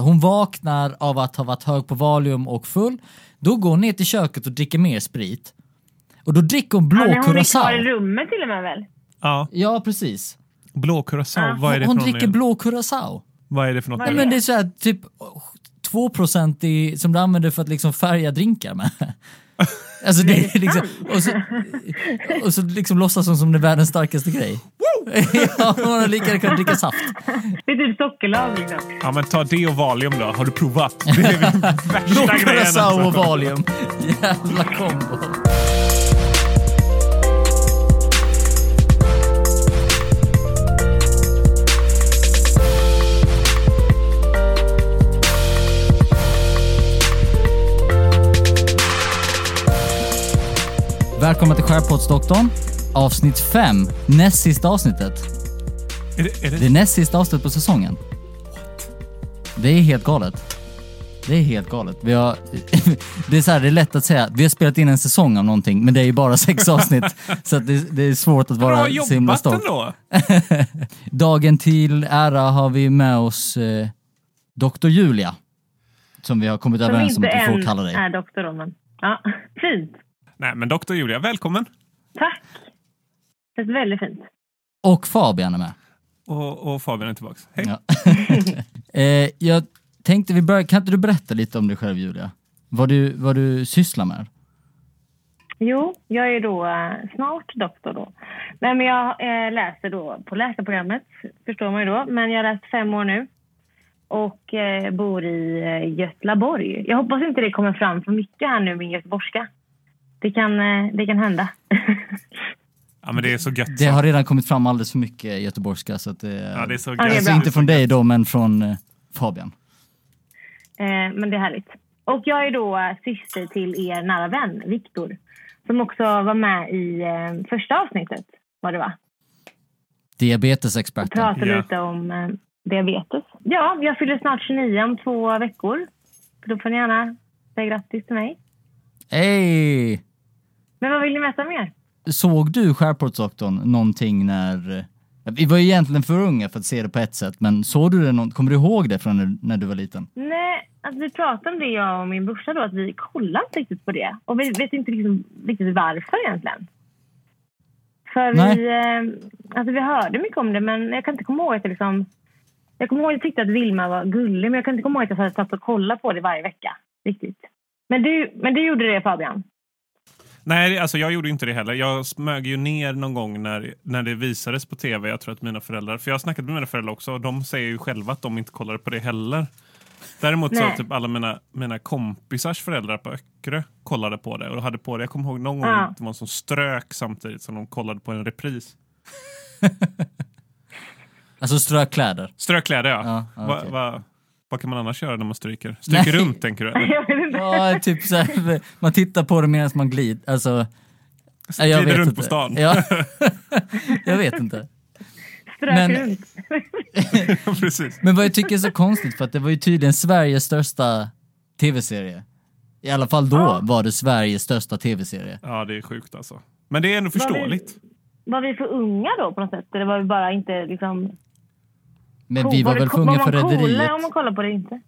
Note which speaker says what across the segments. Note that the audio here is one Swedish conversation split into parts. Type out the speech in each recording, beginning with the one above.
Speaker 1: Hon vaknar av att ha varit hög på Valium och full. Då går hon ner till köket och dricker mer sprit. Och då dricker hon blå
Speaker 2: men hon är kvar i
Speaker 1: curacao.
Speaker 2: rummet till och med väl?
Speaker 3: Ja,
Speaker 1: Ja, precis.
Speaker 3: blå curacao.
Speaker 2: Ja,
Speaker 3: Vad är det
Speaker 1: Hon
Speaker 3: för någon
Speaker 1: dricker
Speaker 3: igen?
Speaker 1: blå curacao.
Speaker 3: Vad är det för något?
Speaker 2: Vad
Speaker 1: Nej,
Speaker 2: är
Speaker 1: men det är så här, typ 2 i, som du använder för att liksom färga drinkar med. Alltså det är liksom, och så, och så liksom låtsas hon som det är världens starkaste grej. ja, hon har lika gärna kunnat dricka saft.
Speaker 2: Det är typ sockerlag liksom.
Speaker 3: Ja, men ta det och Valium då. Har du provat? Det är väl
Speaker 1: Blå
Speaker 3: värsta grejen.
Speaker 1: curacao och
Speaker 3: alltså.
Speaker 1: valium. Jävla kombo. Välkomna till Skärpoddsdoktorn, avsnitt 5, näst sista avsnittet.
Speaker 3: Är det, är
Speaker 1: Det är
Speaker 3: det,
Speaker 1: näst sista avsnitt på säsongen. Det är helt galet. Det är helt galet. Vi har, det, är så här, det är lätt att säga, vi har spelat in en säsong av någonting, men det är ju bara sex avsnitt. så att det, det är svårt att vara
Speaker 3: bra
Speaker 1: så himla
Speaker 3: jobbat
Speaker 1: stolt.
Speaker 3: ändå.
Speaker 1: Dagen till ära har vi med oss eh, Dr. Julia. Som vi har kommit
Speaker 2: Som
Speaker 1: överens om
Speaker 2: inte
Speaker 1: att vi
Speaker 2: än
Speaker 1: får kalla dig.
Speaker 2: är doktor då, men. Ja, fint.
Speaker 3: Nej, men doktor Julia, välkommen.
Speaker 2: Tack. Det är väldigt fint.
Speaker 1: Och Fabian är med.
Speaker 3: Och, och Fabian är tillbaka. Hej.
Speaker 1: Ja. eh, jag tänkte vi börjar, kan inte du berätta lite om dig själv Julia? Vad du, vad du sysslar med?
Speaker 2: Jo, jag är då eh, snart doktor då. Nej, men jag eh, läser då på läkarprogrammet, förstår man ju då. Men jag har läst fem år nu och eh, bor i eh, Göteborg. Jag hoppas inte det kommer fram för mycket här nu, min göteborgska. Det kan, eh, det kan hända.
Speaker 3: Ja, men det är så gött.
Speaker 1: Det
Speaker 3: så.
Speaker 1: har redan kommit fram alldeles för mycket göteborgska så att det,
Speaker 3: Ja, det är så gött.
Speaker 2: det är
Speaker 1: Alltså
Speaker 2: bra.
Speaker 1: inte från dig då, men från eh, Fabian.
Speaker 2: Eh, men det är härligt. Och jag är då eh, syster till er nära vän Viktor som också var med i eh, första avsnittet. Var det va?
Speaker 1: Diabetesexperten.
Speaker 2: Prata
Speaker 3: Ja.
Speaker 2: lite om eh, diabetes. Ja, jag fyller snart 29 om två veckor. Då får ni gärna säga grattis till mig.
Speaker 1: Hej!
Speaker 2: Men vad vill ni veta mer?
Speaker 1: Såg du Skärportsdoktorn någonting när... eh, Vi var ju egentligen för unga för att se det på ett sätt, men såg du det någon... Kommer du ihåg det från när, när du var liten?
Speaker 2: Nej, alltså vi pratade om det jag och min brorsa då, att vi kollade inte riktigt på det. Och vi vet inte liksom, riktigt varför egentligen. För
Speaker 1: Nej.
Speaker 2: vi, eh, alltså vi hörde mycket om det, men jag kan inte komma ihåg att det liksom... Jag kommer ihåg att jag tyckte att Vilma var gullig, men jag kan inte komma ihåg att jag hade satt och kollat på det varje vecka. Riktigt. Men du, men du gjorde det Fabian?
Speaker 3: Nej, alltså jag gjorde inte det heller. Jag smög ju ner någon gång när, när det visades på tv. Jag tror att mina föräldrar, för jag har snackat med mina föräldrar också och de säger ju själva att de inte kollade på det heller. Däremot så
Speaker 2: Nej.
Speaker 3: typ alla mina, mina kompisars föräldrar på Öckerö kollade på det och hade på det. Jag kommer ihåg någon gång
Speaker 2: Ja.
Speaker 3: att det var en som strök samtidigt som de kollade på en repris.
Speaker 1: Alltså strökläder.
Speaker 3: Strökläder ja.
Speaker 1: Ja, ja,
Speaker 3: Va-
Speaker 1: okej.
Speaker 3: va- vad kan man annars göra när man stryker? Stryker
Speaker 1: Nej.
Speaker 3: runt tänker du? eller?
Speaker 2: Jag vet inte.
Speaker 1: Ja, typ så här, man tittar på det medan man glider. Alltså, nej, jag
Speaker 3: Glider
Speaker 1: vet
Speaker 3: runt
Speaker 1: inte.
Speaker 3: på stan.
Speaker 1: Ja. jag vet inte.
Speaker 2: Strök
Speaker 1: Men-
Speaker 2: runt.
Speaker 3: Precis.
Speaker 1: Men vad jag tycker är så konstigt för att det var ju tydligen Sveriges största tv-serie. I alla fall då
Speaker 2: Ja.
Speaker 1: var det Sveriges största tv-serie.
Speaker 3: Ja, det är sjukt alltså. Men det är ändå
Speaker 2: Vad vi-
Speaker 3: förståeligt.
Speaker 2: Var vi för unga då på något sätt? Eller var vi bara inte liksom...
Speaker 1: Men vi var
Speaker 2: det
Speaker 1: väl
Speaker 2: co-
Speaker 1: för unga för
Speaker 2: man
Speaker 1: Rederiet.
Speaker 2: coolare om man kollar på det inte?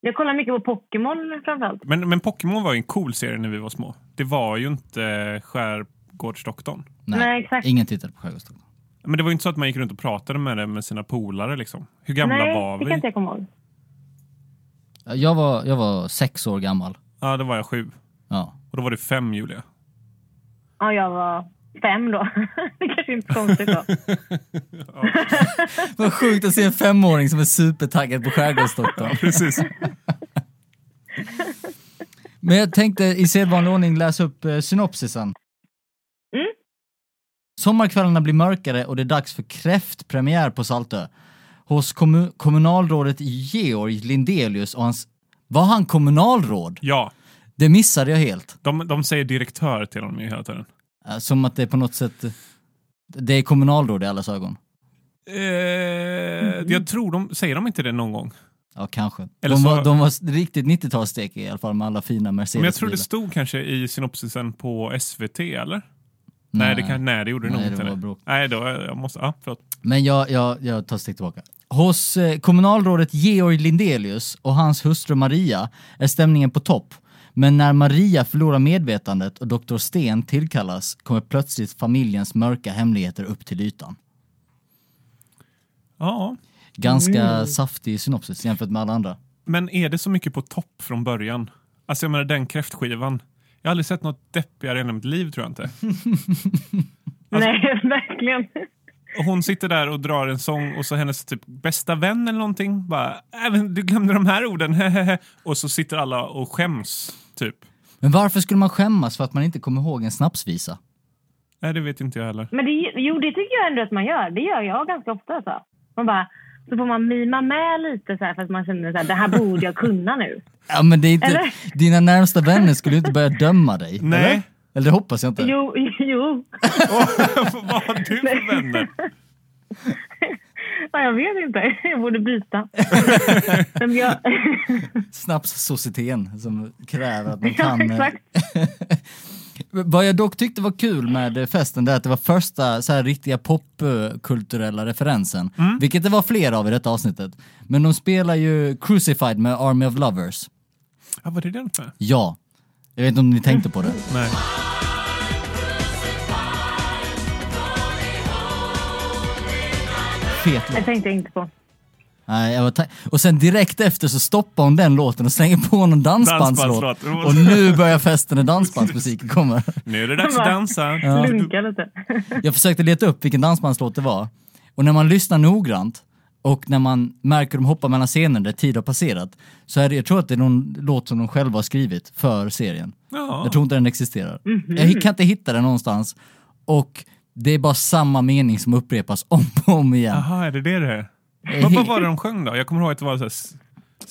Speaker 2: Jag kollar mycket på Pokémon framförallt.
Speaker 3: Men, men Pokémon var ju en cool serie när vi var små. Det var ju inte eh, Skärgårdsdoktorn.
Speaker 1: Nej,
Speaker 2: Nej, exakt.
Speaker 1: ingen tittade på Skärgårdsdoktorn.
Speaker 3: Men det var ju inte så att man gick runt och pratade med det med sina polare liksom. Hur gamla
Speaker 2: Nej,
Speaker 3: var
Speaker 2: det
Speaker 3: vi?
Speaker 2: kan inte jag komma ihåg.
Speaker 1: Ja, Jag var, jag var sex år gammal.
Speaker 3: Ja, då var jag sju.
Speaker 1: Ja.
Speaker 3: Och då var du fem, Julia.
Speaker 2: Ja, jag var fem då. det kanske inte är konstigt då.
Speaker 3: Alltså-
Speaker 1: Vad sjukt att se en femåring som är supertaggad på Skärgårdsdoktorn.
Speaker 3: Precis.
Speaker 1: Men jag tänkte i sedvanlig ordning läsa upp eh, synopsisen.
Speaker 2: Mm.
Speaker 1: Sommarkvällarna blir mörkare och det är dags för kräftpremiär på Saltö. Hos kommu- kommunalrådet Georg Lindelius och hans... Var han kommunalråd?
Speaker 3: Ja,
Speaker 1: Det missade jag helt.
Speaker 3: de, de säger direktör till honom ju hela tiden.
Speaker 1: Eh, Som att det är på något sätt... Det är kommunalråd i allas ögon.
Speaker 3: Eh, Jag tror de, säger de inte det någon gång?
Speaker 1: Ja, kanske.
Speaker 3: Eller
Speaker 1: de,
Speaker 3: så-
Speaker 1: var, de var riktigt 90-talsstek i alla fall med alla fina
Speaker 3: Men jag tror
Speaker 1: Mercedes-bilar.
Speaker 3: det stod kanske i synopsisen på SVT, eller?
Speaker 1: Nej.
Speaker 3: Nej, det, kan, nej, det gjorde det
Speaker 1: Nej,
Speaker 3: nog
Speaker 1: det
Speaker 3: inte.
Speaker 1: var
Speaker 3: eller?
Speaker 1: bråk.
Speaker 3: Nej, då, jag måste, ja, förlåt.
Speaker 1: Men jag, jag, jag tar steg tillbaka. Hos eh, kommunalrådet Georg Lindelius och hans hustru Maria är stämningen på topp. Men när Maria förlorar medvetandet och doktor Sten tillkallas kommer plötsligt familjens mörka hemligheter upp till ytan.
Speaker 3: Ja.
Speaker 1: Ganska saftig synopsis jämfört med alla andra.
Speaker 3: Men är det så mycket på topp från början? Alltså jag menar den kräftskivan. Jag har aldrig sett något deppigare i hela mitt liv tror jag inte. Alltså-
Speaker 2: Nej, verkligen.
Speaker 3: Och hon sitter där och drar en sång och så hennes typ bästa vän eller någonting bara "Äh, men du glömde de här orden. hehehe." och så sitter alla och skäms typ.
Speaker 1: Men varför skulle man skämmas för att man inte kommer ihåg en snapsvisa?
Speaker 3: Nej det vet inte jag heller.
Speaker 2: Men det, jo, det tycker jag ändå att man gör. Det gör jag ganska ofta. Så. Man bara, så får man mima med lite så här, för att man känner så här, det här borde jag kunna nu.
Speaker 1: Ja, men det är inte,
Speaker 2: Eller?
Speaker 1: dina närmsta vänner skulle ju inte börja döma dig.
Speaker 3: Nej.
Speaker 1: Eller? eller det hoppas jag inte.
Speaker 2: Jo, jo.
Speaker 3: Vad har du för vänner?
Speaker 2: Ja, jag vet inte. Jag borde byta. Men jag,
Speaker 1: Snapssocieteten som kräver att man
Speaker 2: ja,
Speaker 1: kan... eh,
Speaker 2: exakt.
Speaker 1: Vad jag dock tyckte var kul med eh, festen det är att det var första så här riktiga popkulturella referensen.
Speaker 2: Mm.
Speaker 1: Vilket det var flera av i detta avsnittet. Men de spelar ju Crucified med Army of Lovers.
Speaker 3: Ja, vad är det den för?
Speaker 1: Ja. Jag vet inte om ni tänkte på det.
Speaker 3: Nej.
Speaker 1: Fet låt.
Speaker 2: Jag tänkte inte på.
Speaker 1: Nej, jag var ta- och sen direkt efter så stoppar hon den låten och slänger på någon dansbandslåt.
Speaker 3: Dansbandslåt.
Speaker 1: Och nu börjar festen när dansbandsmusiken kommer.
Speaker 3: Nu är det dags att dansa.
Speaker 2: Lunka lite.
Speaker 1: Jag försökte leta upp vilken dansbandslåt det var. Och när man lyssnar noggrant och när man märker dem hoppa mellan scener där tid har passerat så är det, jag tror att det är någon låt som de själva har skrivit för serien.
Speaker 3: Ja.
Speaker 1: Jag tror inte den existerar. Jag kan inte hitta den någonstans. Och det är bara samma mening som upprepas om och om igen.
Speaker 3: Jaha, är det det det är? Vad, vad var det de sjöng då? Jag kommer ihåg att det var så här s-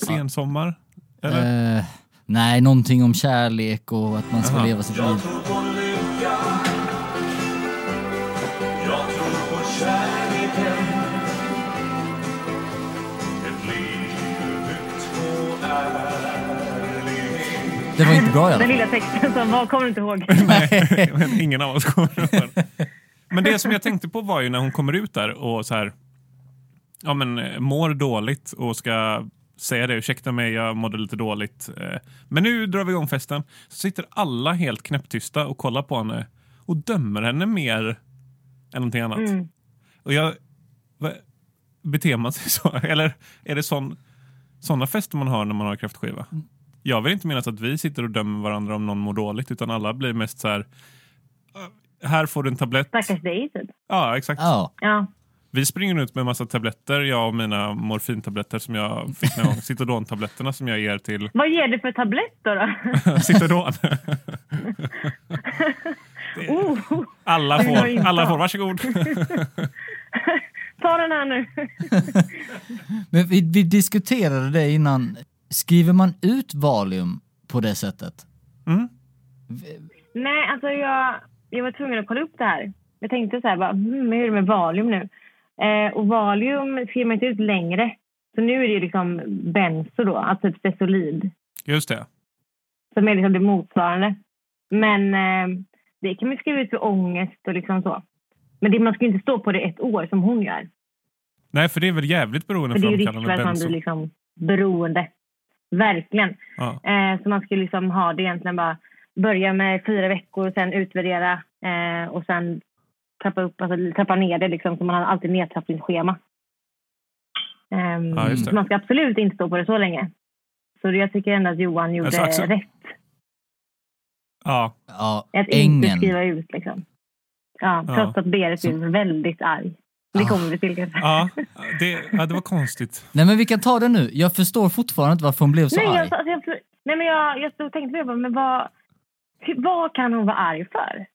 Speaker 3: sensommar. Eller?
Speaker 1: Eh, nej, någonting om kärlek och att man ska
Speaker 3: Aha.
Speaker 1: leva sitt liv.
Speaker 4: Jag tror på lycka Jag tror på kärleken Ett liv byggt på ärlighet
Speaker 1: Det var inte bra i alla fall.
Speaker 2: Den lilla texten som var kommer du inte ihåg.
Speaker 3: Nej, men ingen av oss kommer ihåg. Men det som jag tänkte på var ju när hon kommer ut där och så här, ja men eh, mår dåligt och ska säga det, ursäkta mig jag mådde lite dåligt. eh, Men nu drar vi igång festen. Så sitter alla helt knäpptysta och kollar på henne och dömer henne mer än någonting annat.
Speaker 2: Mm.
Speaker 3: Och jag, va, beter man sig så? Eller är det sån, såna fester man har när man har kräftskiva? Jag vill inte minnas att vi sitter och dömer varandra om någon mår dåligt utan alla blir mest så här "Ah, här får du en tablett.
Speaker 2: Stackars dig, typ.
Speaker 3: Ja, exakt.
Speaker 1: Ja,
Speaker 2: Ja.
Speaker 3: Vi springer ut med en massa tabletter, jag och mina morfintabletter som jag fick någon gång. Citodontabletterna som jag ger till
Speaker 2: Vad ger du för tablett då? då?
Speaker 3: Citodon.
Speaker 2: Oh,
Speaker 3: Alla
Speaker 2: Det var
Speaker 3: får,
Speaker 2: inte
Speaker 3: alla
Speaker 2: bra.
Speaker 3: får, varsågod.
Speaker 2: ta den här nu.
Speaker 1: men vi, vi diskuterade det innan. Skriver man ut Valium på det sättet?
Speaker 3: Mm.
Speaker 2: Nej, alltså jag, jag var tvungen att kolla upp det här. Jag tänkte så här, bara, hmm, hur är det med Valium nu? Eh, och Valium skriver man inte ut längre. Så nu är det ju liksom Benzo då, alltså typ Stesolid,
Speaker 3: Just det.
Speaker 2: som är liksom det motsvarande. Men eh, det kan man skriva ut för ångest och liksom så. Men det, man ska ju inte stå på det ett år som hon gör.
Speaker 3: Nej, för det är väl jävligt
Speaker 2: För det är ju risk
Speaker 3: beroendeframkallande
Speaker 2: för att man blir
Speaker 3: benzo.
Speaker 2: liksom beroende. Verkligen.
Speaker 3: Ja.
Speaker 2: Eh, så man skulle liksom ha det egentligen bara börja med fyra veckor och sen utvärdera eh, och sen trappa, upp, alltså, trappa ner det liksom så man har alltid nedtrappningsschema. Ehm,
Speaker 3: Ja, just det.
Speaker 2: så man ska absolut inte stå på det så länge. Så det- jag tycker ändå att Johan gjorde
Speaker 3: Alltså, Axel-
Speaker 2: rätt.
Speaker 3: Ja,
Speaker 1: Ja,
Speaker 2: Att inte
Speaker 1: ängen.
Speaker 2: skriva ut liksom. Ja,
Speaker 3: Ja.
Speaker 2: trots att Berit
Speaker 1: Så-
Speaker 2: är väldigt arg. Det
Speaker 1: Ah.
Speaker 2: kommer vi till kanske.
Speaker 3: ja, det, ja, det var konstigt.
Speaker 1: Nej men vi kan ta det nu. Jag förstår fortfarande inte varför hon blev så
Speaker 2: Nej, jag,
Speaker 1: arg.
Speaker 2: alltså, jag, nej, men jag, jag stod och tänkte på det. jag bara, Men vad, ty- vad kan hon vara arg för?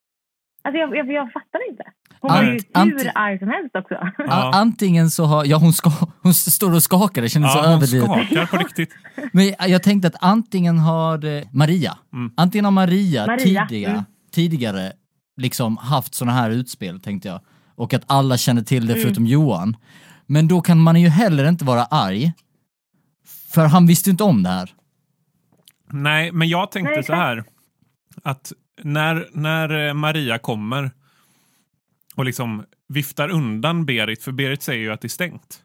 Speaker 2: Alltså, jag, jag, jag fattar inte. Hon var
Speaker 1: Ant-
Speaker 2: ju
Speaker 1: ant-
Speaker 2: hur arg som helst också.
Speaker 1: A-
Speaker 3: Ja.
Speaker 1: Antingen så har, ja hon, ska, hon står och skakar, det kändes så
Speaker 3: Ja, hon
Speaker 1: överdrivet.
Speaker 3: skakar på riktigt.
Speaker 1: Men jag tänkte att antingen har eh, Maria,
Speaker 3: Mm.
Speaker 1: antingen har Maria,
Speaker 2: Maria,
Speaker 1: tidiga,
Speaker 2: mm.
Speaker 1: tidigare liksom haft sådana här utspel tänkte jag. Och att alla känner till
Speaker 2: Mm.
Speaker 1: det förutom Johan. Men då kan man ju heller inte vara arg. För han visste ju inte om det här.
Speaker 3: Nej, men jag tänkte
Speaker 2: Nej,
Speaker 3: så här. Att när, när eh, Maria kommer och liksom viftar undan Berit, för Berit säger ju att det är stängt.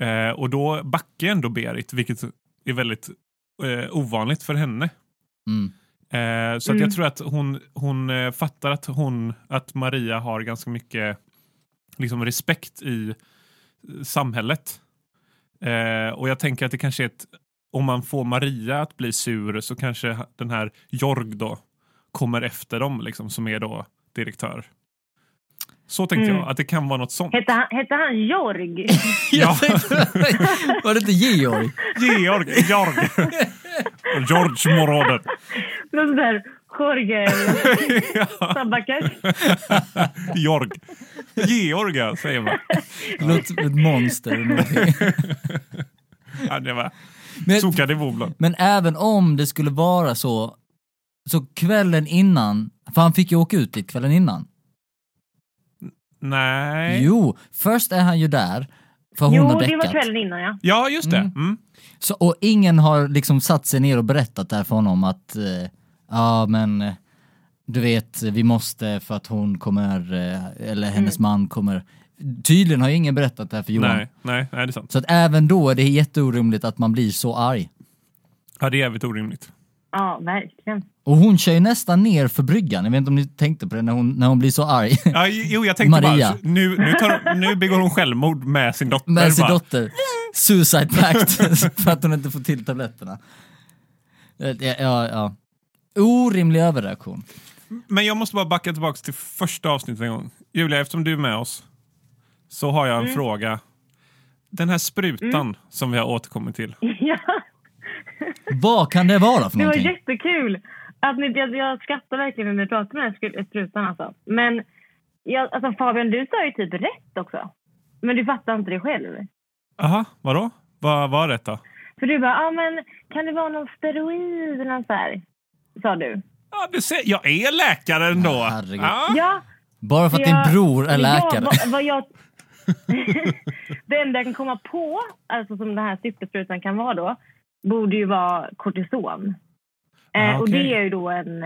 Speaker 3: Eh, och då backar ändå Berit, vilket är väldigt eh, ovanligt för henne.
Speaker 1: Mm.
Speaker 3: Eh, så att jag tror att hon, hon eh, fattar att, hon, att Maria har ganska mycket liksom, respekt i eh, samhället. Eh, och jag tänker att det kanske är ett, om man får Maria att bli sur så kanske ha- den här Jorg då kommer efter dem liksom, som är då direktör. Så tänkte jag, att det kan vara något sånt.
Speaker 2: Hette han, hette han Jorg?
Speaker 3: Ja.
Speaker 1: Var det inte Georg?
Speaker 3: Georg, Jorg. George Moroder.
Speaker 2: Någon sån där Jorge Sabakash.
Speaker 3: Jorg. Georga säger man.
Speaker 1: Det låter som ett monster. eller någonting.
Speaker 3: Ja, det var
Speaker 1: Men,
Speaker 3: Soka det vobla.
Speaker 1: men även om det skulle vara så, så kvällen innan, för han fick ju åka ut lite kvällen innan.
Speaker 3: Nej.
Speaker 1: Jo, först är han ju där, för hon
Speaker 2: Jo,
Speaker 1: har
Speaker 2: det var
Speaker 1: däckat.
Speaker 2: kvällen innan ja.
Speaker 3: Ja, just det. Mm.
Speaker 1: Så, och ingen har liksom satt sig ner och berättat där för honom att eh, ja men eh, du vet vi måste för att hon kommer eh, eller hennes
Speaker 2: Mm.
Speaker 1: man kommer. Tydligen har ingen berättat det här för Johan.
Speaker 3: Nej, nej, nej, det är sant.
Speaker 1: Så att även då är det jätteorimligt att man blir så arg.
Speaker 3: Ja, det är jävligt orimligt.
Speaker 2: Ja, verkligen.
Speaker 1: Och hon kör ju nästan ner för bryggan. Jag vet inte om ni tänkte på det när hon, när hon blir så arg.
Speaker 3: Ja, jo, jag tänkte
Speaker 1: Maria.
Speaker 3: bara, nu, nu, tar, nu begår hon självmord med sin dotter.
Speaker 1: Med sin
Speaker 3: va?
Speaker 1: dotter. Suicide pact. för att hon inte får till tabletterna. Ja, ja, ja. Orimlig överreaktion.
Speaker 3: Men jag måste bara backa tillbaka till första avsnittet en gång. Julia, eftersom du är med oss så har jag en fråga. Den här sprutan som vi har återkommit till.
Speaker 2: Ja,
Speaker 1: Vad kan det vara för
Speaker 2: det var
Speaker 1: någonting?
Speaker 2: jättekul. Att ni, jag, jag skrattar verkligen när ni pratar med den här skru- strutan alltså. Men jag, alltså, Fabian, du sa ju typ rätt också. Men du fattar inte det själv.
Speaker 3: Aha, vadå? Vad var rätt då?
Speaker 2: För du bara, ja ah, men kan det vara någon steroid eller något så här? Sa du.
Speaker 3: Ja, du ser, jag är läkare ändå.
Speaker 1: Ja, herregud.
Speaker 3: Ja.
Speaker 2: Ja,
Speaker 1: Bara för att
Speaker 2: jag-
Speaker 1: din bror är
Speaker 2: jag-
Speaker 1: läkare.
Speaker 2: vad- vad jag, det enda jag kan komma på, alltså som den här syftesprutan kan vara då, borde ju vara kortison.
Speaker 3: Ah,
Speaker 2: eh, och
Speaker 3: okej.
Speaker 2: det är ju då en,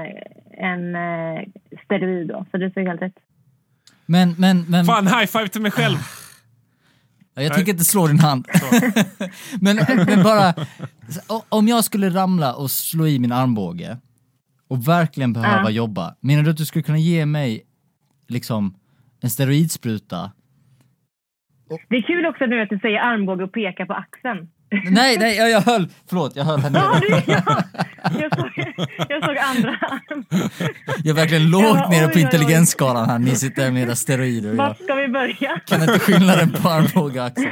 Speaker 2: en eh, steroid då, så du säger helt rätt.
Speaker 1: Men, men, men.
Speaker 3: Fan, high five till mig själv.
Speaker 1: Ja, Jag tänker inte slå din hand. men, men bara, o- om jag skulle ramla och slå i min armbåge och verkligen behöva
Speaker 2: Ja.
Speaker 1: jobba, menar du att du skulle kunna ge mig liksom en steroidspruta?
Speaker 2: Det är kul också nu att du säger armbåge och pekar på axeln.
Speaker 1: nej, nej, jag, jag höll, förlåt, jag höll henne.
Speaker 2: Ja, du, ja. Jag, såg, jag såg andra arm.
Speaker 1: Jag är verkligen
Speaker 2: Jag
Speaker 1: lågt
Speaker 2: bara,
Speaker 1: nere på
Speaker 2: oj, oj, oj.
Speaker 1: intelligensskalan här, ni sitter där med era steroider och jag
Speaker 2: Vart ska vi börja?
Speaker 1: kan inte skillnaden på armbåge och axel.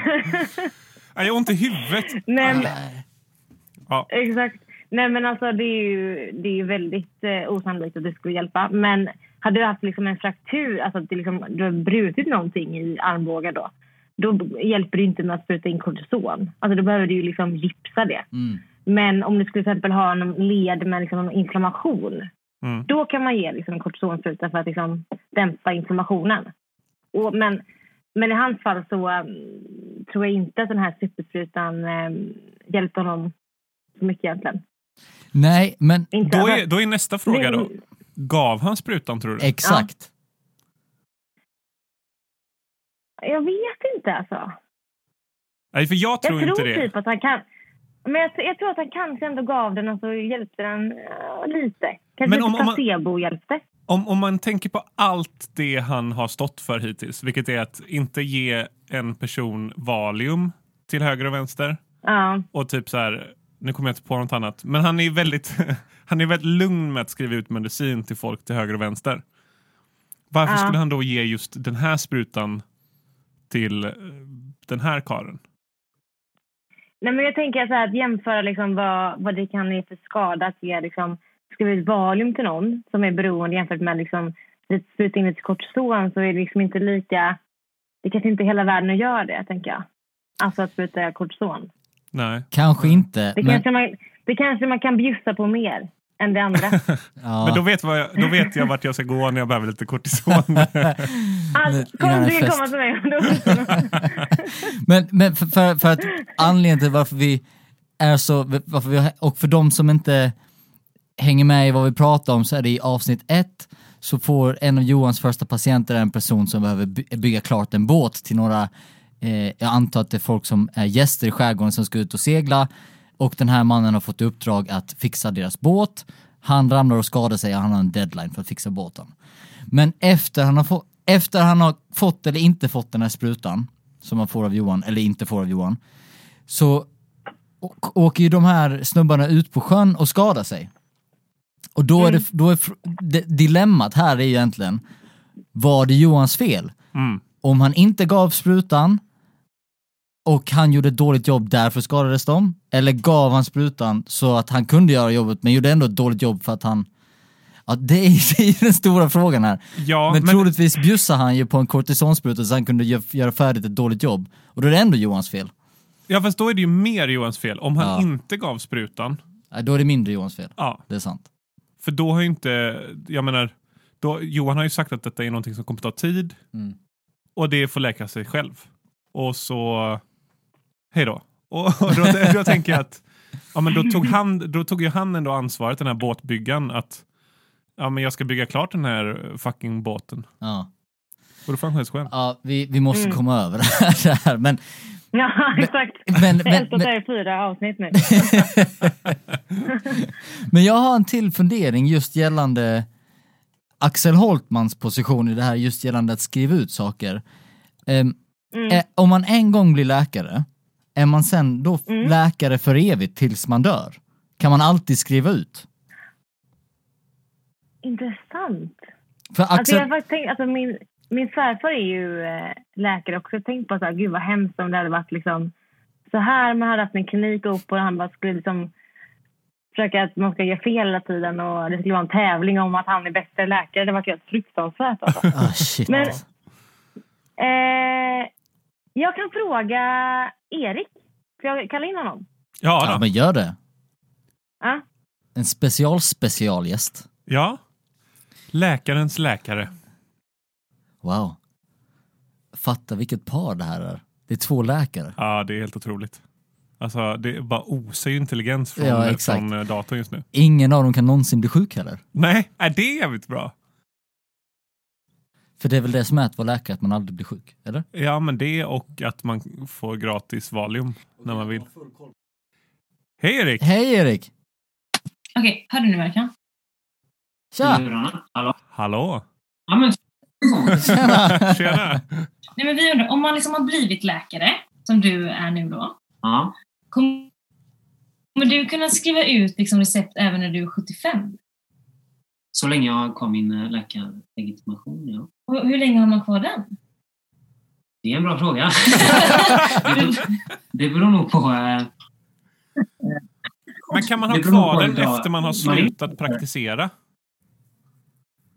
Speaker 3: Ja, Jag har ont i huvudet.
Speaker 2: Nej, men-
Speaker 3: Ja.
Speaker 2: Exakt. Nej men alltså det är ju, det är ju väldigt eh, osannolikt att det skulle hjälpa. Men hade du haft liksom en fraktur, alltså att det liksom, du har brutit någonting i armbågen då. Då b- hjälper det inte med att spruta in kortison. Alltså då behöver du ju liksom gipsa det.
Speaker 1: Mm.
Speaker 2: Men om du skulle till exempel ha en led med liksom någon inflammation.
Speaker 3: Mm.
Speaker 2: Då kan man ge liksom kortisonspruta för att liksom dämpa inflammationen. Och, men, men i hans fall så eh, tror jag inte att den här supersprutan eh, hjälpte honom så mycket egentligen.
Speaker 1: Nej, men
Speaker 2: Inte
Speaker 3: Då
Speaker 2: men-
Speaker 3: är, då är nästa fråga då. Gav han sprutan tror du?
Speaker 1: exakt.
Speaker 2: Jag vet inte alltså.
Speaker 3: Nej, för jag
Speaker 2: Jag
Speaker 3: tror inte det.
Speaker 2: typ att han kan. Men jag, jag tror att han kanske ändå gav den och så hjälpte den eh, lite. Kanske
Speaker 3: Men
Speaker 2: men
Speaker 3: om- om man-
Speaker 2: placebo hjälpte.
Speaker 3: Om, om man tänker på allt det han har stått för hittills, vilket är att inte ge en person Valium till höger och vänster
Speaker 2: Ja,
Speaker 3: och typ så här, nu kommer jag inte på något annat, men han är väldigt, han är väldigt lugn med att skriva ut medicin till folk till höger och vänster. Varför
Speaker 2: Ja.
Speaker 3: skulle han då ge just den här sprutan till eh, den här karen?
Speaker 2: Nej, men jag tänker så här, att jämföra liksom vad, vad det kan ge för skada att ge liksom, skriva ut Valium till någon som är beroende jämfört med liksom, lite spruta in lite kortison så är det liksom inte lika... Det kanske inte är hela världen att göra det, tänker jag. Alltså att spruta kortison.
Speaker 3: Nej.
Speaker 1: Kanske inte,
Speaker 2: Mm. Det,
Speaker 1: men...
Speaker 2: kanske man, det kanske man kan bjussa på mer än det andra.
Speaker 1: Ja.
Speaker 3: Men då vet, vad jag, då vet jag vart jag ska gå när jag behöver lite kortison.
Speaker 2: Alltså,
Speaker 1: Innan en
Speaker 2: kom, du kan
Speaker 1: fest.
Speaker 2: komma till mig. Då-
Speaker 1: Men, men för, för, för att anledningen till varför vi är så, varför vi, har- och för de som inte hänger med i vad vi pratar om så är det i avsnitt ett så får en av Johans första patienter en person som behöver by- bygga klart en båt till några eh, jag antar att det är folk som är gäster i skärgården som ska ut och segla och den här mannen har fått i uppdrag att fixa deras båt. Han ramlar och skadar sig och han har en deadline för att fixa båten. Men efter han har, få, efter han har fått eller inte fått den här sprutan som han får av Johan, eller inte får av Johan, så å- åker ju de här snubbarna ut på sjön och skadar sig. Och då
Speaker 3: Mm.
Speaker 1: är, det, då är fr- det, dilemmat här är egentligen, var det Johans fel?
Speaker 3: Mm.
Speaker 1: om han inte gav sprutan och han gjorde ett dåligt jobb, därför skadades de. Eller gav han sprutan så att han kunde göra jobbet, men gjorde ändå ett dåligt jobb för att han... Ja, det är, det är ju den stora frågan här.
Speaker 3: Ja,
Speaker 1: men,
Speaker 3: men-
Speaker 1: troligtvis bjussade han ju på en kortisonspruta så han kunde gö- göra färdigt ett dåligt jobb. Och då är det ändå Johans fel.
Speaker 3: Ja, fast då är det ju mer Johans fel. Om han
Speaker 1: Ja.
Speaker 3: inte gav sprutan,
Speaker 1: Nej, då är det mindre Johans fel.
Speaker 3: ja,
Speaker 1: Det är sant.
Speaker 3: för då har ju inte, jag menar, då, Johan har ju sagt att detta är någonting som kommer ta tid
Speaker 1: Mm.
Speaker 3: och det får läka sig själv. Och så, hej då. Och, och då, då tänker jag att, ja men då tog, han, då tog ju han ändå ansvaret, den här båtbyggaren, att ja men jag ska bygga klart den här fucking båten.
Speaker 1: Ja,
Speaker 3: Och då får han själv.
Speaker 1: ja vi, vi måste
Speaker 2: Mm.
Speaker 1: komma över det här- det här. Men,
Speaker 2: Ja, exakt.
Speaker 1: men,
Speaker 2: Jag har
Speaker 1: men,
Speaker 2: ältat
Speaker 1: men,
Speaker 2: det här i fyra avsnitt nu.
Speaker 1: Men jag har en till fundering just gällande Axel Holtmans position i det här, just gällande att skriva ut saker. Ehm,
Speaker 2: Mm.
Speaker 1: eh, om man en gång blir läkare, är man sen då f-
Speaker 2: Mm.
Speaker 1: läkare för evigt tills man dör? Kan man alltid skriva ut?
Speaker 2: Intressant.
Speaker 1: För Axel...
Speaker 2: Alltså jag har faktiskt tänkt, alltså min, min svärfar är ju eh, läkare också. Jag tänkte på så här, gud vad hemskt om det hade varit liksom så här. Man hade haft en klinik upp och han bara skulle liksom försöka att man ska göra fel hela tiden och det skulle vara en tävling om att han är bästa läkare. Det var helt fruktansvärt alltså.
Speaker 1: Ah, shit.
Speaker 2: Men- eh, jag kan fråga Erik. Får jag kalla in honom?
Speaker 3: Ja,
Speaker 1: Ja,
Speaker 3: då.
Speaker 1: men gör det.
Speaker 2: Ja.
Speaker 1: En special specialgäst.
Speaker 3: ja. Läkarens läkare.
Speaker 1: Wow. Fatta vilket par det här är. Det är två läkare.
Speaker 3: Ja, det är helt otroligt. Alltså, det bara osar ju intelligens från,
Speaker 1: Ja, exakt.
Speaker 3: från eh, datorn just nu.
Speaker 1: Ingen av dem kan någonsin bli sjuk heller.
Speaker 3: Nej, är det är jävligt bra.
Speaker 1: För det är väl det som är att vara läkare, att man aldrig blir sjuk? Eller?
Speaker 3: Ja, men det och att man får gratis Valium när man vill. Hej Erik!
Speaker 1: Hej Erik!
Speaker 5: Okej, hör du nu verkligen?
Speaker 1: Tja!
Speaker 3: Mm.
Speaker 5: Lurarna. Hallå?
Speaker 3: Hallå!
Speaker 5: Ja, men...
Speaker 1: Tjena!
Speaker 3: Tjena!
Speaker 5: Nej, men vi undrar, om man liksom har blivit läkare, som du är nu då,
Speaker 6: Ja.
Speaker 5: kom- kommer du kunna skriva ut liksom recept även när du är 75?
Speaker 6: Så länge jag har min eh, läkarlegitimation, ja.
Speaker 5: Och hur länge har man kvar den?
Speaker 6: Det är en bra fråga. det, beror, det beror nog på... eh,
Speaker 3: Men kan man
Speaker 6: Det
Speaker 3: ha
Speaker 6: beror på
Speaker 3: kvar den
Speaker 6: idag.
Speaker 3: efter man har
Speaker 6: Man är-
Speaker 3: slutat praktisera?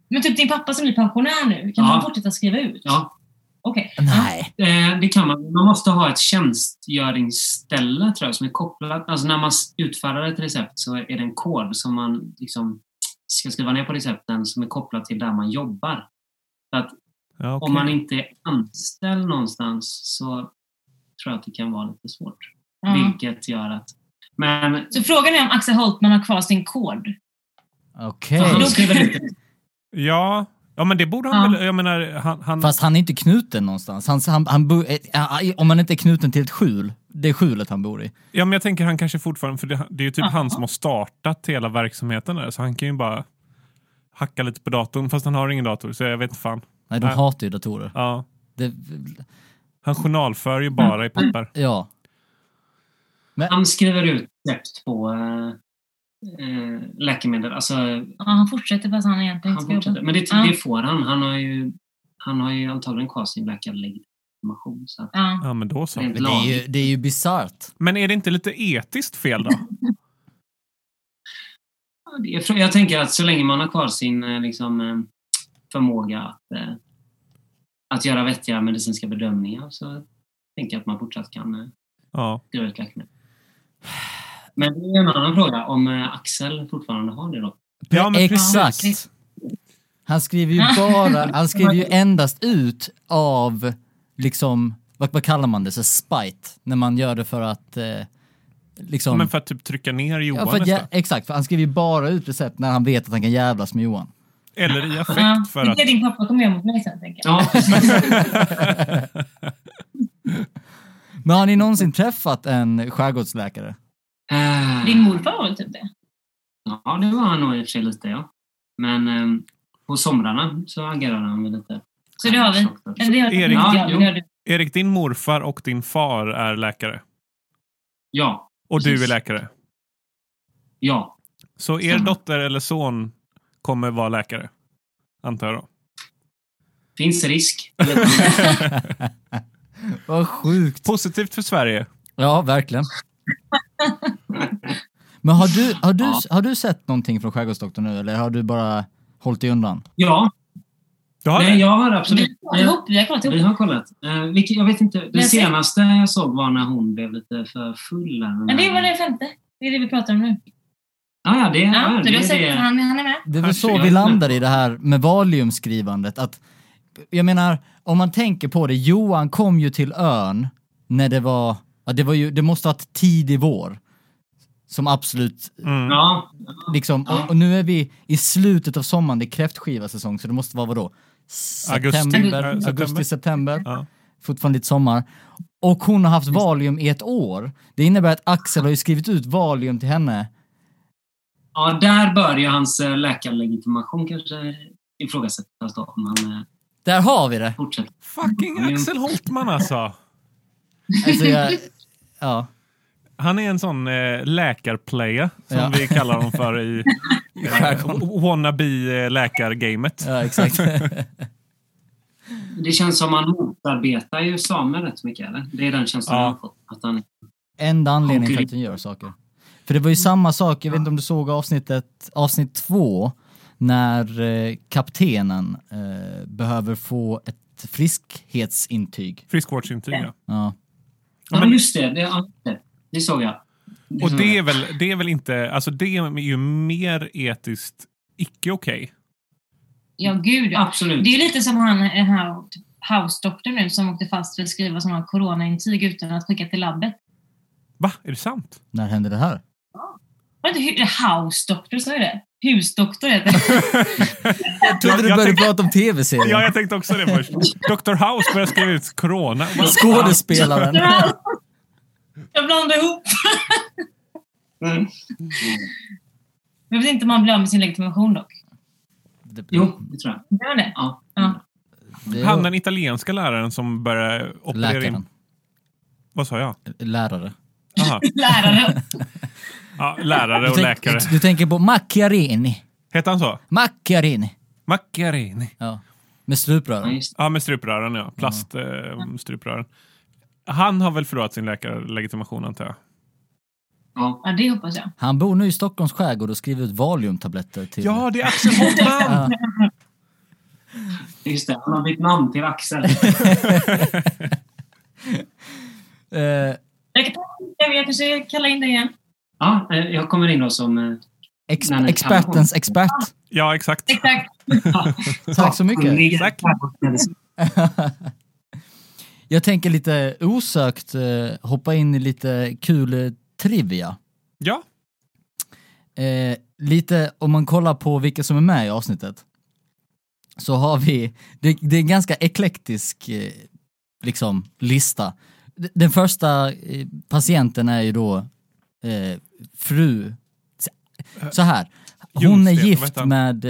Speaker 5: Men typ din pappa som blir pensionär nu, kan
Speaker 6: Ja.
Speaker 5: han fortsätta skriva ut?
Speaker 6: Ja,
Speaker 5: Okej.
Speaker 1: Nej.
Speaker 6: eh, det kan man. Man måste ha ett tjänstgöringsställe, tror jag, som är kopplat. Alltså när man s- utfärdar ett recept så är det en kod som man liksom ska skriva ner på recepten som är kopplad till där man jobbar. Så att
Speaker 3: Ja, okej.
Speaker 6: om man inte är anställd någonstans så tror jag att det kan vara lite svårt.
Speaker 5: Ja.
Speaker 6: Vilket gör att... Men
Speaker 5: Så frågan är om Axel Holtman har kvar sin kod?
Speaker 1: Okej.
Speaker 6: han skriver ut
Speaker 3: ja. ja, men det borde han
Speaker 5: Ja.
Speaker 3: väl... Jag menar, han... han
Speaker 1: Fast han är inte knuten någonstans. Han, han, han, bo- eh, eh, om han inte är knuten till ett skjul, det är skjulet han bor i.
Speaker 3: ja, men jag tänker han kanske fortfarande... För det, det är ju typ
Speaker 5: Ja.
Speaker 3: han som har startat hela verksamheten där, så han kan ju bara hacka lite på datorn. Fast han har ingen dator, så jag vet inte fan.
Speaker 1: Nej, de
Speaker 3: Nej.
Speaker 1: hatar ju datorer.
Speaker 3: Ja.
Speaker 1: Det,
Speaker 3: Han journalför ju bara i papper.
Speaker 1: ja.
Speaker 6: Han skriver ut recept på eh, eh, läkemedel. Alltså,
Speaker 5: Ja, han fortsätter fast han egentligen
Speaker 6: han
Speaker 5: inte ska
Speaker 6: fortsätter.
Speaker 5: jobba.
Speaker 6: Men det,
Speaker 5: Ja.
Speaker 6: det får han. Han har ju, han har ju antagligen kvar sin läkarlegitimation. Så att,
Speaker 5: Ja.
Speaker 3: Ja, men då så.
Speaker 6: Rent
Speaker 1: Men det är ju, det är ju bisarrt.
Speaker 3: Men är det inte lite etiskt fel då?
Speaker 6: ja, det är- jag tänker att så länge man har kvar sin eh, liksom, eh, förmåga att, eh, att göra vettiga medicinska bedömningar så tänker jag att man fortsatt kan eh,
Speaker 3: Ja.
Speaker 6: skriva ut läkemedel. Men det är en annan fråga, om eh, Axel fortfarande har det då?
Speaker 3: Ja, men precis.
Speaker 1: Exakt.
Speaker 5: precis.
Speaker 1: Han skriver ju bara, han skriver ju endast ut av liksom, vad, vad kallar man det, så spite, när man gör det för att eh, liksom...
Speaker 3: Men för att typ trycka ner Johan
Speaker 1: ja, för att, ja,
Speaker 3: nästan.
Speaker 1: exakt, för han skriver ju bara ut recept när han vet att han kan jävlas med Johan.
Speaker 3: Eller i
Speaker 5: Ja.
Speaker 3: affekt för
Speaker 5: Det är
Speaker 3: att...
Speaker 5: det din pappa kommer göra mot mig sen, tänker jag.
Speaker 6: Ja, precis.
Speaker 1: Men har ni någonsin träffat en skärgårdsläkare?
Speaker 6: Eh,
Speaker 5: Din morfar var väl typ det?
Speaker 6: Ja, det var han nog i och för sig lite, ja. Men eh, på somrarna så agerade han väl lite.
Speaker 5: Så det har vi. Eller det har
Speaker 3: Erik-
Speaker 5: ja, det har du.
Speaker 3: Erik, din morfar och din far är läkare.
Speaker 6: Ja,
Speaker 3: Och du är
Speaker 6: Precis.
Speaker 3: läkare.
Speaker 6: ja.
Speaker 3: Så er
Speaker 6: Stämmer.
Speaker 3: dotter eller son kommer vara läkare? Antar jag då.
Speaker 6: Finns risk.
Speaker 1: Vad sjukt.
Speaker 3: Positivt för Sverige.
Speaker 1: Ja, verkligen. Men har du, har, du,
Speaker 6: Ja.
Speaker 1: har du sett någonting från Skärgårdsdoktorn nu eller har du bara hållit dig undan?
Speaker 6: ja,
Speaker 3: Du har
Speaker 6: nej,
Speaker 3: det?
Speaker 6: jag har
Speaker 5: Vi
Speaker 6: absolut...
Speaker 5: har kollat ihop. Vi har kollat
Speaker 6: Vi
Speaker 5: ihop.
Speaker 6: har kollat. Eh, vilket, jag vet inte. Det
Speaker 5: jag ser-
Speaker 6: senaste jag såg var när hon blev lite för full. här.
Speaker 5: Men det var den femte. Det är det vi pratar om nu.
Speaker 6: Ja, ja, det, ja,
Speaker 5: Ja, så
Speaker 6: det,
Speaker 5: du har
Speaker 6: det,
Speaker 5: sett han, han är med?
Speaker 1: Det är väl så
Speaker 6: Herregud.
Speaker 1: vi landar i det här med Valium-skrivandet. Att, jag menar, om man tänker på det, Johan kom ju till ön när det var, ja, det var ju, det måste ha varit tidig vår. Som absolut,
Speaker 3: Mm.
Speaker 6: ja,
Speaker 1: liksom, och, och nu är vi i slutet av sommaren, det är kräftskivasäsong, så det måste vara vadå? September,
Speaker 3: Augusti. Äh,
Speaker 1: augusti, september.
Speaker 3: Ja.
Speaker 1: Fortfarande lite sommar. Och hon har haft Valium i ett år. Det innebär att Axel har ju skrivit ut Valium till henne.
Speaker 6: ja, där börjar hans eh, läkarlegitimation kanske ifrågasättas då, om han eh,
Speaker 1: Där har vi det!
Speaker 6: fortsätter.
Speaker 3: Fucking
Speaker 6: Mm.
Speaker 3: Axel Holtman alltså.
Speaker 1: Alltså jag, ja.
Speaker 3: Han är en sån eh, läkarplayer som
Speaker 1: Ja.
Speaker 3: vi kallar honom för i eh, wannabe eh, läkargamet.
Speaker 1: Ja, exakt.
Speaker 6: Det känns som han motarbetar ju samer rätt mycket, eller? Det är den känslan
Speaker 3: Ja.
Speaker 6: jag har fått. Att han,
Speaker 1: Enda anledningen till
Speaker 6: Konkurren-
Speaker 1: att den gör saker. För det var ju samma sak, jag vet inte om du såg avsnittet, avsnitt två, när eh, kaptenen eh, behöver få ett friskhetsintyg.
Speaker 3: Friskvårdsintyg. Ja.
Speaker 1: Ja.
Speaker 6: ja,
Speaker 3: men-
Speaker 6: just det. Det, ja, just det. det såg jag.
Speaker 3: Och
Speaker 6: såg
Speaker 3: det
Speaker 6: jag.
Speaker 3: är, väl, det är väl inte, alltså det är ju mer etiskt icke okej.
Speaker 5: Ja, gud ja.
Speaker 6: Absolut.
Speaker 5: Det är ju lite som han eh, här house-doktorn nu som åkte fast för att skriva sådana coronaintyg utan att skicka till labbet.
Speaker 3: Va? Är det sant?
Speaker 1: När hände det här?
Speaker 5: Var det inte hu- house-doktor som är det? Husdoktor heter det.
Speaker 1: Jag trodde
Speaker 3: Jag-
Speaker 1: du
Speaker 3: jag
Speaker 1: började
Speaker 3: tänkte-
Speaker 1: prata om
Speaker 3: Ja,
Speaker 1: tv-serien.
Speaker 3: jag tänkte också det först. Dr. House börjar skriva ut corona.
Speaker 1: Skådespelaren.
Speaker 5: Jag blandade ihop.
Speaker 6: Mm.
Speaker 5: Jag vet inte om man blir av med sin legitimation dock.
Speaker 6: Jo, det tror jag.
Speaker 5: Gör man det?
Speaker 6: Ja.
Speaker 5: Ja.
Speaker 1: Det är-
Speaker 3: Han den italienska läraren som börjar operera in...
Speaker 1: Läkaren.
Speaker 3: Vad sa jag?
Speaker 1: Lärare.
Speaker 3: Aha.
Speaker 5: Lärare.
Speaker 3: Ja, lärare
Speaker 1: Du,
Speaker 3: och
Speaker 1: tänk,
Speaker 3: läkare.
Speaker 1: du tänker på Macchiarini.
Speaker 3: Hette han så?
Speaker 1: Macchiarini.
Speaker 3: Macchiarini.
Speaker 1: Ja. Med stuprören.
Speaker 6: Ja, just
Speaker 3: Ja, med struprören ja. Plaststruprören. han har väl förlorat sin läkarlegitimation antar jag?
Speaker 6: ja.
Speaker 5: Ja, det hoppas jag.
Speaker 1: Han bor nu i Stockholms skärgård och skriver ut Valiumtabletter till...
Speaker 3: Ja, det är Axel Holtman!
Speaker 6: Just det. Han har bytt namn till Axel.
Speaker 1: Eh,
Speaker 5: Jag, kan, jag kanske kallar in dig igen.
Speaker 6: Ja, eh, jag kommer in då som... eh,
Speaker 1: ex-
Speaker 6: Nej, nej,
Speaker 1: expertens expert.
Speaker 3: Ja, exakt.
Speaker 5: Exakt.
Speaker 1: Tack så mycket.
Speaker 6: sakkunnig.
Speaker 3: Tack.
Speaker 1: Jag tänker lite osökt eh, hoppa in i lite kul eh, trivia.
Speaker 3: Ja.
Speaker 1: Eh, lite om man kollar på vilka som är med i avsnittet. Så har vi, det, det är en ganska eklektisk eh, liksom lista. D- Den första eh, patienten är ju då eh, fru, så här. Hon är
Speaker 3: Ljungsten, vad
Speaker 1: gift
Speaker 3: heter han?
Speaker 1: med,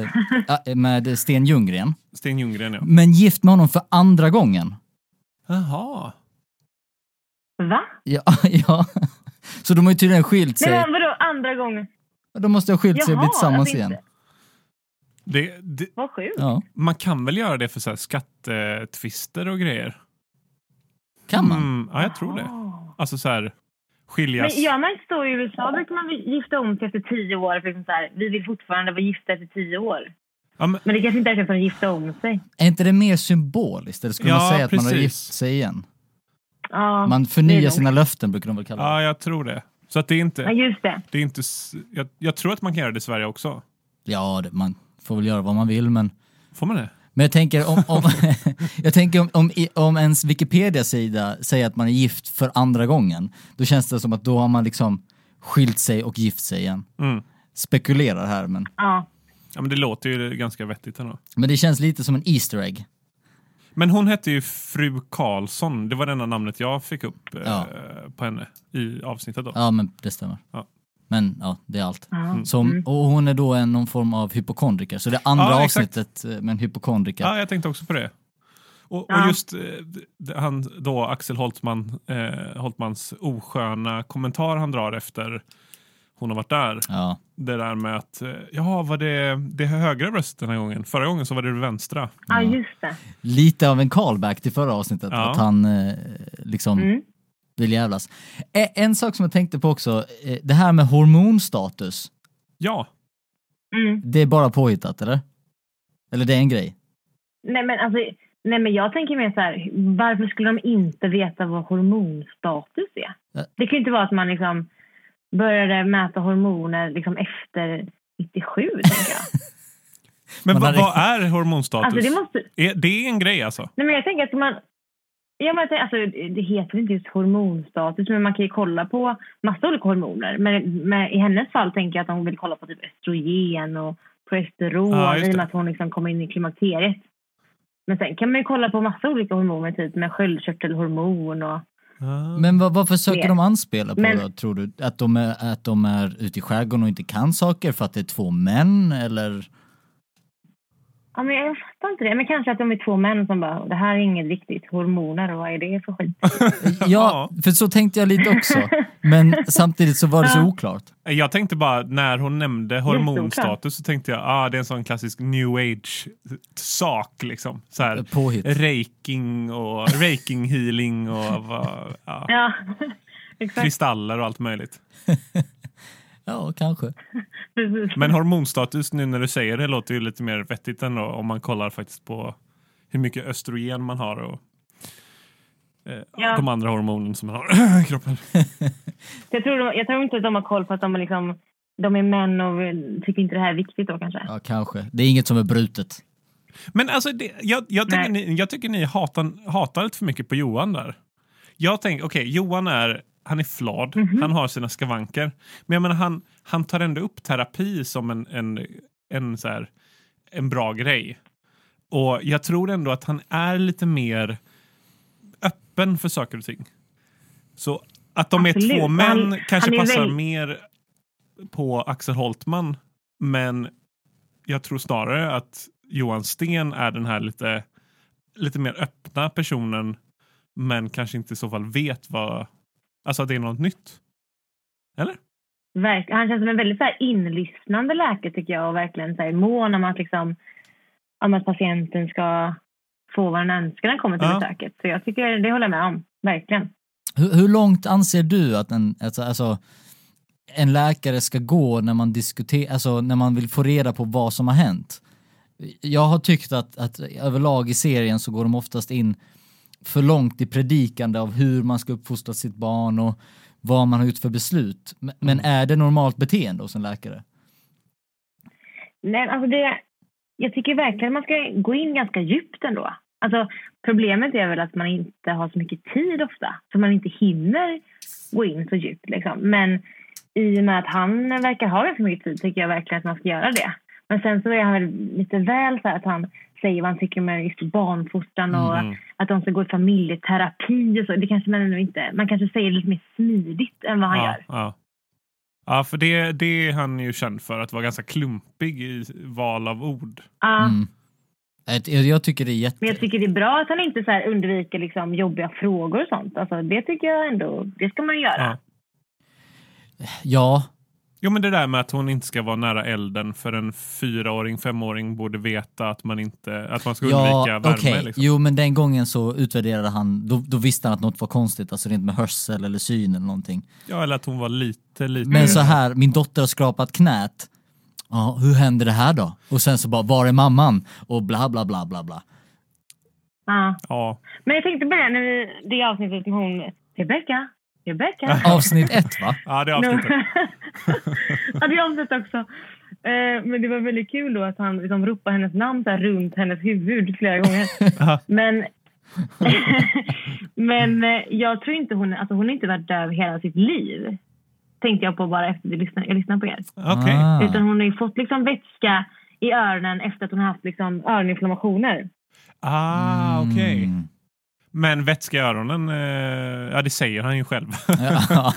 Speaker 1: eh, ja, med Sten Ljunggren,
Speaker 3: Sten Ljunggren ja.
Speaker 1: men gift med honom för andra gången.
Speaker 3: Jaha.
Speaker 2: Va?
Speaker 1: Ja, ja. Så de har ju tydligen skilt
Speaker 2: Nej,
Speaker 1: sig.
Speaker 2: men vadå andra gången?
Speaker 1: De måste ha skilt sig och
Speaker 2: Jaha,
Speaker 1: blivit tillsammans
Speaker 2: alltså
Speaker 1: igen.
Speaker 2: inte-
Speaker 3: Det, det,
Speaker 2: Vad sjukt.
Speaker 1: Ja,
Speaker 3: man kan väl göra det för så här skattetvister och grejer?
Speaker 1: kan man?
Speaker 3: Mm, ja, jag tror det.
Speaker 2: Ah.
Speaker 3: Alltså så här,
Speaker 2: Men
Speaker 3: skiljas.
Speaker 2: jag märkte så i USA brukar man gifta om sig efter tio år. För liksom så här, vi vill fortfarande vara gifta efter tio år.
Speaker 3: Ja, men,
Speaker 2: Men det kanske inte är för att gifta om sig.
Speaker 1: Är inte det mer symboliskt? Eller skulle
Speaker 3: Ja,
Speaker 1: man säga att man har
Speaker 3: precis.
Speaker 1: gift sig igen?
Speaker 2: Ja,
Speaker 1: Man
Speaker 2: det är
Speaker 1: förnyar
Speaker 2: nog-
Speaker 1: sina löften brukar de väl kalla det.
Speaker 3: ja, jag tror det. Så att det är
Speaker 2: Ja,
Speaker 3: inte...
Speaker 2: just det.
Speaker 3: Det är inte s- jag, jag tror att man kan göra det i Sverige också.
Speaker 1: Ja, det, man får väl göra vad man vill men...
Speaker 3: Får man det?
Speaker 1: Men jag tänker om, om, jag tänker om, om, i- om ens Wikipedia-sida säger att man är gift för andra gången, då känns det som att då har man liksom skilt sig och gift sig igen.
Speaker 3: Mm.
Speaker 1: Spekulerar här men...
Speaker 2: Ja.
Speaker 3: Ja, men det låter ju ganska vettigt ändå.
Speaker 1: Men det känns lite som en Easter egg.
Speaker 3: Men hon hette ju fru Karlsson. Det var det enda namnet jag fick upp eh,
Speaker 1: Ja.
Speaker 3: på henne i avsnittet. Då.
Speaker 1: Ja, men det stämmer.
Speaker 3: Ja. Mm.
Speaker 1: Men ja, det är allt.
Speaker 2: Ja. Mm.
Speaker 1: Som, och hon är då en, någon form av hypokondriker. Så det andra
Speaker 3: Ja, exakt.
Speaker 1: avsnittet eh, med en hypokondriker.
Speaker 3: Ja, jag tänkte också på det. Och, och
Speaker 2: Ja.
Speaker 3: just eh, d- han då, Axel Holtman, eh, Holtmans osköna kommentar han drar efter hon har varit där.
Speaker 1: Ja.
Speaker 3: Det där med att, eh, jaha, var det, det högra bröstet den här gången? Förra gången så var det det vänstra.
Speaker 2: Ja, just det.
Speaker 1: Lite av en callback till förra avsnittet.
Speaker 3: Ja.
Speaker 1: Att han eh, liksom
Speaker 2: Mm.
Speaker 1: vill jävlas. Ä- en sak som jag tänkte på också. eh, Det här med hormonstatus.
Speaker 3: Ja,
Speaker 2: Mm.
Speaker 1: Det är bara påhittat, eller? Eller det är en grej?
Speaker 2: Nej, men alltså, nej, men jag tänker mer så här, varför skulle de inte veta vad hormonstatus är?
Speaker 1: Ja.
Speaker 2: Det kan ju inte vara att man liksom började mäta hormoner liksom efter 97, tänker jag.
Speaker 3: men
Speaker 1: Man
Speaker 3: vad
Speaker 1: hade-
Speaker 3: vad är hormonstatus?
Speaker 2: Alltså, det, måste,
Speaker 3: är, det är en grej alltså?
Speaker 2: nej, men jag tänker att man... Ja, men jag tänker, alltså, det heter inte just hormonstatus, men man kan ju kolla på massa olika hormoner. Men, men i hennes fall tänker jag att hon vill kolla på typ östrogen och progesteron
Speaker 3: Ja, just
Speaker 2: i och
Speaker 3: det.
Speaker 2: med att hon liksom kommer in i klimakteriet. Men sen kan man ju kolla på massa olika hormoner, typ med sköldkörtelhormon och...
Speaker 1: Men vad, varför söker
Speaker 2: Mer.
Speaker 1: de anspela på
Speaker 2: Men-
Speaker 1: då, tror du? Att de, är, att de är ute i skärgården och inte kan saker för att det är två män, eller?
Speaker 2: Ja, men jag fattar inte det. Men kanske att de är två män som bara, det här är inget viktigt. Hormoner, vad är det för skit?
Speaker 1: Ja, för så tänkte jag lite också. Men samtidigt så var det så oklart.
Speaker 3: Jag tänkte bara, när hon nämnde hormonstatus så tänkte jag, ah, det är en sån klassisk new age-sak. Liksom. Så här,
Speaker 1: Påhitt.
Speaker 3: Reiking och reiking healing och vad- ja,
Speaker 2: Ja, exakt.
Speaker 3: kristaller och allt möjligt.
Speaker 1: Ja, kanske.
Speaker 2: Precis.
Speaker 3: Men hormonstatus nu när du säger det låter ju lite mer vettigt ändå om man kollar faktiskt på hur mycket östrogen man har och eh,
Speaker 2: Ja.
Speaker 3: de andra hormonen som man har i kroppen.
Speaker 2: Jag, tror de, jag tror inte att de har koll på att de är, liksom, de är män och vill- tycker inte det här är viktigt då kanske.
Speaker 1: Ja, kanske. Det är inget som är brutet.
Speaker 3: Men alltså, det, jag, jag, tycker ni, jag tycker ni hatar, hatar lite för mycket på Johan där. Jag tänker, okej, Johan är, han är flad, han har sina skavanker. Men jag menar, han, han tar ändå upp terapi som en, en, en, så här, en bra grej. Och jag tror ändå att han är lite mer öppen för saker och ting. Så att de är
Speaker 2: Absolut.
Speaker 3: två män
Speaker 2: Han-
Speaker 3: kanske
Speaker 2: han är
Speaker 3: passar
Speaker 2: väldigt-
Speaker 3: mer på Axel Holtman. Men jag tror snarare att Johan Sten är den här lite, lite mer öppna personen men kanske inte i så fall vet vad... Alltså att det är något nytt. Eller?
Speaker 2: Verk, han känns som en väldigt så här, inlyssnande läkare tycker jag och verkligen så här, mån om att, liksom, om att patienten ska få vad den önskar när den kommer till
Speaker 3: Ja.
Speaker 2: besöket. Så jag tycker, det håller jag med om. Verkligen.
Speaker 1: Hur, hur långt anser du att en, alltså, alltså, en läkare ska gå när man diskuterar, alltså när man vill få reda på vad som har hänt? Jag har tyckt att, att överlag i serien så går de oftast in för långt i predikande av hur man ska uppfostra sitt barn och vad man har gjort för beslut. Men, men
Speaker 2: Mm.
Speaker 1: är det normalt beteende hos en läkare?
Speaker 2: Nej, alltså det, jag tycker verkligen man ska gå in ganska djupt ändå. Alltså, problemet är väl att man inte har så mycket tid ofta, så man inte hinner gå in så djupt. Liksom. Men i och med att han verkar ha ganska mycket tid tycker jag verkligen att man ska göra det. Men sen så är han väl lite väl så här att han säger vad han tycker med just barnfostran och
Speaker 3: Mm.
Speaker 2: att de ska gå i familjeterapi och så. Det kanske man ändå inte... Man kanske säger det lite mer smidigt än vad han
Speaker 3: ja,
Speaker 2: gör.
Speaker 3: ja. ja, för det, det är han ju känd för, att vara ganska klumpig i val av ord.
Speaker 2: Ja.
Speaker 1: Mm. Ett- Jag, jag tycker det är jätte...
Speaker 2: Men jag tycker det är bra att han inte så här undviker liksom jobbiga frågor och sånt. Alltså, det tycker jag ändå, det ska man göra.
Speaker 3: Ja.
Speaker 1: Ja,
Speaker 3: Jo, men det där med att hon inte ska vara nära elden för en fyraåring, femåring borde veta att man, inte, att man ska undvika
Speaker 1: Ja,
Speaker 3: värme.
Speaker 1: okej.
Speaker 3: Liksom.
Speaker 1: Jo, men den gången så utvärderade han, då, då visste han att något var konstigt, alltså rent med hörsel eller syn eller någonting.
Speaker 3: Ja, eller att hon var lite, lite...
Speaker 1: Men så här, min dotter har skrapat knät. Ja, hur händer det här då? Och sen så bara, var är mamman? Och bla bla bla bla bla.
Speaker 2: Ja.
Speaker 3: Ja,
Speaker 2: Men jag tänkte på det, när vi, det avsnittet som hon... Rebecka, Rebecka.
Speaker 1: Avsnitt ett va?
Speaker 3: ja det är avsnittet.
Speaker 2: ja, det är avsnittet också. Eh, men det var väldigt kul då att han liksom ropade hennes namn så här runt hennes huvud flera gånger.
Speaker 3: Ja.
Speaker 2: men men eh, jag tror inte hon... Alltså hon har inte varit döv hela sitt liv. Tänkte jag på bara efter att jag lyssnade, jag lyssnade på er.
Speaker 3: Okej.
Speaker 1: Ah.
Speaker 2: Utan hon har ju fått liksom vätska i öronen efter att hon har haft liksom öroninflammationer.
Speaker 3: Ah, okej.
Speaker 1: Mm.
Speaker 3: Men vätska i öronen, eh, ja det säger han ju själv.
Speaker 1: Ja.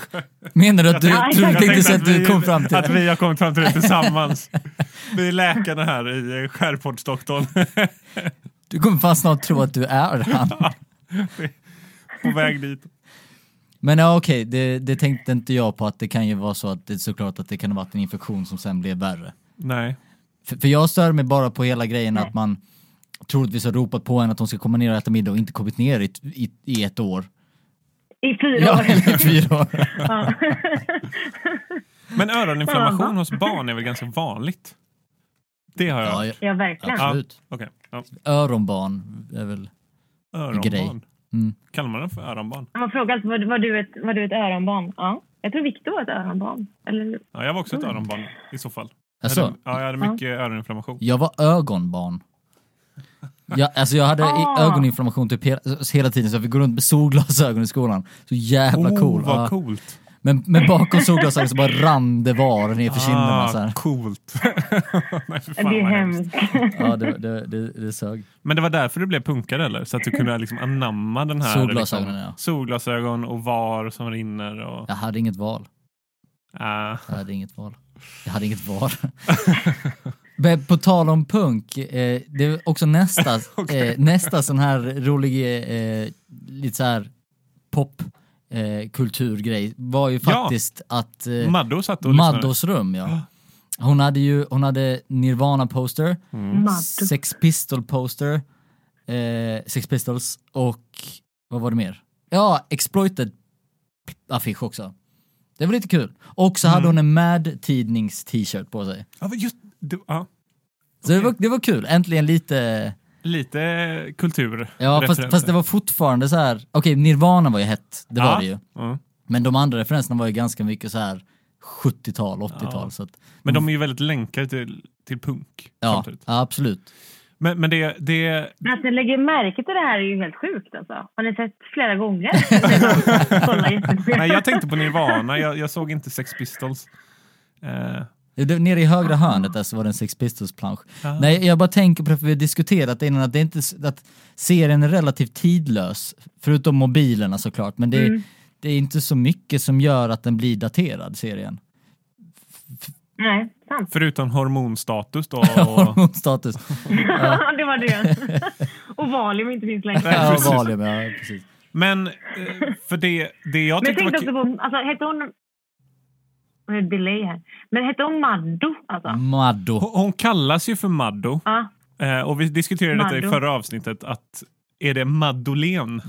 Speaker 1: Menar du att du
Speaker 2: Jag
Speaker 1: tror
Speaker 2: tänkte
Speaker 1: du
Speaker 3: tänkte
Speaker 1: tänkte så att du kom fram till
Speaker 3: Att
Speaker 1: det?
Speaker 3: vi har kommit fram till det tillsammans. vi är läkarna här i eh, Skärpoddsdoktorn.
Speaker 1: Du kommer fan snart tro att du är han.
Speaker 3: På väg dit.
Speaker 1: Men ja, okej, det, det tänkte inte jag på att det kan ju vara så att det såklart att det kan ha varit en infektion som sen blev värre.
Speaker 3: Nej.
Speaker 1: För, för jag stör mig bara på hela grejen att man troligtvis har ropat på henne att hon ska komma ner och äta middag och inte kommit ner i, i, i ett år.
Speaker 2: I fyra
Speaker 1: Ja,
Speaker 2: år.
Speaker 1: eller fyra år.
Speaker 2: Ja.
Speaker 3: Men öroninflammation hos barn är väl ganska vanligt? Det har jag.
Speaker 1: Ja, ja,
Speaker 2: ja, verkligen.
Speaker 1: absolut.
Speaker 3: Okej. Ja.
Speaker 1: Öronbarn är väl... grej.
Speaker 3: Öronbarn.
Speaker 1: Mm.
Speaker 3: Kallar man den för öronbarn?
Speaker 2: Han har frågat var, var, du ett, var du ett öronbarn? Ja. Jag tror Viktor var ett öronbarn. Eller,
Speaker 3: Ja, jag var också ett
Speaker 2: Mm.
Speaker 3: öronbarn i så fall. Jag
Speaker 1: Alltså,
Speaker 3: hade- Ja, jag hade mycket öroninflammation.
Speaker 1: jag var ögonbarn. Jag, alltså jag hade i-
Speaker 2: Ah.
Speaker 1: ögoninflammation typ hela, hela tiden så jag fick gå runt med solglasögon i skolan. Så jävla cool.
Speaker 3: Oh, vad
Speaker 1: Ja.
Speaker 3: coolt.
Speaker 1: Men, men bakom solglasögonen så bara rann det var ner för
Speaker 3: Ah.
Speaker 1: kinderna. Så här.
Speaker 3: coolt. Nej, för fan
Speaker 2: det är
Speaker 3: vad
Speaker 2: hemskt.
Speaker 1: Ja, det, det, det, det sög.
Speaker 3: Men det var därför du blev punkare eller? Så att du kunde liksom anamma den här
Speaker 1: Solglasögonen,
Speaker 3: liksom,
Speaker 1: ja.
Speaker 3: solglasögon och var som rinner och...
Speaker 1: Jag hade inget val.
Speaker 3: Ah.
Speaker 1: Jag hade inget val. Jag hade inget val. Men på tal om punk, eh, det är också nästa, eh, nästa sån här rolig, eh, lite så här pop eh, kulturgrej var ju
Speaker 3: Ja.
Speaker 1: faktiskt att eh,
Speaker 3: Maddo satt och lyssnade.
Speaker 1: Maddos rum, ja. Hon hade ju, hon hade Nirvana-poster,
Speaker 2: Maddo.
Speaker 3: Mm.
Speaker 1: Sex Pistol-poster, eh, Sex Pistols och vad var det mer? Ja, Exploited-affisch också. Det var lite kul. Och så hade
Speaker 3: Mm.
Speaker 1: hon en Mad-tidnings-t-shirt på sig.
Speaker 3: Ja, men just, du, ja.
Speaker 1: Så det, var, det var kul, äntligen lite...
Speaker 3: Lite kultur.
Speaker 1: Ja, fast, fast det var fortfarande så här. okej Nirvana var ju hett, det var det ju.
Speaker 3: Ja.
Speaker 1: Men de andra referenserna var ju ganska mycket så här 70-tal, 80-tal.
Speaker 3: Ja.
Speaker 1: Så att,
Speaker 3: Men de är ju väldigt länkade till, till punk.
Speaker 1: Mm. ja,
Speaker 3: samtidigt.
Speaker 1: ja, absolut.
Speaker 3: Men, men det, det,
Speaker 2: Men att ni lägger märke till det här är ju helt sjukt alltså. Har ni sett flera gånger? Det är bara att kolla jättenoga.
Speaker 3: Nej, jag tänkte på Nirvana. Jag, jag såg inte Sex Pistols. Eh,
Speaker 1: Ja, det- Nere i högra hörnet där så var det en Sex Pistols-plansch. Nej, jag bara tänker på det, för vi har diskuterat det innan, att, det är inte, s- att serien är relativt tidlös, förutom mobilerna såklart, men det,
Speaker 3: Mm.
Speaker 1: är det är inte så mycket som gör att den blir daterad, serien.
Speaker 2: Nej, sant.
Speaker 3: förutom hormonstatus då. Och,
Speaker 1: Hormonstatus.
Speaker 2: det var det. Och Valium inte finns längre.
Speaker 3: Nej,
Speaker 1: Ja,
Speaker 3: precis.
Speaker 1: Valium, ja, precis.
Speaker 3: men eh, för det, det jag
Speaker 2: Men jag
Speaker 3: tyckte var
Speaker 2: tänkte
Speaker 3: kul...
Speaker 2: också på, alltså hette hon... Det är delay här. Men hette hon Maddo alltså?
Speaker 3: Mm.
Speaker 1: Maddo.
Speaker 3: Hon hon kallas ju för Maddo.
Speaker 2: Ja.
Speaker 3: Eh, och vi diskuterade detta i
Speaker 2: Maddo.
Speaker 3: förra avsnittet. att Är det Maddolen?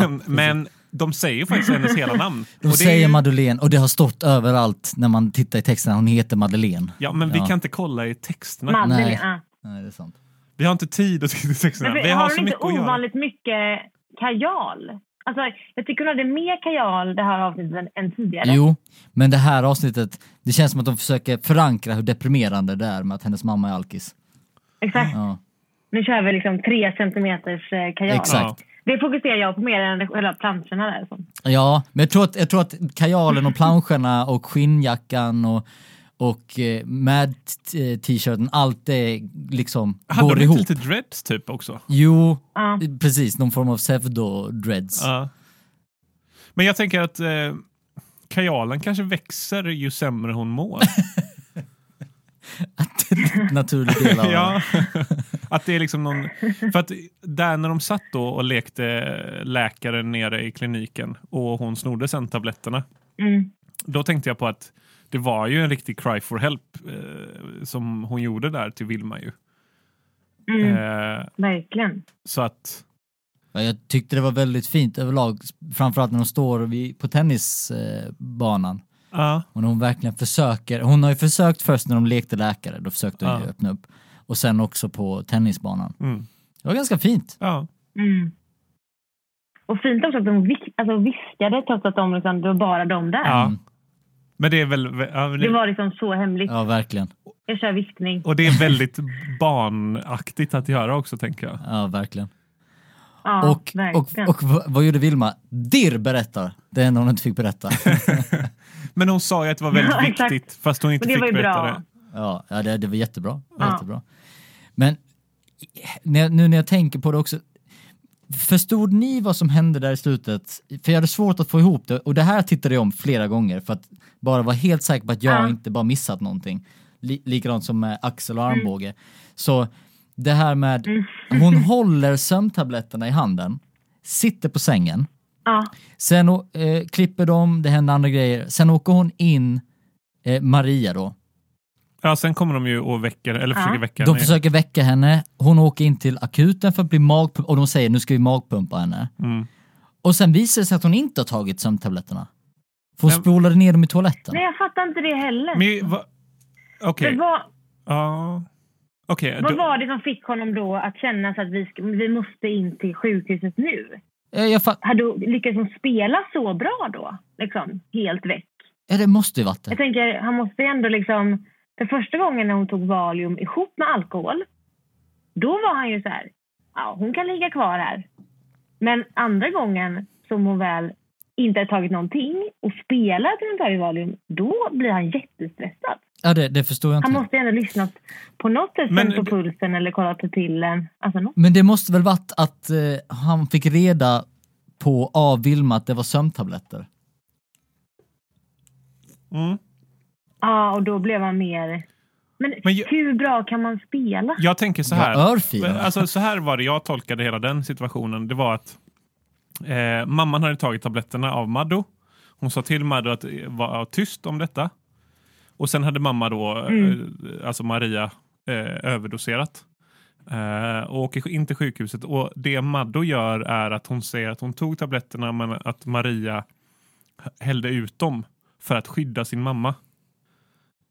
Speaker 3: men, men de säger ju faktiskt hennes hela namn.
Speaker 1: De
Speaker 3: Och det är
Speaker 1: säger
Speaker 3: ju-
Speaker 1: Madeleine och det har stått överallt när man tittar i texten, hon heter Madeleine.
Speaker 3: Ja, men vi
Speaker 1: Ja.
Speaker 3: kan inte kolla i texterna.
Speaker 2: Madde,
Speaker 1: Nej.
Speaker 2: ja.
Speaker 1: Nej, det är sant.
Speaker 3: Vi har inte tid att titta i texterna.
Speaker 2: Men
Speaker 3: Vi har,
Speaker 2: har
Speaker 3: så
Speaker 2: hon inte
Speaker 3: mycket att göra.
Speaker 2: ovanligt mycket kajal? Alltså, jag tycker hon hade mer kajal det här avsnittet än, än tidigare.
Speaker 1: Jo, men det här avsnittet, det känns som att de försöker förankra hur deprimerande det är med att hennes mamma är alkis.
Speaker 2: Exakt.
Speaker 1: Ja.
Speaker 2: Nu kör vi liksom tre centimeters eh, kajal.
Speaker 1: Exakt.
Speaker 2: Det fokuserar jag på mer än hela planscherna där. alltså. Så.
Speaker 1: Ja, men jag tror att, jag tror att kajalen och planscherna och skinnjackan och, och eh, med t- eh, t-shirten, allt det liksom
Speaker 3: Hade
Speaker 1: går
Speaker 3: de
Speaker 1: ihop.
Speaker 3: inte lite dreads typ också?
Speaker 1: Jo,
Speaker 2: Ja.
Speaker 1: precis, någon form av pseudo-dreads.
Speaker 3: Ja. Men jag tänker att eh, kajalen kanske växer ju sämre hon mår.
Speaker 1: Naturlig del av
Speaker 3: ja. att det är liksom någon... För att där när de satt då och lekte läkare nere i kliniken och hon snodde sen tabletterna.
Speaker 2: Mm.
Speaker 3: Då tänkte jag på att det var ju en riktig cry for help eh, som hon gjorde där till Vilma ju.
Speaker 2: Mm,
Speaker 3: Eh,
Speaker 2: Verkligen.
Speaker 3: så att...
Speaker 1: Ja, Jag tyckte det var väldigt fint överlag, framförallt när de står vid, på tennisbanan. Eh,
Speaker 3: Ja,
Speaker 1: Och när hon verkligen försöker, hon har ju försökt först när de lekte läkare, då försökte hon
Speaker 3: Ja.
Speaker 1: ju öppna upp. Och sen också på tennisbanan.
Speaker 3: mm,
Speaker 1: Det var ganska fint.
Speaker 3: ja.
Speaker 2: Mm. Och fint också att de vik- alltså viskade trots att de liksom, det var bara de där.
Speaker 3: ja.
Speaker 1: Mm.
Speaker 3: Men det är väl... Ja, men
Speaker 2: Det var liksom så hemligt.
Speaker 1: Ja, verkligen.
Speaker 2: Jag kör viskning.
Speaker 3: Och det är väldigt barnaktigt att göra också, tänker jag.
Speaker 1: Ja, verkligen.
Speaker 2: Ja,
Speaker 1: och, och,
Speaker 2: verkligen.
Speaker 1: och vad- vad gjorde Vilma? Dirr berättar. Det enda hon inte fick berätta.
Speaker 3: Men hon sa ju att det var väldigt
Speaker 2: Ja, exakt.
Speaker 3: viktigt, fast hon inte
Speaker 2: Men det
Speaker 3: fick
Speaker 2: var ju
Speaker 3: berätta
Speaker 2: bra.
Speaker 3: det.
Speaker 1: ja, ja det, det var jättebra.
Speaker 2: Ja.
Speaker 1: jättebra. Men när jag, nu när jag tänker på det också, förstod ni vad som hände där i slutet? För jag hade svårt att få ihop det och det här tittade jag om flera gånger för att bara vara helt säker på att jag
Speaker 2: Ja.
Speaker 1: inte bara missat någonting. Li- likadant som med axel
Speaker 2: Mm.
Speaker 1: och armbåge. Så det här med, hon håller sömntabletterna i handen, sitter på sängen,
Speaker 2: Ja.
Speaker 1: Sen eh, klipper de, det händer andra grejer. Sen åker hon in, eh, Maria då.
Speaker 3: Ja, sen kommer de ju och väcker, eller
Speaker 2: Ja.
Speaker 3: försöker väcka
Speaker 1: De
Speaker 3: henne.
Speaker 1: försöker väcka henne. Hon åker in till akuten för att bli magpump och de säger nu ska vi magpumpa henne.
Speaker 3: Mm.
Speaker 1: Och sen visar det sig att hon inte har tagit sömntabletterna. För hon
Speaker 3: Men-
Speaker 1: spolade ner dem i toaletten.
Speaker 2: Nej, jag fattar inte det heller.
Speaker 3: Men ju- va- Okej,
Speaker 2: För vad,
Speaker 3: ja. Okej,
Speaker 2: vad
Speaker 3: då-
Speaker 2: var det som fick honom då att känna så att vi, ska- vi måste in till sjukhuset nu?
Speaker 1: Eh, Jag fa-
Speaker 2: Hade hon lyckats hon spela så bra då? Liksom, helt väck.
Speaker 1: ja, det måste ju varit det.
Speaker 2: Jag tänker, han måste ju ändå liksom... För första gången när hon tog Valium ihop med alkohol, då var han ju så här, ja, hon kan ligga kvar här. Men andra gången som hon väl inte har tagit någonting och spelar att hon tagit Valium, då blir han jättestressad.
Speaker 1: Ja, det, det förstår jag inte.
Speaker 2: Han måste ju ändå lyssnat på något sätt
Speaker 3: Men-
Speaker 2: sen på pulsen eller kollat på pillen. Alltså något.
Speaker 1: Men det måste väl varit att eh, han fick reda på av Vilma att det var sömntabletter.
Speaker 3: mm.
Speaker 2: Ja, och då blev han mer... Men,
Speaker 3: Men jag-
Speaker 2: hur bra kan man spela?
Speaker 3: Jag tänker så
Speaker 1: Ja,
Speaker 3: här.
Speaker 1: örfilen.
Speaker 3: Alltså, så här var det jag tolkade hela den situationen. Det var att eh, mamman hade tagit tabletterna av Maddo. Hon sa till Maddo att eh, vara tyst om detta. Och sen hade mamma då, eh, alltså Maria, eh, överdoserat. Eh, och åker in till sjukhuset. Och det Maddo gör är att hon säger att hon tog tabletterna men att Maria hällde ut dem för att skydda sin mamma.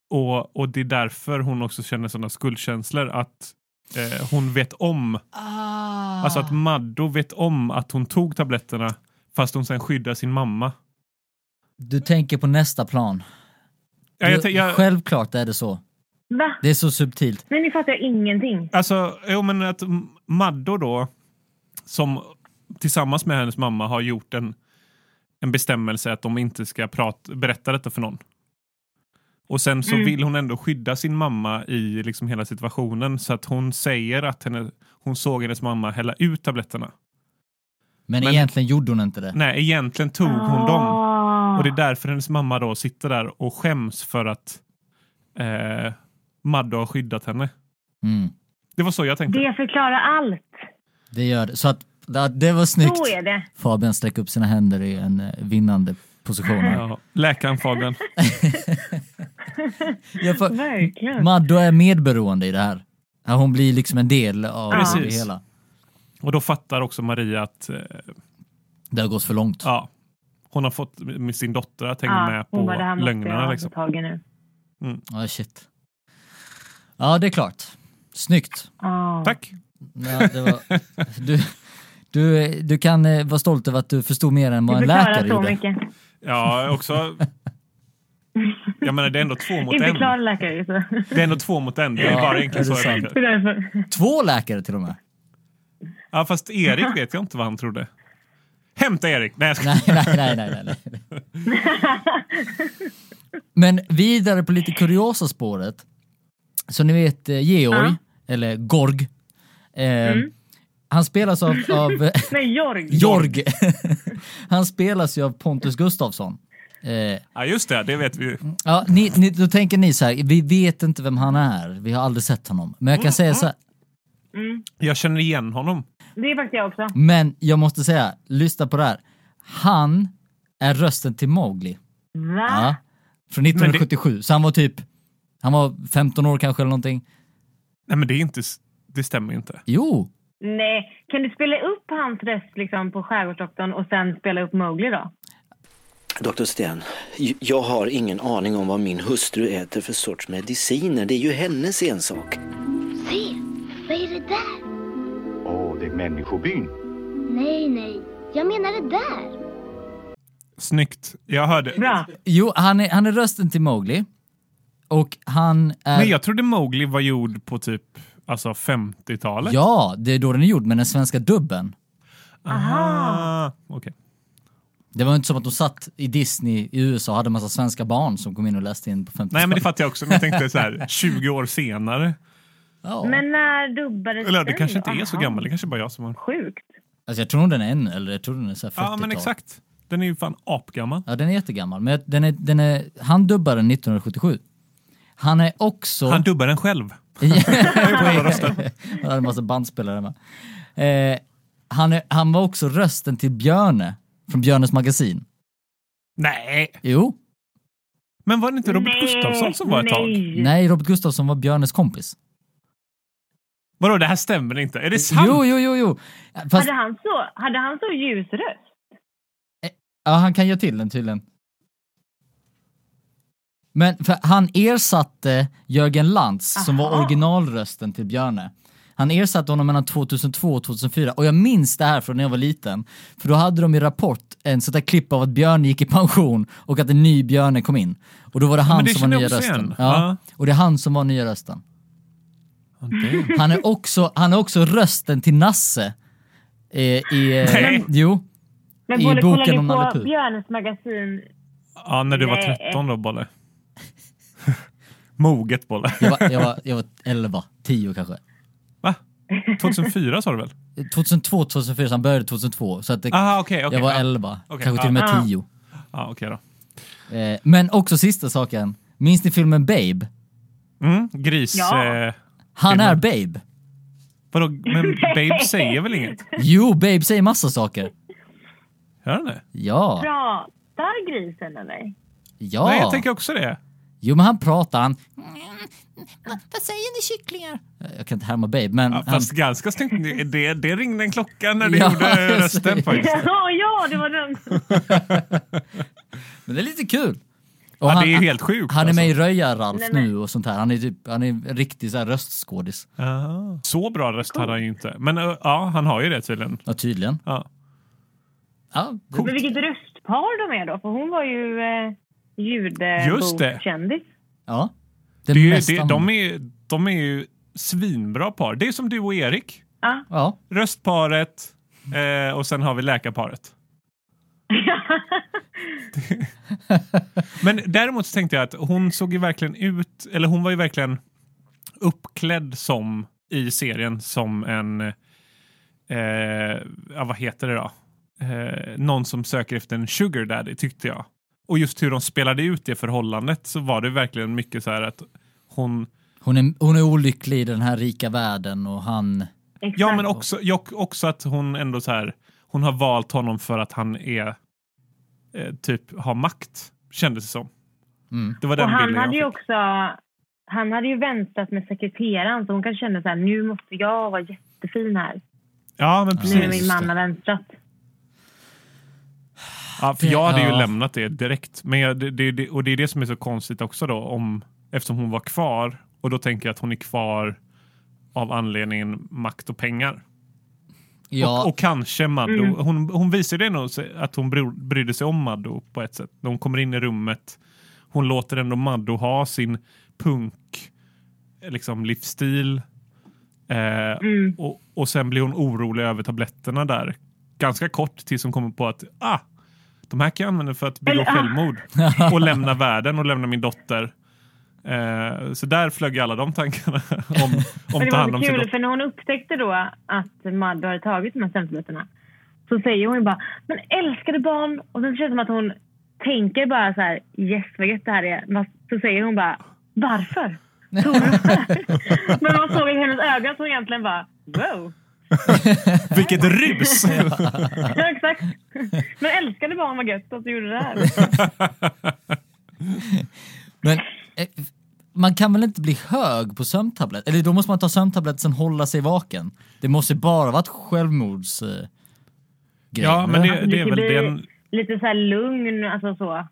Speaker 3: Och, och det är därför hon också känner sådana skuldkänslor att eh, hon vet om,
Speaker 1: Ah.
Speaker 3: alltså att Maddo vet om att hon tog tabletterna fast hon sen skyddar sin mamma.
Speaker 1: Du tänker på nästa plan.
Speaker 3: Ja, jag,
Speaker 1: Du-
Speaker 3: tän- jag,
Speaker 1: Självklart är det så.
Speaker 2: Va?
Speaker 1: Det är så subtilt.
Speaker 2: Nej, nu fattar jag ingenting.
Speaker 3: alltså, jo men att M- Maddo då, som tillsammans med hennes mamma har gjort en, en bestämmelse att de inte ska prata, berätta detta för någon. Och sen så
Speaker 1: Mm.
Speaker 3: vill hon ändå skydda sin mamma i liksom hela situationen så att hon säger att henne, hon såg hennes mamma hälla ut tabletterna.
Speaker 1: Men,
Speaker 3: Men-
Speaker 1: egentligen gjorde hon inte det.
Speaker 3: Nej, egentligen tog hon dem.
Speaker 2: Ah.
Speaker 3: Och det är därför hennes mamma då sitter där och skäms för att eh, Maddo har skyddat henne.
Speaker 1: Mm,
Speaker 3: Det var så jag tänkte.
Speaker 2: Det förklarar allt.
Speaker 1: det gör det. Så att, ja, det var snyggt.
Speaker 2: Så är det.
Speaker 1: Fabian sträcker upp sina händer i en eh, vinnande position. här.
Speaker 3: Ja, läkaren Fabian.
Speaker 1: Ja, för,
Speaker 2: Verkligen.
Speaker 1: Maddo är medberoende i det här. Ja, Hon blir liksom en del av
Speaker 2: Ja.
Speaker 1: det hela.
Speaker 3: Och då fattar också Maria att eh,
Speaker 1: Det har gått för långt.
Speaker 3: ja, hon har fått med sin dotter att hänga
Speaker 2: Ja,
Speaker 3: med
Speaker 2: hon bara, "Det här
Speaker 3: på
Speaker 2: måste jag
Speaker 3: lögnerna.
Speaker 2: ta
Speaker 3: Liksom.
Speaker 2: tag i nu.
Speaker 1: Ja, shit. Ja, det är klart. Snyggt.
Speaker 2: Ah.
Speaker 3: Tack!
Speaker 1: Ja, det var, du, du, du kan eh, vara stolt över att du förstod mer än vad
Speaker 2: Det
Speaker 1: en
Speaker 2: förklarar
Speaker 1: läkare
Speaker 2: så
Speaker 1: gjorde.
Speaker 2: mycket.
Speaker 3: Ja, också... Jag menar, det är ändå två mot
Speaker 2: Inte
Speaker 3: en.
Speaker 2: förklarar läkare. Så.
Speaker 3: Det är ändå två mot en. Det är
Speaker 1: Ja,
Speaker 3: bara
Speaker 1: är
Speaker 3: egentligen
Speaker 1: det
Speaker 3: så jag
Speaker 1: sant?
Speaker 2: Det
Speaker 3: tänkte.
Speaker 2: är därför.
Speaker 1: Två läkare till och med.
Speaker 3: Ja, fast Erik vet jag inte vad han trodde. Hämta Erik! Nej, jag ska...
Speaker 1: Nej, nej, nej, nej, nej, nej. Men vidare på lite kuriosa spåret. Så ni vet eh, Georg,
Speaker 2: Ja.
Speaker 1: eller Gorg. Eh, Han spelas av, av
Speaker 2: Nej, Jorg.
Speaker 1: Jorg. han spelas ju av Pontus Gustafsson. Eh,
Speaker 3: Ja, just det. Det vet vi ju.
Speaker 1: ja, ni, ni, då tänker ni så här, vi vet inte vem han är, vi har aldrig sett honom. Men jag kan säga så här,
Speaker 3: Jag känner igen honom.
Speaker 2: Det är faktiskt jag också.
Speaker 1: men jag måste säga, lyssna på det här. Han är rösten till Mowgli.
Speaker 2: Va?
Speaker 1: Ja. Från 1977, så han var typ, han var 15 år kanske eller någonting.
Speaker 3: Nej, men det, är inte, s- det stämmer ju inte.
Speaker 1: Jo,
Speaker 2: Nej. Kan du spela upp hans röst liksom, på Skärgårdsdoktorn och sen spela upp Mowgli då?
Speaker 7: Dr. Sten, j- jag har ingen aning om vad min hustru äter för sorts mediciner. Det är ju hennes ensak.
Speaker 8: Se, vad är det där?
Speaker 9: Åh, det är människobyn.
Speaker 8: Nej, nej, jag menar det där.
Speaker 3: Snyggt. Jag hörde.
Speaker 2: Bra.
Speaker 1: jo han, är, han är rösten till Mowgli. Och han är...
Speaker 3: Men jag trodde Mowgli var gjord på typ alltså 50-talet.
Speaker 1: Ja, det är då den är gjord med den svenska dubben.
Speaker 3: Aha. Ah, Okej.
Speaker 1: Det var inte som att de satt i Disney i USA och hade en massa svenska barn som kom in och läste in på 50
Speaker 3: Nej, men det fattar jag också. Men jag tänkte så här, 20 år senare.
Speaker 1: Ja.
Speaker 2: Men när dubbades
Speaker 3: Eller det
Speaker 2: den
Speaker 3: kanske
Speaker 2: då?
Speaker 3: inte är så
Speaker 2: Aha.
Speaker 3: gammal. Det kanske är bara jag som har...
Speaker 2: Sjukt.
Speaker 1: Alltså jag tror nog den är en eller jag tror den är så här 40
Speaker 3: Ja, men exakt. Den är ju fan apgammal.
Speaker 1: Ja, den är jättegammal. Men den är, den är, han dubbade den 1977. Han är också...
Speaker 3: Han dubbar den själv.
Speaker 1: Han hade en massa bandspelare med. Eh, han, är, han var också rösten till Björne från Björnes magasin.
Speaker 3: Nej!
Speaker 1: Jo.
Speaker 3: Men var det inte Robert Gustafsson som var ett tag?
Speaker 2: nej.
Speaker 1: Nej, Robert Gustafsson var Björnes kompis.
Speaker 3: Vadå, det här stämmer inte. Är det sant?
Speaker 1: Jo, jo, jo, jo. Fast,
Speaker 2: Hade, han så, hade han så ljus röst?
Speaker 1: ja, han kan göra till den tydligen. Men för han ersatte Jörgen Lantz som var
Speaker 2: Aha.
Speaker 1: originalrösten till Björne. Han ersatte honom mellan 2002 och 2004 och jag minns det här från när jag var liten. För då hade de i Rapport en sån där klipp av att Björne gick i pension och att en ny Björne kom in. Och då var det han
Speaker 3: men det
Speaker 1: som var
Speaker 3: känner jag
Speaker 1: nya
Speaker 3: också
Speaker 1: rösten.
Speaker 3: igen.
Speaker 1: Ja.
Speaker 3: Ja.
Speaker 1: Och det är han som var nya rösten.
Speaker 3: Ja, det-
Speaker 1: Han är också, han är också rösten till Nasse. Eh, i, eh,
Speaker 3: Nej.
Speaker 1: Jo.
Speaker 2: Men
Speaker 1: I
Speaker 2: Bolle,
Speaker 1: boken om Nalle
Speaker 2: kollar ni
Speaker 1: Puh.
Speaker 2: på Björnes magasin?
Speaker 3: Ja, när du var
Speaker 2: Nej.
Speaker 3: 13 då, Bolle. Moget, Bolle.
Speaker 1: Jag var, jag var, jag var 11, 10 kanske.
Speaker 3: Va? 2004 sa du väl?
Speaker 1: 2002, 2004, så han började 2002. Så att det,
Speaker 3: Aha, okej. Ah, okej,
Speaker 1: jag var
Speaker 3: ja.
Speaker 1: 11,
Speaker 3: Okej, Ah,
Speaker 1: kanske
Speaker 3: ja.
Speaker 1: till och med
Speaker 2: Ja.
Speaker 1: 10.
Speaker 3: Ja, okej då.
Speaker 1: Eh, men också sista saken, minns ni filmen Babe?
Speaker 3: Mm, gris...
Speaker 2: Ja.
Speaker 3: Eh,
Speaker 1: Han
Speaker 3: Filmen.
Speaker 1: är Babe.
Speaker 3: vadå, men Babe säger väl inget?
Speaker 1: Jo, Babe säger massa saker.
Speaker 3: Gör han det?
Speaker 1: Ja,
Speaker 2: Pratar grisen eller?
Speaker 1: ja.
Speaker 3: Nej, jag tänker också det.
Speaker 1: Jo, men han pratar, han... Vad säger ni kycklingar? Eh, Jag kan inte härma Babe, men...
Speaker 3: Ja,
Speaker 1: Mm, han...
Speaker 3: fast ganska snyggt. Det, det ringde en klocka när du
Speaker 1: Ja,
Speaker 3: gjorde
Speaker 1: jag säger.
Speaker 3: rösten faktiskt.
Speaker 2: Ja, ja, det var den.
Speaker 1: Men det är lite kul. Och
Speaker 3: Ja,
Speaker 1: han,
Speaker 3: det är ju helt sjukt.
Speaker 1: han är
Speaker 3: alltså.
Speaker 1: med i Röja-Ralf
Speaker 2: Nej, men-
Speaker 1: nu och sånt här. Han är, typ, han är en riktig så här röstskådis.
Speaker 3: Ah. Så bra röst hade han ju inte. Men eh, ja, han har ju det tydligen.
Speaker 1: Ja, tydligen.
Speaker 3: Ja.
Speaker 1: Ja, det-
Speaker 2: Men vilket röstpar de är då, för hon var ju eh,
Speaker 3: Just det.
Speaker 2: ljudbokskändis.
Speaker 1: ja.
Speaker 3: Det
Speaker 1: Den
Speaker 3: är ju,
Speaker 1: mest
Speaker 3: det, de,
Speaker 1: använda.
Speaker 3: är, de är ju svinbra par. Det är som du och Erik.
Speaker 2: Ja.
Speaker 1: Ja,
Speaker 3: Röstparet eh, och sen har vi läkarparet. Men däremot så tänkte jag att hon såg ju verkligen ut, eller hon var ju verkligen uppklädd som i serien som en, eh, ja, vad heter det då? Eh, någon som söker efter en sugar daddy tyckte jag. Och just hur de spelade ut det förhållandet så var det verkligen mycket så här att hon
Speaker 1: hon är, hon är olycklig i den här rika världen och han...
Speaker 2: Exakt.
Speaker 3: Ja, men också, jag, också att hon ändå så här, hon har valt honom för att han är eh, typ har makt, kändes det som.
Speaker 1: Mm.
Speaker 3: Det var
Speaker 2: och
Speaker 3: den
Speaker 2: han
Speaker 3: bilden
Speaker 2: hade ju
Speaker 3: jag fick.
Speaker 2: också... Han hade ju väntat med sekreteraren så hon kanske kände så här, nu måste jag vara jättefin här.
Speaker 3: Ja,
Speaker 2: Nu
Speaker 3: men
Speaker 2: när
Speaker 3: precis.
Speaker 2: min
Speaker 1: just
Speaker 2: man
Speaker 1: det.
Speaker 2: har väntat.
Speaker 3: Ja, för jag hade ju
Speaker 1: Ja.
Speaker 3: lämnat det direkt. Men jag, det, det, det, och det är det som är så konstigt också då, om, eftersom hon var kvar. Och då tänker jag att hon är kvar av anledningen makt och pengar.
Speaker 1: Ja,
Speaker 3: Och, och kanske Maddo.
Speaker 2: Mm.
Speaker 3: Hon, hon visar det nog se- att hon bry- brydde sig om Maddo på ett sätt. När hon kommer in i rummet. Hon låter ändå Maddo ha sin punk eh, liksom, livsstil. Eh,
Speaker 2: Mm.
Speaker 3: och, och sen blir hon orolig över tabletterna där. Ganska kort tills hon kommer på att ah, de här kan jag använda för att begå
Speaker 2: Eller, ah.
Speaker 3: självmord. Och lämna världen och lämna min dotter. Eh, så där flög ju alla de tankarna om,
Speaker 2: Men
Speaker 3: om ta
Speaker 2: det
Speaker 3: hand
Speaker 2: var
Speaker 3: om
Speaker 2: så
Speaker 3: sin
Speaker 2: kul,
Speaker 3: dotter.
Speaker 2: för när hon upptäckte då att Maddo hade tagit de här sömntabletterna så säger hon ju bara “men älskade barn” och sen känns det som att hon tänker bara så här “yes vad gött det här är” men så säger hon bara “varför?” Tog du det här?" Men man såg i hennes ögon att hon egentligen bara “wow”.
Speaker 3: Vilket rus!
Speaker 2: Ja, exakt. Men älskade barn vad gött att du gjorde det här.
Speaker 1: men eh, man kan väl inte bli hög på sömntablett? Eller då måste man ta sömntablett sen hålla sig vaken. Det måste bara vara ett självmords... Eh, grej.
Speaker 3: Ja, men det, det är
Speaker 2: Du ska
Speaker 3: väl
Speaker 2: bli
Speaker 3: den...
Speaker 2: Lite så här lugn, alltså så.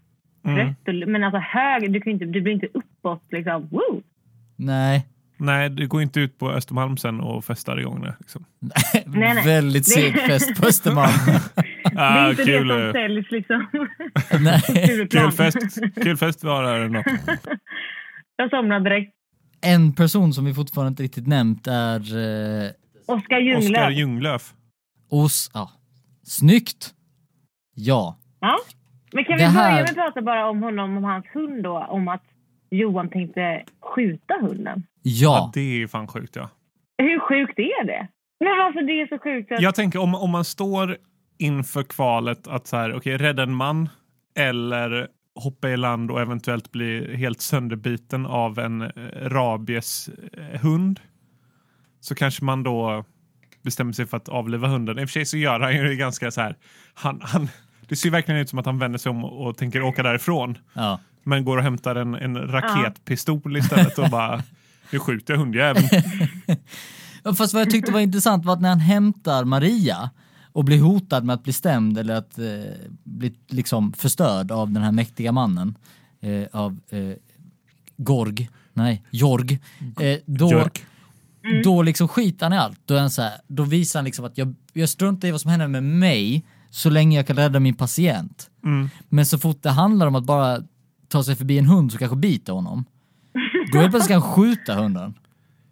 Speaker 3: Mm.
Speaker 2: Rätt och, men alltså hög, du, kan ju inte, du blir inte uppåt liksom “wow”.
Speaker 1: Nej.
Speaker 3: Nej, du går inte ut på Östermalm sen och festar igång det. Liksom.
Speaker 2: Nej, nej.
Speaker 1: Väldigt
Speaker 2: Det-
Speaker 1: seg fest på Östermalm.
Speaker 2: Det är
Speaker 3: Ah,
Speaker 2: inte
Speaker 3: kul,
Speaker 2: det som
Speaker 3: eh,
Speaker 2: säljs liksom.
Speaker 1: Nej.
Speaker 3: kul
Speaker 2: Stureplan.
Speaker 3: fest. Kul fest vi har här. ändå.
Speaker 2: Jag somnade direkt.
Speaker 1: En person som vi fortfarande inte riktigt nämnt är... Eh,
Speaker 2: Oskar
Speaker 3: Oskar
Speaker 2: Ljunglöf.
Speaker 3: Ljunglöf.
Speaker 1: os, ja. Snyggt! Ja.
Speaker 2: Ja. Men kan
Speaker 1: Det
Speaker 2: vi
Speaker 1: här-
Speaker 2: börja med att prata bara om honom, om hans hund då, om att Johan tänkte skjuta hunden.
Speaker 3: Ja,
Speaker 1: Ja,
Speaker 3: det är ju fan sjukt ja.
Speaker 2: Hur sjukt är det? Men alltså det är så sjukt att...
Speaker 3: Jag tänker om, om man står inför kvalet att så här, okej, rädda en man eller hoppa i land och eventuellt bli helt sönderbiten av en eh, rabieshund så kanske man då bestämmer sig för att avliva hunden. I och för sig så gör han ju det ganska så här, han, han, det ser ju verkligen ut som att han vänder sig om och och tänker åka därifrån
Speaker 1: ja.
Speaker 3: men går och hämtar en, en raketpistol istället och bara nu skjuter jag hundjäveln.
Speaker 1: Ja, Fast vad jag tyckte var intressant var att när han hämtar Maria och blir hotad med att bli stämd eller att eh, bli liksom förstörd av den här mäktiga mannen eh, av eh, Gorg, nej, Jorg, eh, då,
Speaker 3: Jörg.
Speaker 1: då liksom skiter han i allt. Då, är han så här, då visar han liksom att jag, jag struntar i vad som händer med mig så länge jag kan rädda min patient. Men så fort det handlar om att bara ta sig förbi en hund så kanske biter honom. Då är det plötsligt kan han skjuta hunden.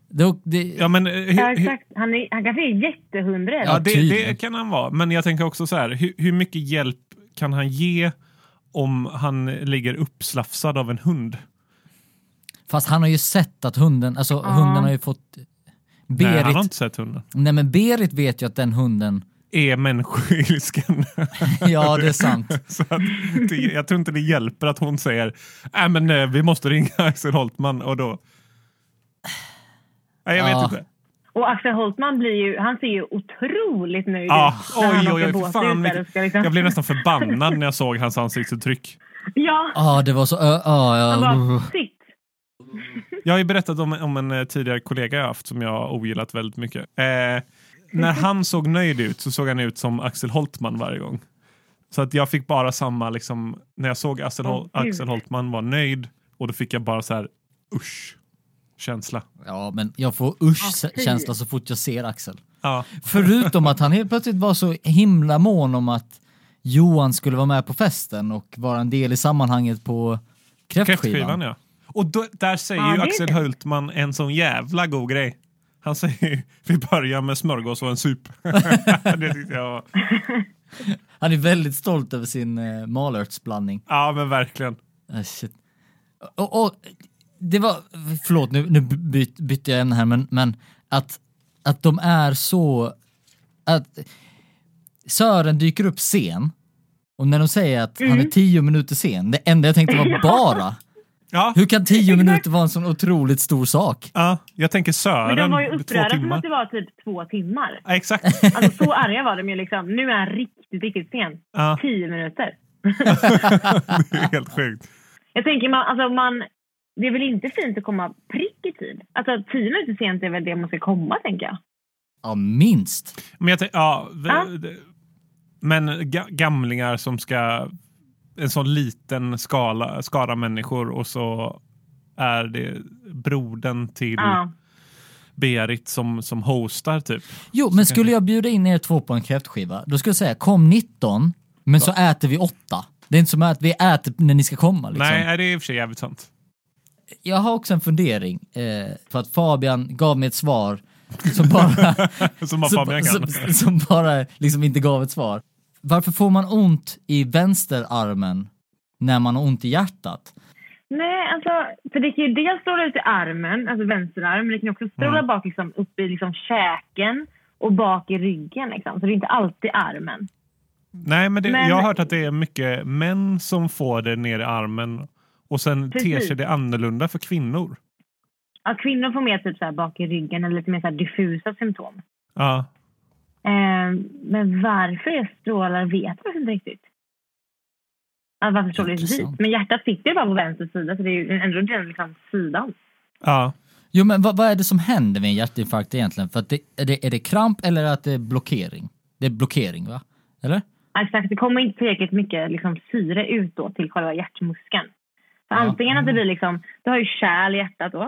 Speaker 1: Då, det,
Speaker 3: Ja, men, eh, hur,
Speaker 2: Ja,
Speaker 3: hur-
Speaker 2: exakt. Han, är, han kanske är jättehundrädd.
Speaker 1: Ja,
Speaker 3: Ja, det,
Speaker 1: tydligen.
Speaker 3: det kan han vara. Men jag tänker också så här, hur, hur mycket hjälp kan han ge om han ligger uppslafsad av en hund?
Speaker 1: Fast han har ju sett att hunden, alltså hunden har ju fått... Berit,
Speaker 3: Nej,
Speaker 1: nej,
Speaker 3: han har inte sett hunden.
Speaker 1: men Berit vet ju att den hunden,
Speaker 3: Är människoilsken.
Speaker 1: ja det är sant.
Speaker 3: så att det, jag tror inte det hjälper att hon säger äh, men eh, vi måste ringa Axel Holtman och då... Nej, jag vet
Speaker 1: Ja.
Speaker 3: inte.
Speaker 2: Och Axel Holtman blir ju, han ser ju otroligt nöjd
Speaker 3: Ah,
Speaker 2: ut när han
Speaker 3: oj, oj,
Speaker 2: åker
Speaker 3: oj, för
Speaker 2: båt
Speaker 3: fan.
Speaker 2: ut där och
Speaker 3: vilket-
Speaker 2: ska liksom-
Speaker 3: Jag blev nästan förbannad när jag såg hans ansiktsuttryck.
Speaker 2: Ja,
Speaker 1: Ja det var så, ja, ja,
Speaker 2: han bara
Speaker 1: ja.
Speaker 2: sitt.
Speaker 3: Jag har ju berättat om, om en eh, tidigare kollega jag haft som jag ogillat väldigt mycket. Eh, när han såg nöjd ut så såg han ut som Axel Holtman varje gång. Så att jag fick bara samma, liksom, när jag såg Axel, Hol-
Speaker 2: Åh, gud.
Speaker 3: Axel Holtman var nöjd och då fick jag bara så här usch känsla.
Speaker 1: ja men jag får usch-känsla så fort jag ser Axel.
Speaker 3: Ja.
Speaker 1: Förutom att han helt plötsligt var så himla mån om att Johan skulle vara med på festen och vara en del i sammanhanget på
Speaker 3: Kräftskivan
Speaker 1: kräftskivan.
Speaker 3: ja. Och då, där säger
Speaker 2: Ja,
Speaker 3: ju
Speaker 2: det är
Speaker 3: Axel
Speaker 2: det.
Speaker 3: Holtman en sån jävla god grej. Han säger ju, vi börjar med smörgås och en sup. det tyckte jag var,
Speaker 1: Han är väldigt stolt över sin eh, malörtsblandning.
Speaker 3: ja men verkligen.
Speaker 1: Ah, shit. Och, och det var, förlåt nu, nu by, bytte jag ämne här, men, men att, att de är så, att Sören dyker upp sen och när de säger att han är tio minuter sen, det enda jag tänkte var bara,
Speaker 3: Ja,
Speaker 1: hur kan tio minuter vara en sån otroligt stor sak?
Speaker 3: ja jag tänker Sören,
Speaker 2: Men de var ju
Speaker 3: två
Speaker 2: upprörda som
Speaker 3: timmar.
Speaker 2: att det var typ två timmar.
Speaker 3: Ja, exakt.
Speaker 2: Alltså så arga var de ju liksom. Nu är han riktigt, riktigt sen.
Speaker 3: Ja.
Speaker 2: Tio minuter.
Speaker 3: Det är helt sjukt.
Speaker 2: Jag tänker man, alltså man, det är väl inte fint att komma prick i tid? Alltså tio minuter sent är väl det man ska komma tänker jag.
Speaker 1: Ja, minst.
Speaker 3: Men, jag tänk- ja, v-
Speaker 2: Ja.
Speaker 3: d- men ga- gamlingar som ska... En sån liten skala, skara människor och så är det brodern till
Speaker 2: Ja.
Speaker 3: Berit som, som hostar typ.
Speaker 1: Jo, men skulle jag bjuda in er två på en kräftskiva, då skulle jag säga kom 19, men så äter vi åtta. Det är inte som att vi äter när ni ska komma. Liksom.
Speaker 3: Nej, det är i och för sig jävligt sant.
Speaker 1: jag har också en fundering, eh, för att Fabian gav mig ett svar som bara,
Speaker 3: Som vad Fabian kan.
Speaker 1: som, som, som bara liksom inte gav ett svar. Varför får man ont i vänsterarmen när man har ont i hjärtat?
Speaker 2: Nej, alltså, för det kan ju dels stråla ut i armen, alltså vänsterarm, men det kan ju också stråla bak liksom, upp i liksom, käken och bak i ryggen. Liksom. Så det är inte alltid armen.
Speaker 3: Nej, men, det,
Speaker 2: Men-
Speaker 3: jag har hört att det är mycket män som får det ner i armen och sen ter
Speaker 2: Precis.
Speaker 3: sig det annorlunda för kvinnor.
Speaker 2: Ja, kvinnor får mer typ, så här, bak i ryggen eller lite mer så här, diffusa symptom.
Speaker 3: Ja.
Speaker 2: Eh, men varför det strålar vet jag inte riktigt. Alltså, varför strålar det
Speaker 1: Intressant.
Speaker 2: dit? Men hjärtat sitter ju bara på vänster sida, så det är ju ändå den liksom, sidan.
Speaker 3: ja.
Speaker 1: Jo men vad, vad är det som händer med en hjärtinfarkt egentligen? För att det, är, det, är det kramp eller att det är blockering? Det är blockering va? Eller?
Speaker 2: Exakt, det kommer inte tillräckligt mycket liksom, syre ut då till själva hjärtmuskeln. Så Antingen att det blir liksom, du har ju kärl i hjärtat då.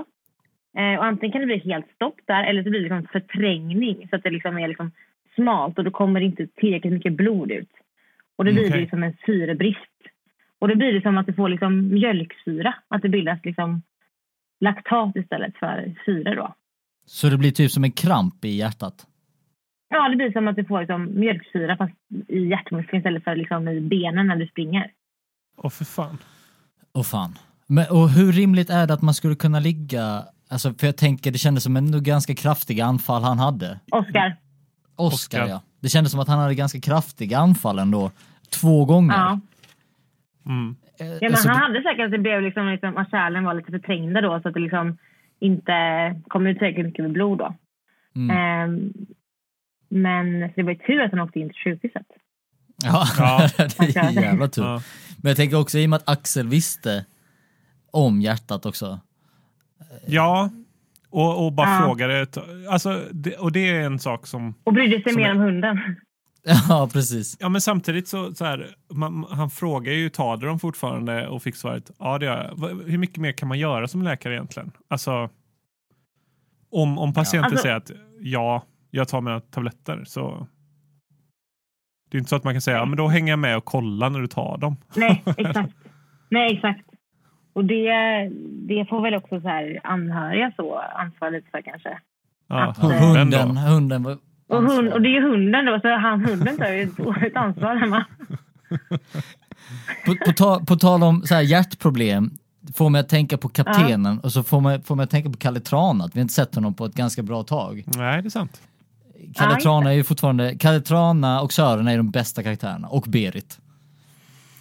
Speaker 2: Eh, och antingen kan det bli helt stopp där eller så blir det liksom förträngning så att det liksom är liksom smalt och då kommer det inte tillräckligt mycket blod ut. Och då blir
Speaker 3: Okej.
Speaker 2: det liksom en syrebrist. Och då blir det som att du får liksom mjölksyra, att det bildas liksom laktat istället för syre då.
Speaker 1: Så det blir typ som en kramp i hjärtat?
Speaker 2: Ja, det blir som att du får liksom mjölksyra fast i hjärtmuskeln istället för liksom i benen när du springer.
Speaker 3: Åh, för fan.
Speaker 1: Åh fan. Men, och hur rimligt är det att man skulle kunna ligga, alltså för jag tänker det kändes som en ganska kraftiga anfall han hade.
Speaker 2: Oscar.
Speaker 1: Oscar,
Speaker 3: Oscar.
Speaker 1: ja. Det kändes som att han hade ganska kraftiga anfall ändå, två gånger.
Speaker 2: Ja.
Speaker 3: Mm.
Speaker 1: Eh,
Speaker 2: Ja, men
Speaker 1: alltså,
Speaker 2: han hade säkert att det blev liksom, liksom att kärlen var lite förträngda då så att det liksom inte kom ut tillräckligt mycket med blod då.
Speaker 1: Mm.
Speaker 2: Ehm, men så det var ju tur att han åkte in till sjukhuset.
Speaker 1: Ja,
Speaker 3: Ja.
Speaker 1: det är jävla tur.
Speaker 3: Ja.
Speaker 1: Men jag tänker också i och med att Axel visste om hjärtat också.
Speaker 3: Ja, och, och bara
Speaker 2: Ja.
Speaker 3: frågade. ett- Alltså, det, och det är en sak som...
Speaker 2: Och brydde sig
Speaker 3: Som
Speaker 2: mer
Speaker 3: är-
Speaker 2: om hunden.
Speaker 1: Ja, precis.
Speaker 3: Ja, men samtidigt så, så här, man, han frågar ju, tar du dem fortfarande? Och fick svaret, ja det gör jag. Va- Hur mycket mer kan man göra som läkare egentligen? Alltså, om, om patienten
Speaker 2: Alltså-
Speaker 3: säger att ja, jag tar mina tabletter så... Det är inte så att man kan säga, ja men då hänger jag med och kollar när du tar dem.
Speaker 2: Nej, exakt. Nej, exakt. Och det, det får väl också så här anhöriga så ansvara lite för kanske.
Speaker 3: Ja,
Speaker 2: Ja,
Speaker 1: Hunden, hunden var...
Speaker 2: Och, hund, och det är ju hunden då, så han, hunden tar ju ett dåligt ansvar hemma.
Speaker 1: På, på, ta, på tal om så här hjärtproblem, får mig att tänka på kaptenen och så får mig, får mig att tänka på Kalle Tran, att vi har inte sett honom på ett ganska bra tag.
Speaker 3: Nej, det är sant.
Speaker 1: Kalle
Speaker 2: Ja, just
Speaker 1: Trana är ju fortfarande, Kalle Trana och Sören är ju de bästa karaktärerna, och Berit.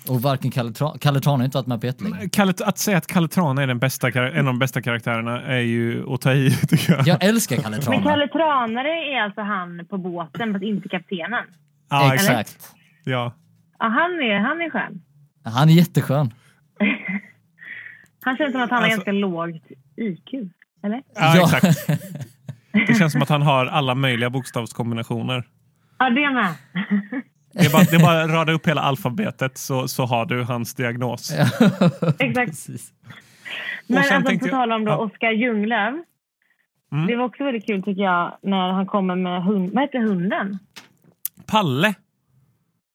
Speaker 1: Och varken Kalle, Tra, Kalle Trana har ju inte varit med på jättelänge.
Speaker 3: Kalle, att säga att Kalle Trana är den bästa, kar- en av de bästa karaktärerna är ju att ta i, tycker jag.
Speaker 1: Jag älskar Kalle
Speaker 2: Men
Speaker 1: Trana.
Speaker 2: Kalle Tranare är alltså han på båten, fast inte kaptenen.
Speaker 3: Ja,
Speaker 1: Exakt.
Speaker 3: Ja.
Speaker 2: Ja, han är, han är skön.
Speaker 1: Han är jätteskön.
Speaker 2: Han känns som att han har
Speaker 3: Alltså-
Speaker 2: ganska lågt IQ. Eller?
Speaker 3: Ja, exakt. Det känns som att han har alla möjliga bokstavskombinationer.
Speaker 2: Ja, det med.
Speaker 3: Det är bara, det är bara att rada upp hela alfabetet så, så har du hans diagnos.
Speaker 2: Exakt.
Speaker 1: Precis.
Speaker 2: Men
Speaker 3: sen
Speaker 2: alltså,
Speaker 3: tänkte
Speaker 2: på
Speaker 3: jag-
Speaker 2: tal om då
Speaker 3: ja.
Speaker 2: Oskar Ljunglöf.
Speaker 3: Mm.
Speaker 2: Det var också väldigt kul tycker jag när han kommer med hund... Vad heter hunden?
Speaker 3: Palle!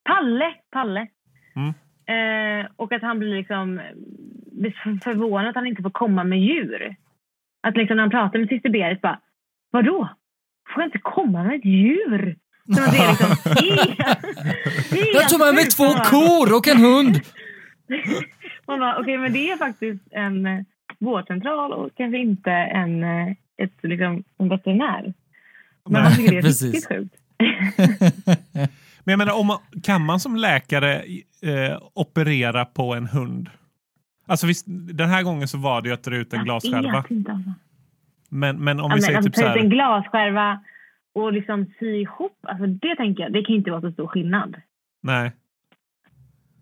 Speaker 2: Palle! Palle.
Speaker 3: Mm.
Speaker 2: Eh, och att han blir liksom blir f- förvånad att han inte får komma med djur. Att liksom när han pratar med syster Berit bara Vadå? Får jag inte komma med ett djur? Som att det är liksom helt...
Speaker 1: Jag tog med mig
Speaker 2: helt
Speaker 1: två
Speaker 2: sjukt.
Speaker 1: kor och en hund!
Speaker 2: Man bara, okej, men det är faktiskt en eh, vårdcentral och kanske inte en, eh, ett, liksom, en veterinär. Men han tycker det är
Speaker 1: precis.
Speaker 2: riktigt sjukt.
Speaker 3: Men jag menar, om man, kan man som läkare eh, operera på en hund? Alltså visst, den här gången så var det ju att dra ut en
Speaker 2: Jag
Speaker 3: glasskärva.
Speaker 2: vet inte, alltså.
Speaker 3: Men, men om
Speaker 2: Ja,
Speaker 3: vi
Speaker 2: men,
Speaker 3: säger
Speaker 2: alltså,
Speaker 3: typ så
Speaker 2: ta ut en
Speaker 3: här.
Speaker 2: glasskärva och liksom sy ihop, alltså, det tänker jag, det kan ju inte vara så stor skillnad.
Speaker 3: Nej.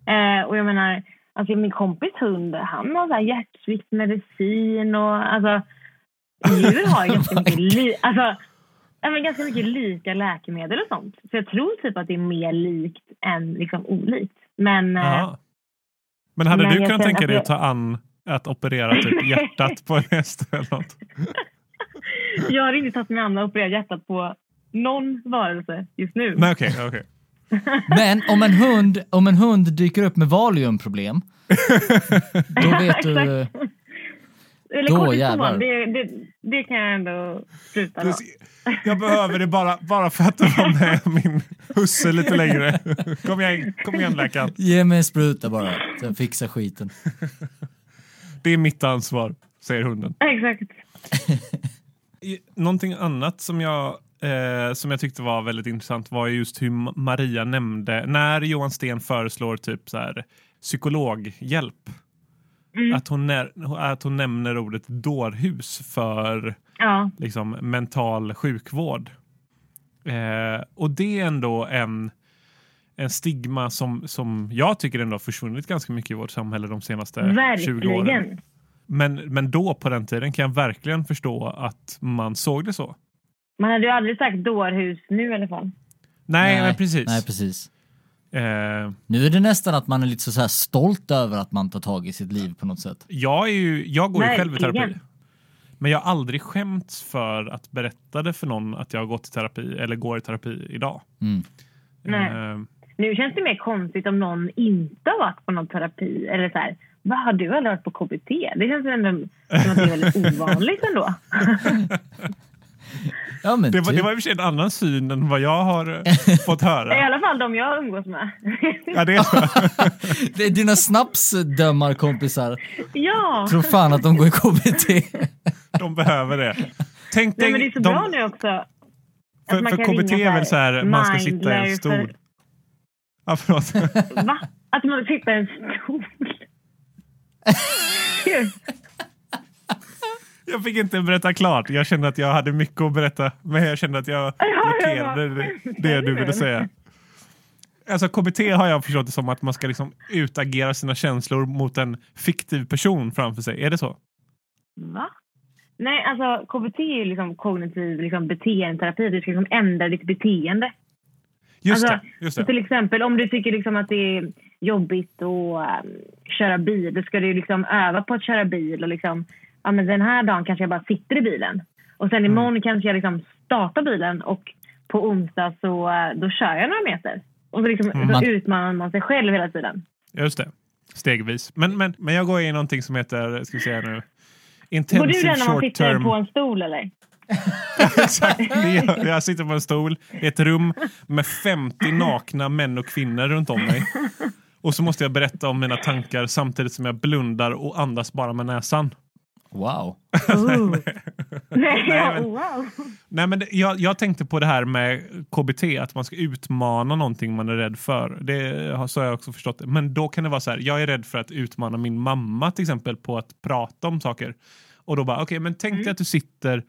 Speaker 2: Eh, och jag menar, alltså, min kompis hund, han har så här hjärtsviktmedicin och alltså djur har ju ganska mycket, li- alltså, ja, men ganska mycket lika läkemedel och sånt. Så jag tror typ att det är mer likt än liksom olikt. Men eh,
Speaker 3: Jaha. Men hade
Speaker 2: Men
Speaker 3: du
Speaker 2: jag
Speaker 3: kunnat
Speaker 2: känner
Speaker 3: tänka
Speaker 2: att
Speaker 3: dig
Speaker 2: jag-
Speaker 3: att ta an att operera typ
Speaker 2: Nej.
Speaker 3: hjärtat på en häst eller något?
Speaker 2: jag har inte tagit mig an att operera hjärtat på någon varelse just nu.
Speaker 3: Nej, okej. okej.
Speaker 1: Men om en hund, om en hund dyker upp med valiumproblem, då vet du...
Speaker 2: Eller
Speaker 1: då jävlar.
Speaker 2: kortison, det, det, det kan jag ändå sluta med.
Speaker 3: Det- Jag behöver det bara, bara för att vara med min husse lite längre. Kom igen, kom igen läkaren.
Speaker 1: Ge mig en spruta bara, så jag fixar skiten.
Speaker 3: Det är mitt ansvar, säger hunden.
Speaker 2: Exakt.
Speaker 3: I- Någonting annat som jag, eh, som jag tyckte var väldigt intressant var ju just hur Ma- Maria nämnde, när Johan Sten föreslår typ så här, psykologhjälp, att, hon när, att hon nämner ordet dårhus för
Speaker 2: Ja.
Speaker 3: liksom, mental sjukvård. Eh, och det är ändå en, en stigma som, som jag tycker ändå har försvunnit ganska mycket i vårt samhälle de senaste 20 åren.
Speaker 2: Verkligen.
Speaker 3: Men, men då på den tiden kan jag verkligen förstå att man såg det så.
Speaker 2: Man hade ju aldrig sagt dårhus nu i alla fall.
Speaker 3: Nej, men precis.
Speaker 1: Nej, precis.
Speaker 3: eh,
Speaker 1: Nu är det nästan att man är lite så här stolt över att man tar tag i sitt liv på något sätt.
Speaker 3: jag, är ju, jag går ju själv i
Speaker 2: Verkligen.
Speaker 3: terapi. Men jag har aldrig skämts för att berätta det för någon att jag har gått i terapi eller går i terapi idag.
Speaker 1: Mm.
Speaker 2: Nej.
Speaker 3: Eh,
Speaker 2: Nu känns det mer konstigt om någon inte har varit på någon terapi. Eller så här, vad har du aldrig varit på KBT? Det känns ändå som att det är väldigt ovanligt ändå.
Speaker 1: Ja, men
Speaker 3: Det var,
Speaker 1: typ.
Speaker 3: det var i och för sig en annan syn än vad jag har eh, fått
Speaker 2: I
Speaker 3: höra.
Speaker 2: alla fall de jag umgås med.
Speaker 3: Ja, det är,
Speaker 1: Det är dina snapsdömarkompisar.
Speaker 2: ja,
Speaker 1: Tror fan att de går i KBT.
Speaker 3: de behöver det. Tänk
Speaker 2: Nej,
Speaker 3: dig,
Speaker 2: men det är så
Speaker 3: de,
Speaker 2: bra nu också. Att
Speaker 3: för,
Speaker 2: man
Speaker 3: för
Speaker 2: kan
Speaker 3: KBT
Speaker 2: ringa
Speaker 3: är väl så här, man ska sitta i en
Speaker 2: Mindler
Speaker 3: stol. Ja, förlåt.
Speaker 2: För, va? Att man sitter i en stol? Gud.
Speaker 3: Jag fick inte berätta klart. Jag kände att jag hade mycket att berätta, men jag kände att jag
Speaker 2: ja, ja.
Speaker 3: blockerade det- det du ville säga. Alltså KBT har jag förstått det som att man ska liksom utagera sina känslor mot en fiktiv person framför sig. Är det så?
Speaker 2: Va? Nej, alltså KBT är ju liksom kognitiv liksom, beteendeterapi. Du ska liksom ändra ditt beteende.
Speaker 3: Just
Speaker 2: Alltså,
Speaker 3: det. Just
Speaker 2: Så
Speaker 3: det.
Speaker 2: till exempel om du tycker liksom att det är jobbigt att ehm, köra bil, då ska du ju liksom öva på att köra bil och liksom, ja men den här dagen kanske jag bara sitter i bilen. Och
Speaker 3: Mm.
Speaker 2: sen imorgon kanske jag liksom startar bilen och på onsdag så eh, då kör jag några meter. Och så, liksom,
Speaker 3: Mm.
Speaker 1: Man-
Speaker 2: så utmanar man sig själv hela tiden.
Speaker 3: Just det. Stegvis. Men, men, men jag går in i någonting som heter, ska vi säga nu,
Speaker 2: Går du
Speaker 3: intensive
Speaker 2: den när man
Speaker 3: short
Speaker 2: sitter
Speaker 3: term.
Speaker 2: på en stol eller?
Speaker 3: Exakt. Det gör jag. jag sitter på en stol i ett rum med 50 nakna män och kvinnor runt om mig. Och så måste jag berätta om mina tankar samtidigt som jag blundar och andas bara med näsan.
Speaker 1: Wow.
Speaker 2: Ooh. Nej,
Speaker 3: Nej,
Speaker 2: ja,
Speaker 3: men-
Speaker 2: wow.
Speaker 3: Nej, men det, jag, jag tänkte på det här med KBT, att man ska utmana någonting man är rädd för. Det har, så har jag också förstått det. Men då kan det vara så här, jag är rädd för att utmana min mamma till exempel på att prata om saker. Och då bara, okej, men tänk
Speaker 2: Mm.
Speaker 3: dig att du sitter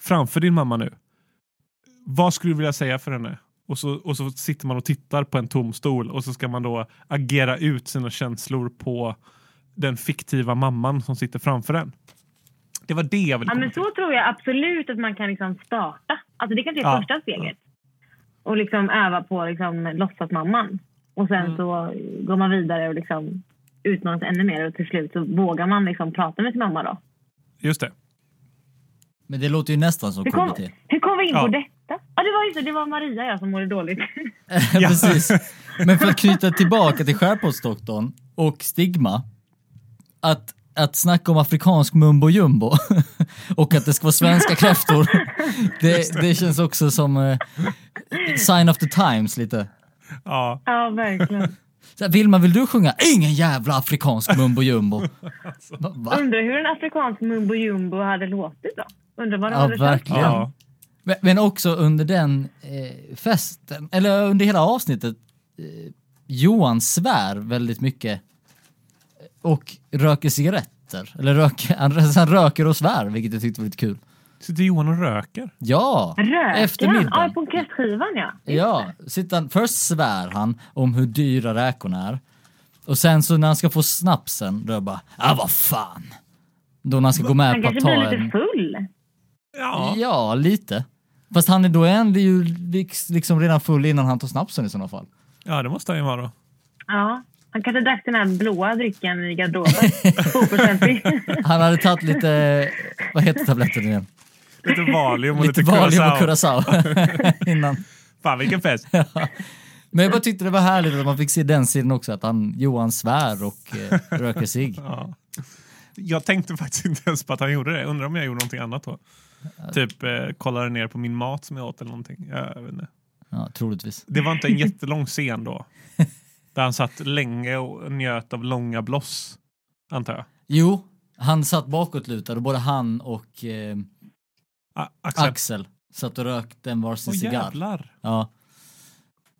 Speaker 3: framför din mamma nu. Vad skulle du vilja säga för henne? Och så, och så sitter man och tittar på en tom stol och så ska man då agera ut sina känslor på den fiktiva mamman som sitter framför en. Det var det jag ville
Speaker 2: Ja,
Speaker 3: komma
Speaker 2: men
Speaker 3: till.
Speaker 2: så tror jag absolut att man kan liksom starta. Alltså det kanske är
Speaker 3: Ja.
Speaker 2: första steget. Och liksom öva på liksom låtsasmamman. Och
Speaker 1: Mm.
Speaker 2: sen så går man vidare och liksom utmanas ännu mer och till slut så vågar man liksom prata med sin mamma då.
Speaker 3: Just det.
Speaker 1: Men det låter ju nästan som
Speaker 2: Hur kom,
Speaker 1: KBT.
Speaker 2: hur kom vi in
Speaker 3: Ja.
Speaker 2: på detta? Ja, det var ju så. Det var Maria jag som mådde dåligt.
Speaker 1: Ja. Precis. Men för att knyta tillbaka till skärpåsdoktorn och stigma. Att, att snacka om afrikansk mumbo jumbo och att det ska vara svenska kräftor. Det, det känns också som eh, sign of the times lite.
Speaker 3: Ja.
Speaker 2: ja, verkligen.
Speaker 1: Så här, Vilma, vill du sjunga ingen jävla afrikansk mumbo jumbo? Va? va?
Speaker 2: Undrar hur en afrikansk mumbo jumbo hade låtit då? Undrar vad de
Speaker 1: Ja,
Speaker 2: hade sagt.
Speaker 1: verkligen.
Speaker 3: ja.
Speaker 1: Men- Men också under den eh, festen, eller under hela avsnittet, eh, Johan svär väldigt mycket eh, och röker cigaretter. Eller röker, han, han röker och svär, vilket jag tyckte var lite kul.
Speaker 3: Sitter Johan och röker?
Speaker 1: Ja, efter
Speaker 2: Röker han? Ja,
Speaker 1: middagen.
Speaker 2: på kräftskivan ja.
Speaker 1: Ja, sitter han, först svär han om hur dyra räkorna är. Och sen så när han ska få snapsen, då är jag bara, ah vad fan. Då när han ska gå med
Speaker 2: Han
Speaker 1: på att
Speaker 2: kanske blir
Speaker 1: ta
Speaker 2: lite
Speaker 1: en...
Speaker 2: full.
Speaker 3: Ja.
Speaker 1: Ja, lite. Fast han är då en, det är ju liks- liksom redan full innan han tar snapsen i sådana fall.
Speaker 3: ja, det måste han ju vara då.
Speaker 2: Ja, han kanske drack den här blåa drycken i garderoben. 2%.
Speaker 1: Han hade tagit lite, vad heter tabletten igen?
Speaker 3: Lite Valium och lite,
Speaker 1: Lite Valium och
Speaker 3: Curacao.
Speaker 1: Curacao innan.
Speaker 3: Fan vilken fest.
Speaker 1: Men jag bara tyckte det var härligt att man fick se den sidan också, att han, Johan svär och eh, röker sig.
Speaker 3: Ja. Jag tänkte faktiskt inte ens på att han gjorde det. Undrar om jag gjorde någonting annat då. Typ eh, kollade ner på min mat som jag åt eller någonting. Jag, vet inte.
Speaker 1: Ja, troligtvis.
Speaker 3: Det var inte en jättelång scen då. Där han satt länge och njöt av långa bloss. Antar jag.
Speaker 1: Jo, han satt bakåtlutad och både han och eh,
Speaker 3: A- Axel.
Speaker 1: Axel satt och rökte en varsin
Speaker 3: Åh
Speaker 1: cigarr.
Speaker 3: jävlar.
Speaker 1: Ja.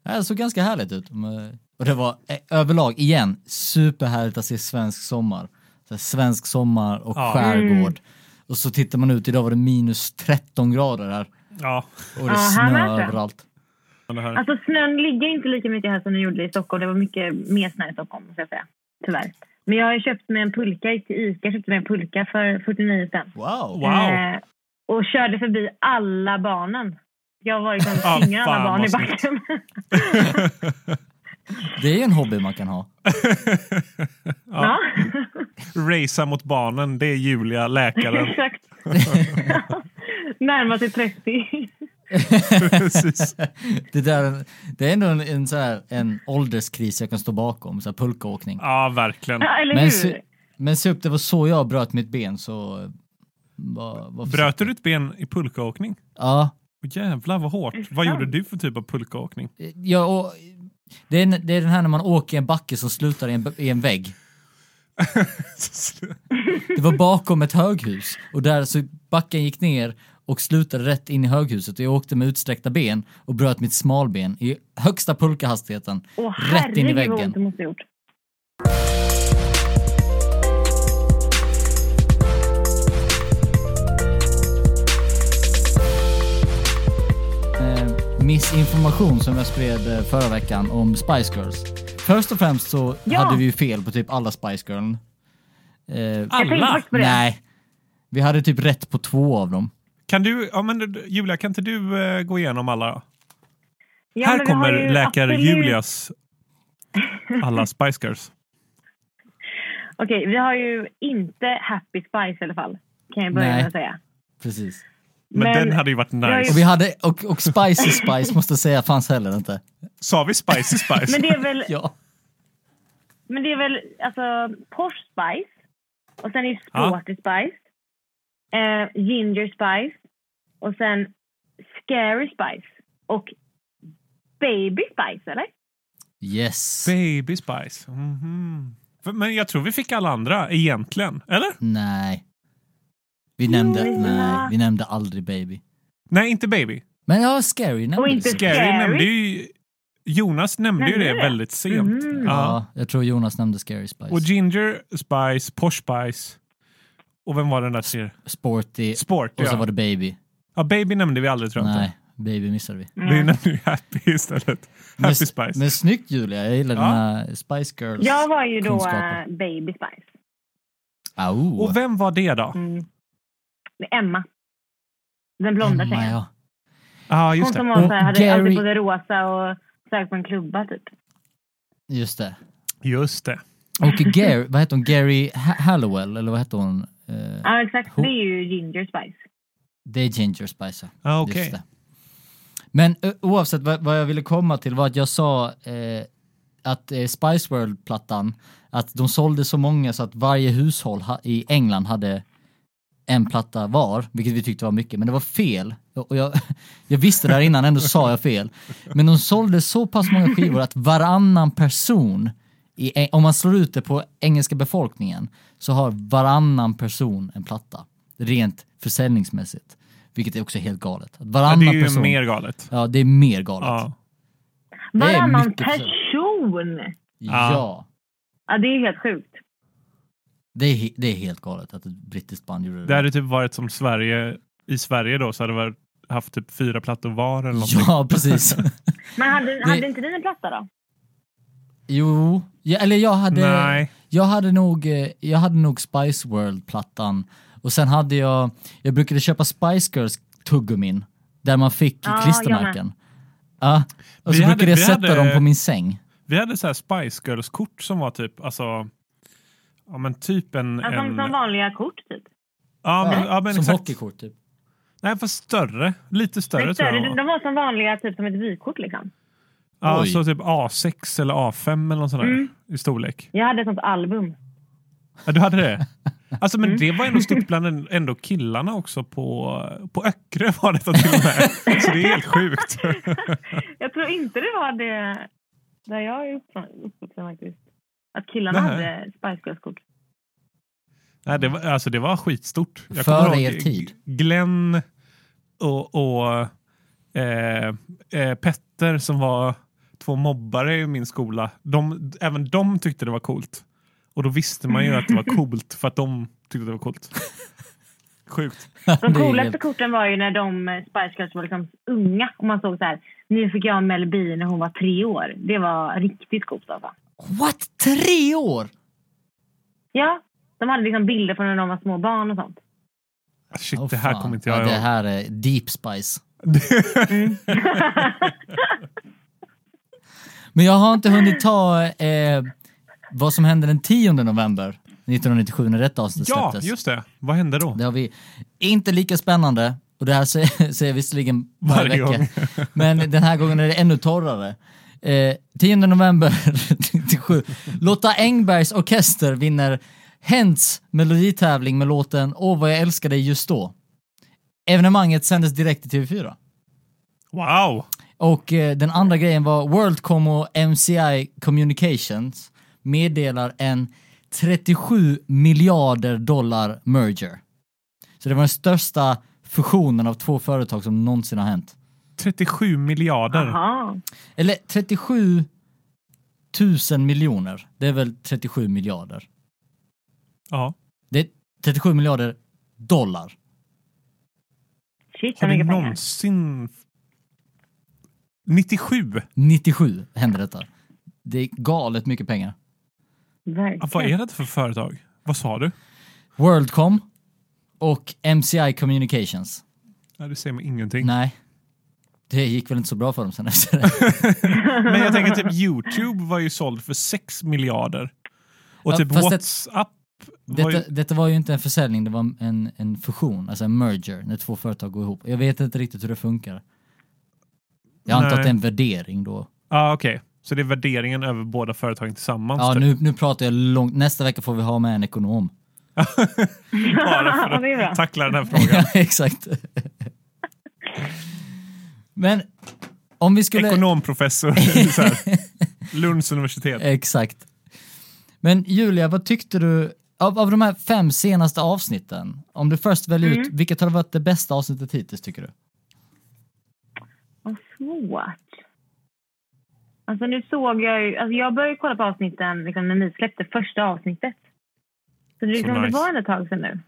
Speaker 1: Ja, Det såg ganska härligt ut. Men- Och det var eh, överlag, igen, superhärligt att se svensk sommar. Så här, svensk sommar och
Speaker 3: Ja.
Speaker 1: skärgård. Och så tittar man ut, idag var det minus 13 grader här.
Speaker 3: Ja.
Speaker 1: Och det
Speaker 2: Ja, här
Speaker 1: snö
Speaker 2: med det.
Speaker 1: överallt.
Speaker 3: Det här.
Speaker 2: Alltså snön ligger inte lika mycket här som den gjorde i Stockholm. Det var mycket mer snö i Stockholm, ska jag säga. Tyvärr. Men jag har ju köpt mig en pulka. Jag gick till Ica och köpte mig en pulka för 49 spänn.
Speaker 1: Wow!
Speaker 3: Wow.
Speaker 2: Eh, och körde förbi alla barnen. Jag var liksom
Speaker 3: Ah,
Speaker 2: tvingade alla
Speaker 3: fan,
Speaker 2: barn i
Speaker 3: vad
Speaker 2: backen.
Speaker 1: Det är ju en hobby man kan ha.
Speaker 2: ja,
Speaker 3: Racea mot barnen, det är Julia, läkaren.
Speaker 2: exakt. Närmar sig 30.
Speaker 3: Precis.
Speaker 1: Det, där, det är ändå en, en, så här, en ålderskris jag kan stå bakom, så här pulkaåkning.
Speaker 3: Ja, verkligen.
Speaker 2: Ja, eller
Speaker 1: Men,
Speaker 2: hur?
Speaker 1: se, men se upp, det var så eh, jag bröt mitt ben så var, var
Speaker 3: Bröt du ditt ben i pulkaåkning?
Speaker 1: Ja.
Speaker 3: Åh, Jävlar vad hårt. Vad gjorde du för typ av pulkaåkning?
Speaker 1: ja och, det, är, en- det är den här när man åker i en backe som slutar i en, i en vägg. Det var bakom ett höghus och där så backen gick ner och slutade rätt in i höghuset och jag åkte med utsträckta ben och bröt mitt smalben i högsta pulkahastigheten.
Speaker 2: Åh,
Speaker 1: rätt in i
Speaker 2: herregud vad
Speaker 1: väggen.
Speaker 2: ont det måste ha gjort.
Speaker 1: eh, missinformation som jag spred eh, förra veckan om Spice Girls. Först och främst så
Speaker 2: Ja.
Speaker 1: hade vi ju fel på typ alla Spice Girls. Eh,
Speaker 2: Jag tänkte
Speaker 3: Alla?
Speaker 2: faktiskt på det.
Speaker 1: nej, vi hade typ rätt på två av dem.
Speaker 3: Kan du, ja, men, du- Julia, kan inte du eh, gå igenom alla?
Speaker 2: Ja,
Speaker 3: Här
Speaker 2: men vi har ju
Speaker 3: kommer läkare
Speaker 2: absolut-
Speaker 3: Julias alla Spice Girls.
Speaker 2: Okej, vi har ju inte Happy Spice i alla fall. Kan jag börja
Speaker 1: Nej.
Speaker 2: med att säga.
Speaker 1: Precis.
Speaker 3: Men, den hade ju varit
Speaker 2: jag är-
Speaker 3: nice.
Speaker 1: Och, vi hade, och, och Spicy Spice måste jag säga fanns heller inte.
Speaker 3: Sa vi Spicy
Speaker 2: men,
Speaker 3: Spice?
Speaker 2: det är väl,
Speaker 1: Ja.
Speaker 2: men det är väl alltså Porsche Spice. Och sen är det
Speaker 3: Ja.
Speaker 2: Sporty Spice. Eh, ginger Spice. Och sen Scary Spice. Och Baby Spice, eller?
Speaker 1: Yes.
Speaker 3: Baby Spice. Mhm. För- Men jag tror vi fick alla andra egentligen. Eller?
Speaker 1: nej. Vi nämnde,
Speaker 2: Jo.
Speaker 1: nej, vi nämnde aldrig Baby.
Speaker 3: Nej, inte Baby.
Speaker 1: Men ja, Scary nämnde
Speaker 2: Och
Speaker 1: vi.
Speaker 2: inte-
Speaker 3: Scary,
Speaker 2: Scary?
Speaker 3: nämnde ju... Jonas nämnde ju
Speaker 2: Nämnde
Speaker 3: det
Speaker 2: det?
Speaker 3: väldigt sent.
Speaker 2: Mhm.
Speaker 3: Ja.
Speaker 1: Ja, jag tror Jonas nämnde Scary Spice.
Speaker 3: Och Ginger Spice, Posh Spice. Och vem var den där tredje?
Speaker 1: Sporty
Speaker 3: Sport,
Speaker 1: och så
Speaker 3: ja.
Speaker 1: var det Baby.
Speaker 3: ja. Baby nämnde vi aldrig tror jag inte.
Speaker 1: Nej, Baby missade vi.
Speaker 3: Vi nämnde ju Happy istället.
Speaker 1: Men-
Speaker 3: Happy Spice.
Speaker 1: Men snyggt Julia, jag gillar
Speaker 3: Ja.
Speaker 1: dina Spice Girls.
Speaker 2: Jag var ju då
Speaker 1: kunskaper.
Speaker 2: eh, Baby Spice.
Speaker 1: Au.
Speaker 3: Och vem var det då?
Speaker 2: Mm. Med Emma. Den blonda
Speaker 1: Emma,
Speaker 2: tjejen.
Speaker 1: Mm, ja.
Speaker 3: Ja,
Speaker 2: Hon
Speaker 3: just
Speaker 2: som
Speaker 3: det.
Speaker 2: var så här,
Speaker 1: Och
Speaker 2: hade
Speaker 1: Gary-
Speaker 2: alltid på sig rosa och sög på en klubba typ.
Speaker 1: Just det.
Speaker 3: Just det.
Speaker 1: Och Gary, vad heter hon? Gary Ha- Hallowell, eller vad heter hon? Eh,
Speaker 2: Ja, exakt.
Speaker 1: Ho-
Speaker 2: Det är ju Ginger Spice.
Speaker 1: Det är Ginger Spice, ja.
Speaker 3: Ah, okej.
Speaker 1: Just det. Men ö, oavsett vad, vad jag ville komma till var att jag sa eh, att eh, Spice World-plattan, att de sålde så många så att varje hushåll ha, i England hade en platta var, vilket vi tyckte var mycket, men det var fel. Och jag, jag visste det här innan, ändå sa jag fel. Men de sålde så pass många skivor att varannan person, i, om man slår ut det på engelska befolkningen, så har varannan person en platta. Rent försäljningsmässigt. Vilket är också helt galet. Att
Speaker 3: Ja,
Speaker 1: Varannan
Speaker 3: det är ju
Speaker 1: person,
Speaker 3: mer galet.
Speaker 1: Ja, det är mer galet.
Speaker 3: Ja.
Speaker 1: Ja. Det är
Speaker 2: Varannan
Speaker 1: mycket
Speaker 2: person!
Speaker 3: Ja.
Speaker 2: Ja, det är helt sjukt.
Speaker 1: Det, är, he- det är helt galet att ett brittiskt band gjorde det.
Speaker 3: Det hade typ varit som Sverige, i Sverige då så hade det varit, haft typ fyra plattor var eller någonting.
Speaker 1: ja, precis.
Speaker 2: Men hade, hade inte ni en platta då?
Speaker 1: jo, ja, eller jag hade...
Speaker 3: Nej.
Speaker 1: Jag hade nog, eh, jag hade nog Spice World-plattan och sen hade jag, jag brukade köpa Spice Girls tuggummin där man fick
Speaker 2: Ja,
Speaker 1: klistermärken. Ja, och
Speaker 3: Vi
Speaker 1: så
Speaker 3: hade-
Speaker 1: brukade jag
Speaker 3: vi
Speaker 1: sätta
Speaker 3: hade-
Speaker 1: dem på min säng.
Speaker 3: Vi hade så här Spice Girls-kort som var typ, alltså, ja men typ en...
Speaker 2: Alltså
Speaker 3: en
Speaker 2: som, som vanliga kort typ.
Speaker 3: ja, men, ja, men
Speaker 1: som
Speaker 3: exakt.
Speaker 1: hockeykort typ.
Speaker 3: Nej, fast större. Lite större,
Speaker 2: Men
Speaker 3: tror jag.
Speaker 2: större,
Speaker 3: de var.
Speaker 2: de var som vanliga, typ som ett vykort liksom.
Speaker 3: Ja,
Speaker 1: Oj.
Speaker 3: så typ A6 eller A5 eller något sånt där
Speaker 2: Mm.
Speaker 3: i storlek.
Speaker 2: Jag hade ett sånt album.
Speaker 3: Ja, du hade det? Alltså, men det var ändå stort bland en- ändå killarna också på, på Öckre var detta till och med. så det är helt sjukt.
Speaker 2: Jag tror inte det var det där jag är uppfrå- uppvuxen faktiskt. Att killarna
Speaker 3: Nähä.
Speaker 2: hade Spice Girls-kort.
Speaker 3: Nej, det, var, alltså, det var skitstort.
Speaker 1: Före
Speaker 3: kommer
Speaker 1: er
Speaker 3: G-
Speaker 1: tid.
Speaker 3: Glenn och, och eh, eh, Petter som var två mobbare i min skola. De, även de tyckte det var coolt. Och då visste man ju att det var coolt för att de tyckte det var coolt. Sjukt.
Speaker 2: De
Speaker 1: Det är
Speaker 2: coolaste
Speaker 1: helt-
Speaker 2: korten var ju när de eh, Spice Girls var liksom unga. Och man såg så här, nu fick jag Mel B när hon var tre år. Det var riktigt coolt alltså.
Speaker 1: What? Tre år?
Speaker 2: Ja, de hade liksom bilder från när de var små barn och sånt.
Speaker 3: Shit,
Speaker 1: Åh,
Speaker 3: det här
Speaker 1: fan.
Speaker 3: kommer inte jag
Speaker 1: ja, Det
Speaker 3: ihåg.
Speaker 1: här är deep spice. Men jag har inte hunnit ta eh, vad som hände den 10 november 1997 när detta avsnitt
Speaker 3: Ja,
Speaker 1: släpptes.
Speaker 3: just det. Vad hände då?
Speaker 1: Det har vi inte lika spännande och det här säger, säger jag visserligen varje,
Speaker 3: Varje
Speaker 1: vecka. Men den här gången är det ännu torrare. Eh, 10 november 97. Lotta Engbergs orkester vinner Hents meloditävling med låten Åh vad jag älskar dig just då. Evenemanget sändes direkt till TV4.
Speaker 3: Wow!
Speaker 1: Och eh, den andra grejen var Worldcom och MCI Communications meddelar en 37 miljarder dollar merger. Så det var den största fusionen av två företag som någonsin har hänt.
Speaker 3: 37 miljarder.
Speaker 2: Jaha.
Speaker 1: Eller 37 000 miljoner. Det är väl 37 miljarder.
Speaker 3: Ja.
Speaker 1: Det är 37 miljarder dollar.
Speaker 2: Shit,
Speaker 3: Har
Speaker 2: vad
Speaker 3: det
Speaker 2: mycket pengar.
Speaker 3: någonsin... 97?
Speaker 1: 97 hände detta. Det är galet mycket pengar.
Speaker 3: Ja, Vad
Speaker 2: Verkligen.
Speaker 3: är det för företag? Vad sa du?
Speaker 1: Worldcom och MCI Communications.
Speaker 3: Nej, det säger mig ingenting.
Speaker 1: Nej. Det gick väl inte så bra för dem sen efter det.
Speaker 3: Men jag tänker typ Youtube var ju såld för 6 miljarder. Och
Speaker 1: Ja,
Speaker 3: typ
Speaker 1: fast det-
Speaker 3: Whatsapp var ju...
Speaker 1: Detta, detta var ju inte en försäljning, det var en, en fusion, alltså en merger, när två företag går ihop. Jag vet inte riktigt hur det funkar. Jag antar
Speaker 3: Nej.
Speaker 1: att det är en värdering då.
Speaker 3: Ja, okej. Så det är värderingen över båda företagen tillsammans?
Speaker 1: Ja,
Speaker 3: typ.
Speaker 1: nu, nu pratar jag långt. Nästa vecka får vi ha med en ekonom.
Speaker 3: Bara för
Speaker 2: Ja, det är bra.
Speaker 3: att tackla den här frågan.
Speaker 1: Exakt. Men om vi skulle...
Speaker 3: Ekonomprofessor så här, Lunds universitet.
Speaker 1: Exakt. Men Julia, vad tyckte du av, av de här fem senaste avsnitten? Om du först väljer ut, vilket har varit det bästa avsnittet hittills tycker du?
Speaker 2: Vad svårt. Alltså nu såg jag ju... Alltså jag började kolla på avsnitten liksom, när ni släppte första avsnittet. Så det, är
Speaker 3: Så
Speaker 2: liksom,
Speaker 3: nice.
Speaker 2: det var ändå ett tag sedan nu.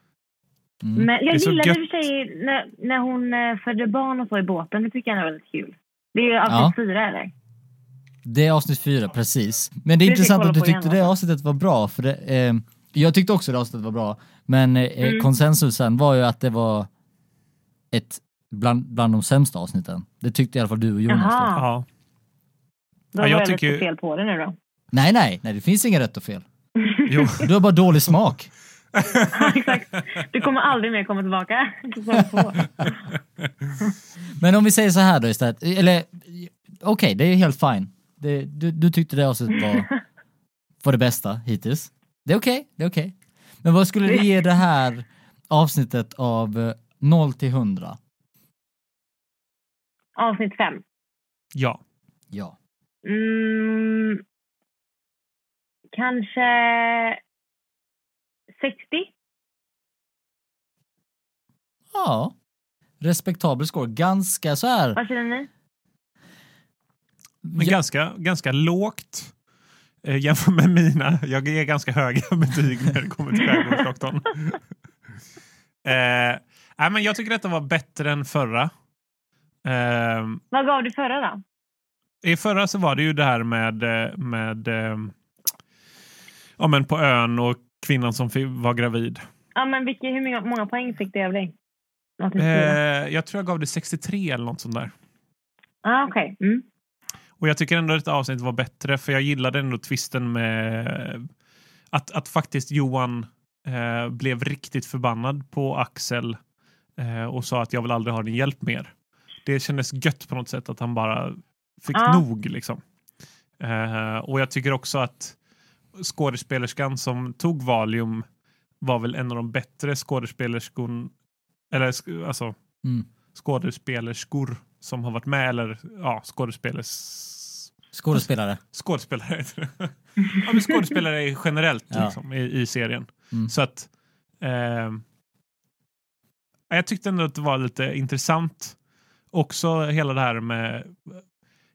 Speaker 1: Mm.
Speaker 2: Men
Speaker 3: Det
Speaker 2: jag
Speaker 3: är så
Speaker 2: gillade i
Speaker 3: gött.
Speaker 2: och för sig när, när hon eh, födde barn och så i båten. Det tycker jag ändå var väldigt kul. Det är ju avsnitt fyra, eller?
Speaker 1: Det är avsnitt fyra, precis. Men det är
Speaker 2: Vi
Speaker 1: intressant
Speaker 2: fick
Speaker 1: att du
Speaker 2: kolla på
Speaker 1: tyckte
Speaker 2: igen, alltså.
Speaker 1: det
Speaker 2: va?
Speaker 1: avsnittet var bra. För det, eh, jag tyckte också det avsnittet var bra, men eh,
Speaker 2: Mm.
Speaker 1: konsensusen var ju att det var ett bland, bland de sämsta avsnitten. Det tyckte i alla fall du och Jonas. då.
Speaker 2: Jaha.
Speaker 3: Ja.
Speaker 2: Då
Speaker 3: Ja, jag
Speaker 2: var jag
Speaker 3: tycker-
Speaker 2: lite fel på det nu då.
Speaker 1: Nej, nej, nej, det finns inga rätt och fel.
Speaker 3: Jo.
Speaker 1: Du har bara dålig smak.
Speaker 2: Exakt. Du kommer aldrig mer komma tillbaka. Säsong två.
Speaker 1: Men om vi säger så här då istället, eller okej, det är helt fine. Det, du, du tyckte det avsnittet var, var det bästa hittills. Det är okej, det är okej. Men vad skulle du ge det här avsnittet av eh, 0 till 100?
Speaker 2: Avsnitt fem.
Speaker 3: ja.
Speaker 1: Ja.
Speaker 2: Mm, kanske 60?
Speaker 1: Ja. Respektabel score. Ganska så här.
Speaker 2: Vad känner ni?
Speaker 3: Men
Speaker 1: Ja,
Speaker 3: ganska, ganska lågt eh, jämfört med mina. Jag ger ganska höga betyg när det kommer till Skärgårdsdoktorn. eh, nej, men jag tycker detta var bättre än förra. Eh,
Speaker 2: Vad gav du förra då?
Speaker 3: I förra så var det ju det här med, eh, med eh, ja, men på ön och kvinnan som fi- var gravid.
Speaker 2: Ja, men vilka, hur många, många poäng fick du av dig? Avsnitt
Speaker 3: Eh,
Speaker 2: fyra.
Speaker 3: jag tror jag gav det 63 eller något sånt där.
Speaker 2: Ah, Okej. Mm.
Speaker 3: Och jag tycker ändå att avsnittet var bättre för jag gillade ändå twisten med att, att faktiskt Johan eh, blev riktigt förbannad på Axel eh, och sa att jag vill aldrig ha din hjälp mer. Det kändes gött på något sätt att han bara fick
Speaker 2: Ja.
Speaker 3: nog liksom. Eh, och jag tycker också att skådespelerskan som tog Valium var väl en av de bättre skådespelerskon eller sk- alltså
Speaker 1: Mm.
Speaker 3: skådespelerskor som har varit med eller ja, skådespelers
Speaker 1: Skådespelare.
Speaker 3: skådespelare. heter det. ja, men skådespelare är generellt
Speaker 1: Ja.
Speaker 3: liksom, i, i serien.
Speaker 1: Mm.
Speaker 3: Så att... ehm, ja, jag tyckte ändå att det var lite intressant. Också hela det här med eh,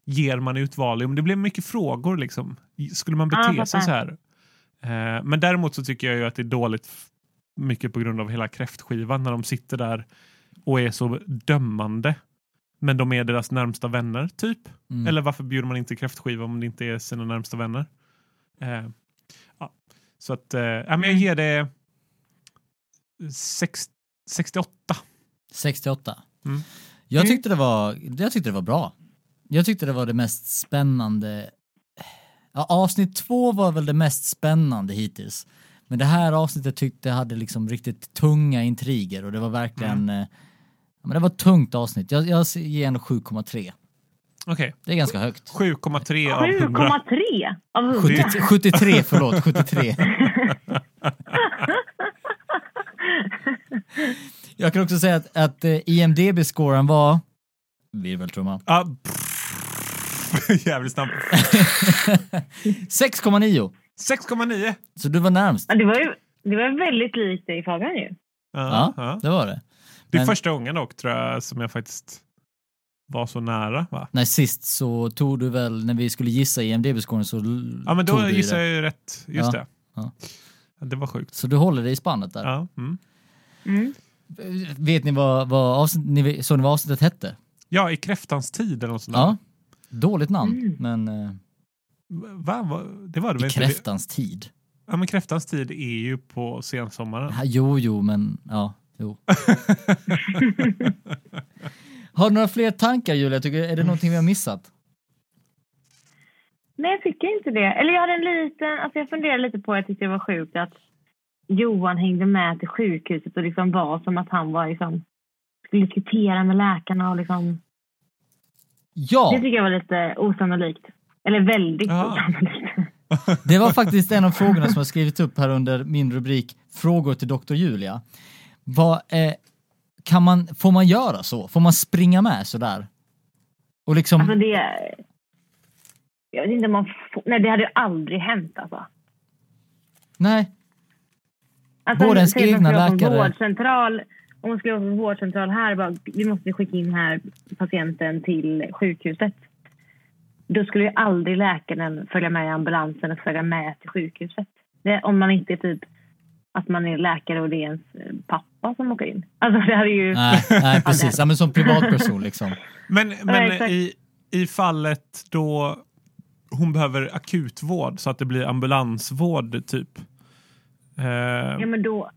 Speaker 3: ger man ut Valium? Det blev mycket frågor. liksom. Skulle man
Speaker 2: Ja, jag
Speaker 3: bete sig
Speaker 2: fattar.
Speaker 3: så här? Eh, men däremot så tycker jag ju att det är dåligt f- mycket på grund av hela kräftskivan när de sitter där och är så dömande. Men de är deras närmsta vänner, typ.
Speaker 1: Mm.
Speaker 3: Eller varför bjuder man inte kräftskiva om det inte är sina närmsta vänner? Eh, ja. Så att, eh, ja, men
Speaker 1: Mm.
Speaker 3: jag ger det sex, 68.
Speaker 1: 68.
Speaker 3: Mm.
Speaker 1: Jag, tyckte det var, jag tyckte det var bra. Jag tyckte det var det mest spännande. Ja, avsnitt två var väl det mest spännande hittills. Men det här avsnittet tyckte jag hade liksom riktigt tunga intriger och det var
Speaker 3: Mm.
Speaker 1: verkligen... eh, Ja, men det var ett tungt avsnitt. Jag, jag ger ändå 7,3.
Speaker 3: Okej,
Speaker 1: Det är ganska högt.
Speaker 3: 7,3 av 100.
Speaker 2: 7,3 av 100.
Speaker 1: 70, 73, förlåt, 73. Jag kan också säga att, att eh, IMDB-scoren var... Virveltrumma.
Speaker 3: Ah, pff. Jävligt snabb.
Speaker 1: 6,9.
Speaker 3: 6,9!
Speaker 1: Så du var närmst.
Speaker 2: Ja, det var ju det var väldigt likt dig Fabian ju.
Speaker 1: Ja,
Speaker 3: Ja, ja.
Speaker 1: det var det.
Speaker 3: Det är
Speaker 1: men-
Speaker 3: första gången dock tror jag som jag faktiskt var så nära. Va?
Speaker 1: Nej, sist så tog du väl, när vi skulle gissa IMDB-scoren så l-
Speaker 3: Ja, men
Speaker 1: tog
Speaker 3: då
Speaker 1: du ju
Speaker 3: gissar
Speaker 1: det.
Speaker 3: jag ju rätt. Just
Speaker 1: Ja,
Speaker 3: det.
Speaker 1: ja.
Speaker 3: Ja, Det var sjukt.
Speaker 1: Så du håller dig i spannet där.
Speaker 3: Ja, mm.
Speaker 1: Vet ni vad, vad, avsnitt, ni, vet- så ni vad avsnittet hette?
Speaker 3: ja, i kräftans tid eller något sånt där.
Speaker 1: Ja. Dåligt namn, men eh,
Speaker 3: Va? Va? Det var det väl
Speaker 1: i
Speaker 3: inte?
Speaker 1: kräftans tid.
Speaker 3: Ja, men kräftans tid är ju på sensommaren.
Speaker 1: Ja, Jo, jo, men ja, jo. Har du några fler tankar Julia? Tycker, är det någonting vi har missat?
Speaker 2: Nej, jag tycker inte det. Eller jag hade en liten... Alltså jag funderade lite på, jag tyckte det var sjukt att Johan hängde med till sjukhuset och liksom var som att han var liksom... Skulle diskutera med läkarna och liksom... Det
Speaker 1: Ja,
Speaker 2: tycker jag var lite osannolikt. Eller väldigt
Speaker 3: Ja.
Speaker 2: osannolikt.
Speaker 1: det var faktiskt en av frågorna som jag skrivit upp här under min rubrik Frågor till Dr. Julia. Vad, eh, kan man, får man göra så? Får man springa med sådär? Och liksom,
Speaker 2: Alltså det... Jag vet inte om man får, Nej, det hade ju aldrig hänt alltså.
Speaker 1: nej,
Speaker 2: alltså
Speaker 1: Vårdens
Speaker 2: säg att man
Speaker 1: egna
Speaker 2: skulle vara på
Speaker 1: läkare.
Speaker 2: Vårdcentral, om man skulle vara på vårdcentral här, bara, vi måste skicka in här patienten till sjukhuset. Då skulle ju aldrig läkaren följa med i ambulansen och följa med till sjukhuset. Det, om man inte är typ att man är läkare och det är ens pappa som åker in. Alltså det hade ju...
Speaker 1: nej, nej precis. Ja, men som privatperson liksom.
Speaker 3: Men, men
Speaker 2: exakt.
Speaker 3: i, i fallet då hon behöver akutvård så att det blir ambulansvård typ. Eh,
Speaker 2: Ja, men då,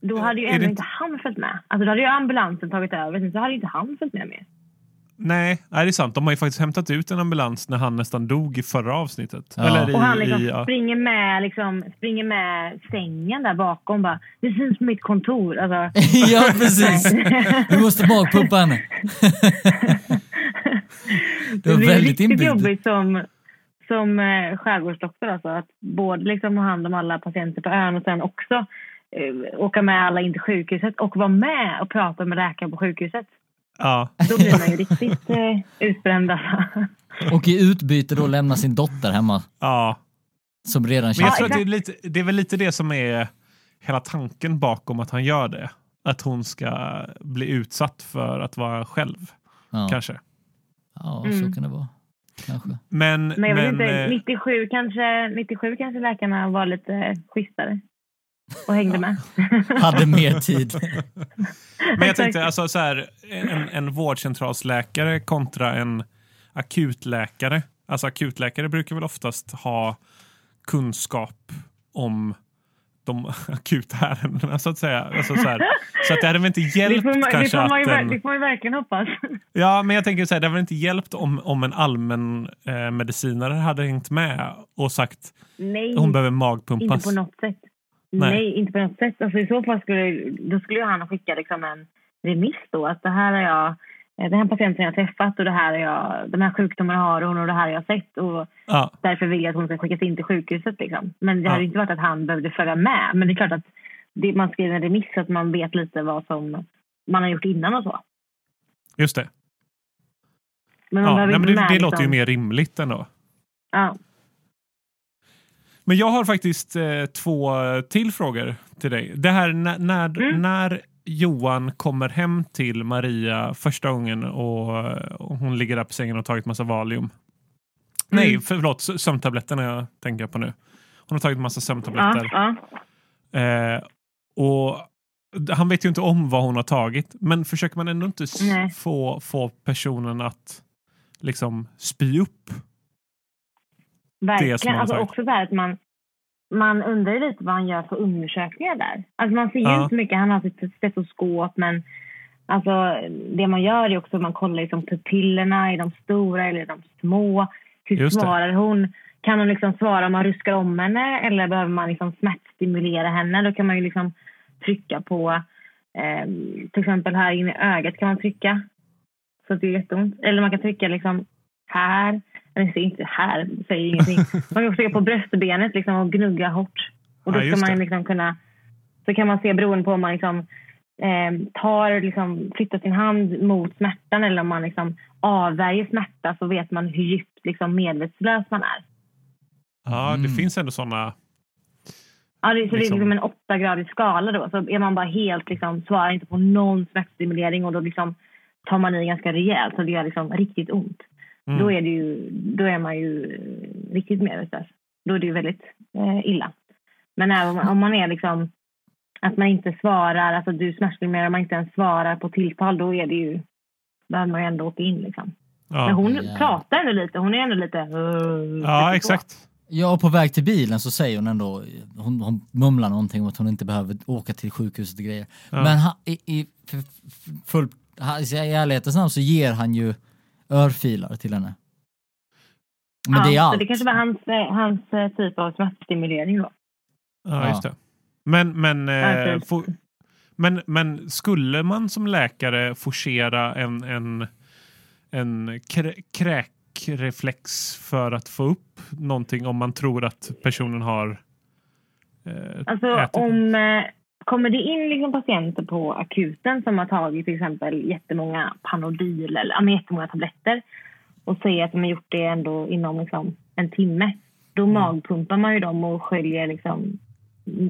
Speaker 2: då hade ju
Speaker 3: Är det
Speaker 2: ändå
Speaker 3: inte-
Speaker 2: inte han följt med. Alltså då hade ju ambulansen tagit över, sen så hade ju inte han följt med mer.
Speaker 3: nej, nej, det är sant. De har ju faktiskt hämtat ut en ambulans när han nästan dog i förra avsnittet.
Speaker 1: Ja.
Speaker 3: Eller i,
Speaker 2: Och han liksom
Speaker 3: i, ja.
Speaker 2: springer, med, liksom springer med sängen där bakom bara. Det syns på mitt kontor. Alltså,
Speaker 1: ja, precis. Du måste magpumpa henne. det
Speaker 2: det
Speaker 1: var
Speaker 2: blir
Speaker 1: väldigt
Speaker 2: riktigt
Speaker 1: inbjudande.
Speaker 2: jobbigt som, som eh, skärgårdsdoktor alltså. Att både liksom ha hand om alla patienter på ön och sen också eh, åka med alla in till sjukhuset och vara med och prata med läkaren på sjukhuset.
Speaker 3: Ja.
Speaker 2: Då blir man ju riktigt eh, utbränd. alltså.
Speaker 1: Och i utbyte då lämna sin dotter hemma
Speaker 3: ja.
Speaker 1: som redan
Speaker 3: Men jag
Speaker 1: känner
Speaker 3: tror att det är, lite, det är väl lite det som är hela tanken bakom att han gör det. Att hon ska bli utsatt för att vara själv,
Speaker 1: ja.
Speaker 3: kanske.
Speaker 1: ja, så
Speaker 2: Mm.
Speaker 1: kan det vara. Kanske.
Speaker 3: Men,
Speaker 2: Men jag vet
Speaker 3: eh,
Speaker 2: inte, 97 kanske, 97 kanske läkarna var lite schysstare och hängde med.
Speaker 1: Hade mer tid.
Speaker 3: Men jag tänkte
Speaker 2: Exakt.
Speaker 3: alltså så här, en, en vårdcentralsläkare kontra en akutläkare. Alltså akutläkare brukar väl oftast ha kunskap om de akuta ärendena så att säga. Alltså så, här, så att det hade väl inte
Speaker 2: Det
Speaker 3: hjälpt
Speaker 2: får, man, det,
Speaker 3: kanske
Speaker 2: får man ju,
Speaker 3: att eh,
Speaker 2: ver-
Speaker 3: en,
Speaker 2: det får man ju verkligen hoppas.
Speaker 3: Ja, men jag tänker så här, det hade väl inte hjälpt om, om en allmän eh, medicinare hade hängt med och sagt
Speaker 2: Nej,
Speaker 3: hon behöver
Speaker 2: Mm. inte
Speaker 3: magpumpas.
Speaker 2: på något sätt.
Speaker 3: Nej.
Speaker 2: Nej. inte på något sätt. Alltså, I så fall skulle, då skulle ju han skicka liksom en remiss då. Att det här är jag, eh, den här patienten jag har träffat och det här är jag, de här sjukdomarna har hon och det här har jag sett. Och
Speaker 3: Ja,
Speaker 2: därför vill jag att hon ska skickas in till sjukhuset. Liksom. Men det
Speaker 3: Ja.
Speaker 2: hade ju inte varit att han behövde följa med. Men det är klart att det, man skriver en remiss så att man vet lite vad som man har gjort innan och så.
Speaker 3: just det.
Speaker 2: Men man
Speaker 3: Ja,
Speaker 2: behöver
Speaker 3: nej, men
Speaker 2: inte
Speaker 3: det,
Speaker 2: med,
Speaker 3: det låter ju
Speaker 2: liksom-
Speaker 3: mer rimligt ändå.
Speaker 2: Ja.
Speaker 3: Men jag har faktiskt eh, två eh, till frågor till dig. Det här när, när,
Speaker 2: Mm.
Speaker 3: när Johan kommer hem till Maria första gången och, eh, och hon ligger där på sängen och tagit massa Valium.
Speaker 2: Mm.
Speaker 3: Nej, förlåt, s- sömntabletterna jag tänker på nu. Hon har tagit massa
Speaker 2: Ja,
Speaker 3: sömntabletter.
Speaker 2: ja.
Speaker 3: Eh, och d- han vet ju inte om vad hon har tagit. Men försöker man ändå inte s-
Speaker 2: Nej.
Speaker 3: få, få personen att liksom spy upp? som
Speaker 2: Verkligen.
Speaker 3: han
Speaker 2: Alltså
Speaker 3: sagt.
Speaker 2: också där att man, man undrar ju lite vad han gör för undersökningar där. Alltså man ser ju
Speaker 3: Ja.
Speaker 2: inte så mycket. Han har sitt stetoskop men alltså det man gör är också att man kollar liksom pupillerna. Är de stora eller är de små? Hur
Speaker 3: Just det.
Speaker 2: svarar hon? Kan hon liksom svara om man ruskar om henne eller behöver man liksom smärtstimulera henne? Då kan man ju liksom trycka på eh, till exempel här inne i ögat kan man trycka så att det är jätteont. Eller man kan trycka liksom här. Eller det är inte här, det säger ingenting. Man kan också trycka på bröstbenet liksom, och gnugga hårt. Och då
Speaker 3: Ja, just
Speaker 2: ska man
Speaker 3: det.
Speaker 2: liksom kunna... Så kan man se beroende på om man liksom eh, tar, liksom, flyttar sin hand mot smärtan eller om man liksom avvärjer smärta så vet man hur djupt liksom, medvetslös man är.
Speaker 3: Ja, det
Speaker 1: Mm.
Speaker 3: finns ändå sådana.
Speaker 2: Ja, det, så det är
Speaker 3: Liksom-
Speaker 2: liksom en åttagradig skala då. Så är man bara helt liksom, svarar inte på någon smärtstimulering och då liksom tar man i ganska rejält så det gör liksom riktigt ont.
Speaker 3: Mm.
Speaker 2: Då, är det ju, då är man ju eh, riktigt medvetslös. Då är det ju väldigt eh, illa. Men även om man, om man är liksom att man inte svarar, alltså du smärtstimulerar och man inte ens svarar på tilltal, då är det ju behöver man ju ändå åka in liksom. Men
Speaker 3: Ja,
Speaker 2: hon
Speaker 1: Ja.
Speaker 2: pratar ändå lite, hon är ändå lite... eh,
Speaker 3: ja
Speaker 2: så.
Speaker 3: exakt.
Speaker 1: Ja, och på väg till bilen så säger hon ändå, hon, hon mumlar någonting om att hon inte behöver åka till sjukhuset och grejer.
Speaker 3: Ja.
Speaker 1: Men han, i, i, för- för- full, han, i ärlighetens namn så ger han ju örfilar till henne. Men det är
Speaker 2: Så
Speaker 1: allt.
Speaker 2: det kanske var hans, eh, hans eh, typ av smärtstimulering då.
Speaker 3: Ja,
Speaker 1: Ja.
Speaker 3: just det. Men, men, eh,
Speaker 2: Verkligen.
Speaker 3: få, men, men skulle man som läkare forcera en, en, en krä, kräkreflex för att få upp någonting om man tror att personen har eh,
Speaker 2: Alltså
Speaker 3: ätit?
Speaker 2: om, eh, kommer det in liksom patienter på akuten som har tagit till exempel jättemånga Panodil eller ja, men jättemånga tabletter och säger att de har gjort det ändå inom liksom en timme, då magpumpar man ju dem och sköljer liksom,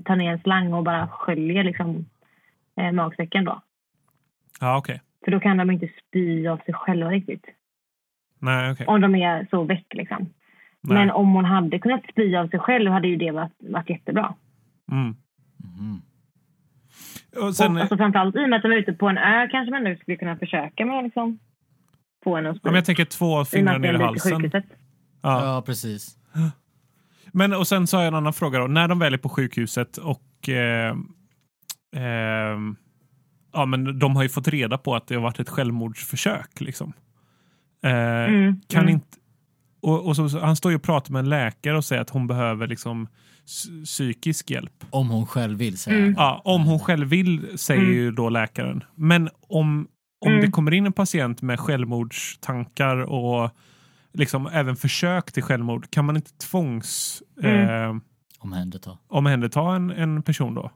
Speaker 2: tar ner en slang och bara sköljer liksom, eh, magsäcken då.
Speaker 3: Ja, okej.
Speaker 2: För då kan de inte spy av sig själva riktigt.
Speaker 3: Nej, okej.
Speaker 2: Om de är så väck liksom.
Speaker 3: Nej.
Speaker 2: Men om hon hade kunnat spy av sig själv hade ju det varit, varit jättebra.
Speaker 3: Mm.
Speaker 1: Mm.
Speaker 3: Och sen,
Speaker 2: och, alltså, framförallt i och med att de är ute på en ö kanske man nu skulle kunna försöka med att liksom, få en att
Speaker 3: ja,
Speaker 2: spy.
Speaker 3: men jag tänker två
Speaker 2: I och med
Speaker 3: fingrar
Speaker 2: att det
Speaker 3: ner
Speaker 2: är
Speaker 3: i
Speaker 2: en bit till
Speaker 3: halsen.
Speaker 2: sjukhuset.
Speaker 3: Ja.
Speaker 1: Ja, precis.
Speaker 3: Men och sen så har jag en annan fråga då. När de väl är på sjukhuset och eh, eh, ja, men de har ju fått reda på att det har varit ett självmordsförsök. Liksom. Eh,
Speaker 2: Mm,
Speaker 3: kan
Speaker 2: mm.
Speaker 3: inte och, och så, så- han står ju och pratar med en läkare och säger att hon behöver liksom s- psykisk hjälp.
Speaker 1: Om hon själv vill säga
Speaker 2: Mm.
Speaker 1: det.
Speaker 3: Ja, om hon själv vill, säger ju då läkaren. Men om, om
Speaker 2: Mm.
Speaker 3: det kommer in en patient med självmordstankar och liksom även försök till självmord, kan man inte tvångs...
Speaker 2: Mm.
Speaker 3: Eh,
Speaker 1: Omhänderta.
Speaker 3: omhänderta en, en person då?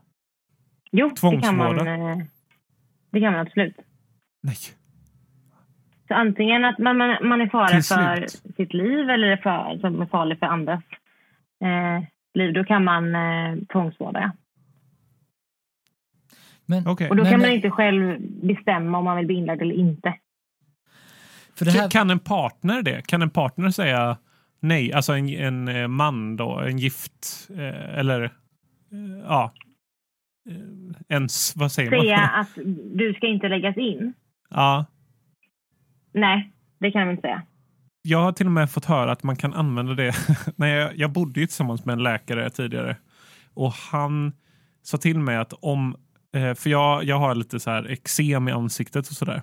Speaker 2: Jo, det kan man,
Speaker 3: Tvångsvårda.
Speaker 2: eh, det kan man absolut.
Speaker 3: Nej.
Speaker 2: Så antingen att man, man, man är farlig
Speaker 3: Till
Speaker 2: för
Speaker 3: slut.
Speaker 2: sitt liv eller är far, som är farlig för andras eh, liv. Då kan man eh, tvångsvårda. ja.
Speaker 1: Men,
Speaker 3: Okej.
Speaker 2: Och då
Speaker 1: Men-
Speaker 2: kan man inte själv bestämma om man vill bli inlagd eller inte.
Speaker 1: för det här,
Speaker 3: Kan- Kan en partner det? Kan en partner säga nej? Alltså en, en eh, man då, en gift eh, eller eh, ja. Eh, Ens, vad säger
Speaker 2: Säga
Speaker 3: man?
Speaker 2: att du ska inte läggas in.
Speaker 3: Ja.
Speaker 2: Nej, det kan man inte säga.
Speaker 3: Jag har till och med fått höra att man kan använda det. När jag, jag bodde ju tillsammans med en läkare tidigare och han sa till mig att om, eh, för jag, jag har lite så här eksem i ansiktet och sådär.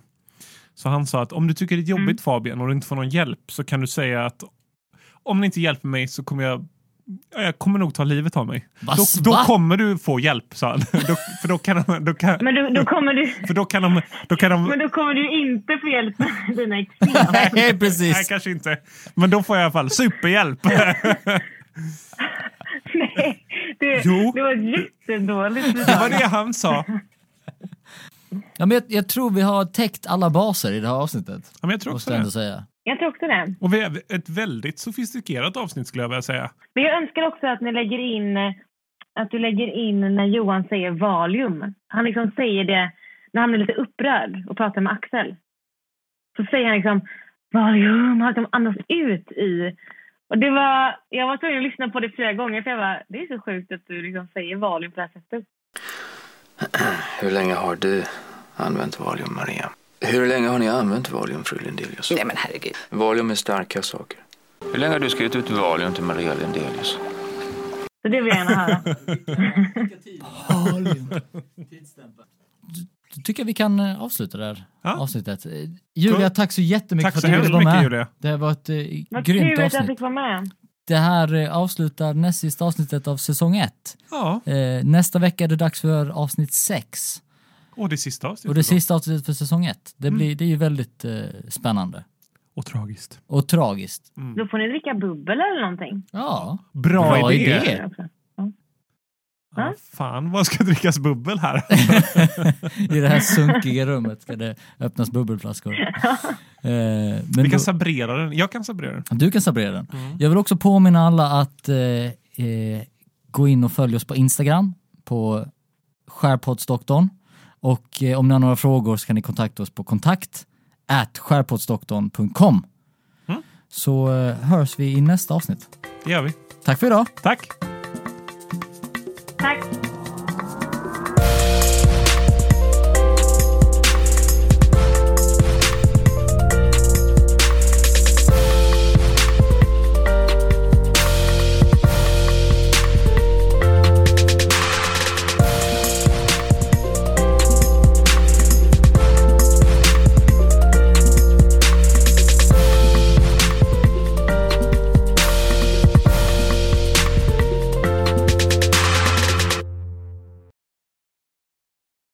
Speaker 3: Så han sa att om du tycker det är jobbigt Fabian och du inte får någon hjälp så kan du säga att om ni inte hjälper mig så kommer jag ja, jag kommer nog ta livet av mig.
Speaker 1: Va?
Speaker 3: Då, då
Speaker 1: Va?
Speaker 3: kommer du få hjälp, sa han. då, för då kan, de- då kan,
Speaker 2: Men då, då kommer du...
Speaker 3: för då kan de... Då kan de
Speaker 2: Men då kommer du inte få hjälp med dina eksem.
Speaker 1: Nej,
Speaker 3: nej,
Speaker 1: precis.
Speaker 3: kanske inte. Men då får jag i alla fall superhjälp.
Speaker 2: Nej, det,
Speaker 3: Jo.
Speaker 2: det var jättedåligt.
Speaker 3: Det var det han sa. Ja,
Speaker 1: Ja, men jag, jag tror vi har täckt alla baser i det här avsnittet.
Speaker 3: men jag tror
Speaker 1: Måste
Speaker 3: också
Speaker 1: jag ändå
Speaker 3: det.
Speaker 1: säga.
Speaker 2: Jag tror också det.
Speaker 3: Och vi är ett väldigt sofistikerat avsnitt skulle jag vilja säga.
Speaker 2: Men jag önskar också att ni lägger in eh, att du lägger in när Johan säger valium. Han liksom säger det när han är lite upprörd och pratar med Axel. Så säger han liksom valium, han liksom andas ut i... Och det var, jag var tvungen att lyssna på det flera gånger för jag var det är så sjukt att du liksom säger valium på det här sättet.
Speaker 10: Hur länge har du använt Valium, Maria? Hur länge har ni använt Valium, fru Lindelius? Nej, men herregud. Valium är starka saker. Hur länge har du skrivit ut Valium till Maria Lindelius?
Speaker 2: Så det vill jag gärna höra.
Speaker 1: Då tycker jag vi kan eh, avsluta det här
Speaker 3: Ja.
Speaker 1: avsnittet. Eh, Julia,
Speaker 3: Cool.
Speaker 1: tack så jättemycket
Speaker 3: Tack
Speaker 1: för
Speaker 3: så
Speaker 1: att du ville vara
Speaker 3: hemskt mycket
Speaker 1: med.
Speaker 3: Julia.
Speaker 1: Det var ett eh,
Speaker 2: Vad
Speaker 1: grymt
Speaker 2: kul att jag
Speaker 1: avsnitt.
Speaker 2: fick vara med.
Speaker 1: Det här eh, avslutar näst sista avsnittet av säsong ett.
Speaker 3: Ja,
Speaker 1: Eh, nästa vecka är det dags för avsnitt sex.
Speaker 3: och det Mm. sista avsnittet.
Speaker 1: Och det
Speaker 3: då.
Speaker 1: sista avsnittet för säsong ett. Det, blir, det är ju väldigt eh, spännande.
Speaker 3: Och tragiskt.
Speaker 1: Och tragiskt.
Speaker 2: Mm. Då får ni dricka bubbel eller någonting.
Speaker 1: Ja,
Speaker 3: Bra,
Speaker 1: Bra
Speaker 3: idé.
Speaker 1: idé.
Speaker 2: också.
Speaker 3: Ja, fan, vad ska drickas bubbel här?
Speaker 1: I det här sunkiga rummet ska det öppnas bubbelflaskor. Eh, men
Speaker 3: Vi kan
Speaker 1: då-
Speaker 3: sabrera den. Jag kan sabrera den.
Speaker 1: Du kan sabrera den. Jag vill också påminna alla att eh, eh, gå in och följa oss på Instagram, på skärpoddsdoktorn. Och eh, om ni har några frågor så kan ni kontakta oss på kontakt at skärpoddsdoktorn.com. Så eh, hörs vi i nästa avsnitt.
Speaker 3: Det gör vi.
Speaker 1: Tack för idag!
Speaker 3: Tack!
Speaker 2: Tack.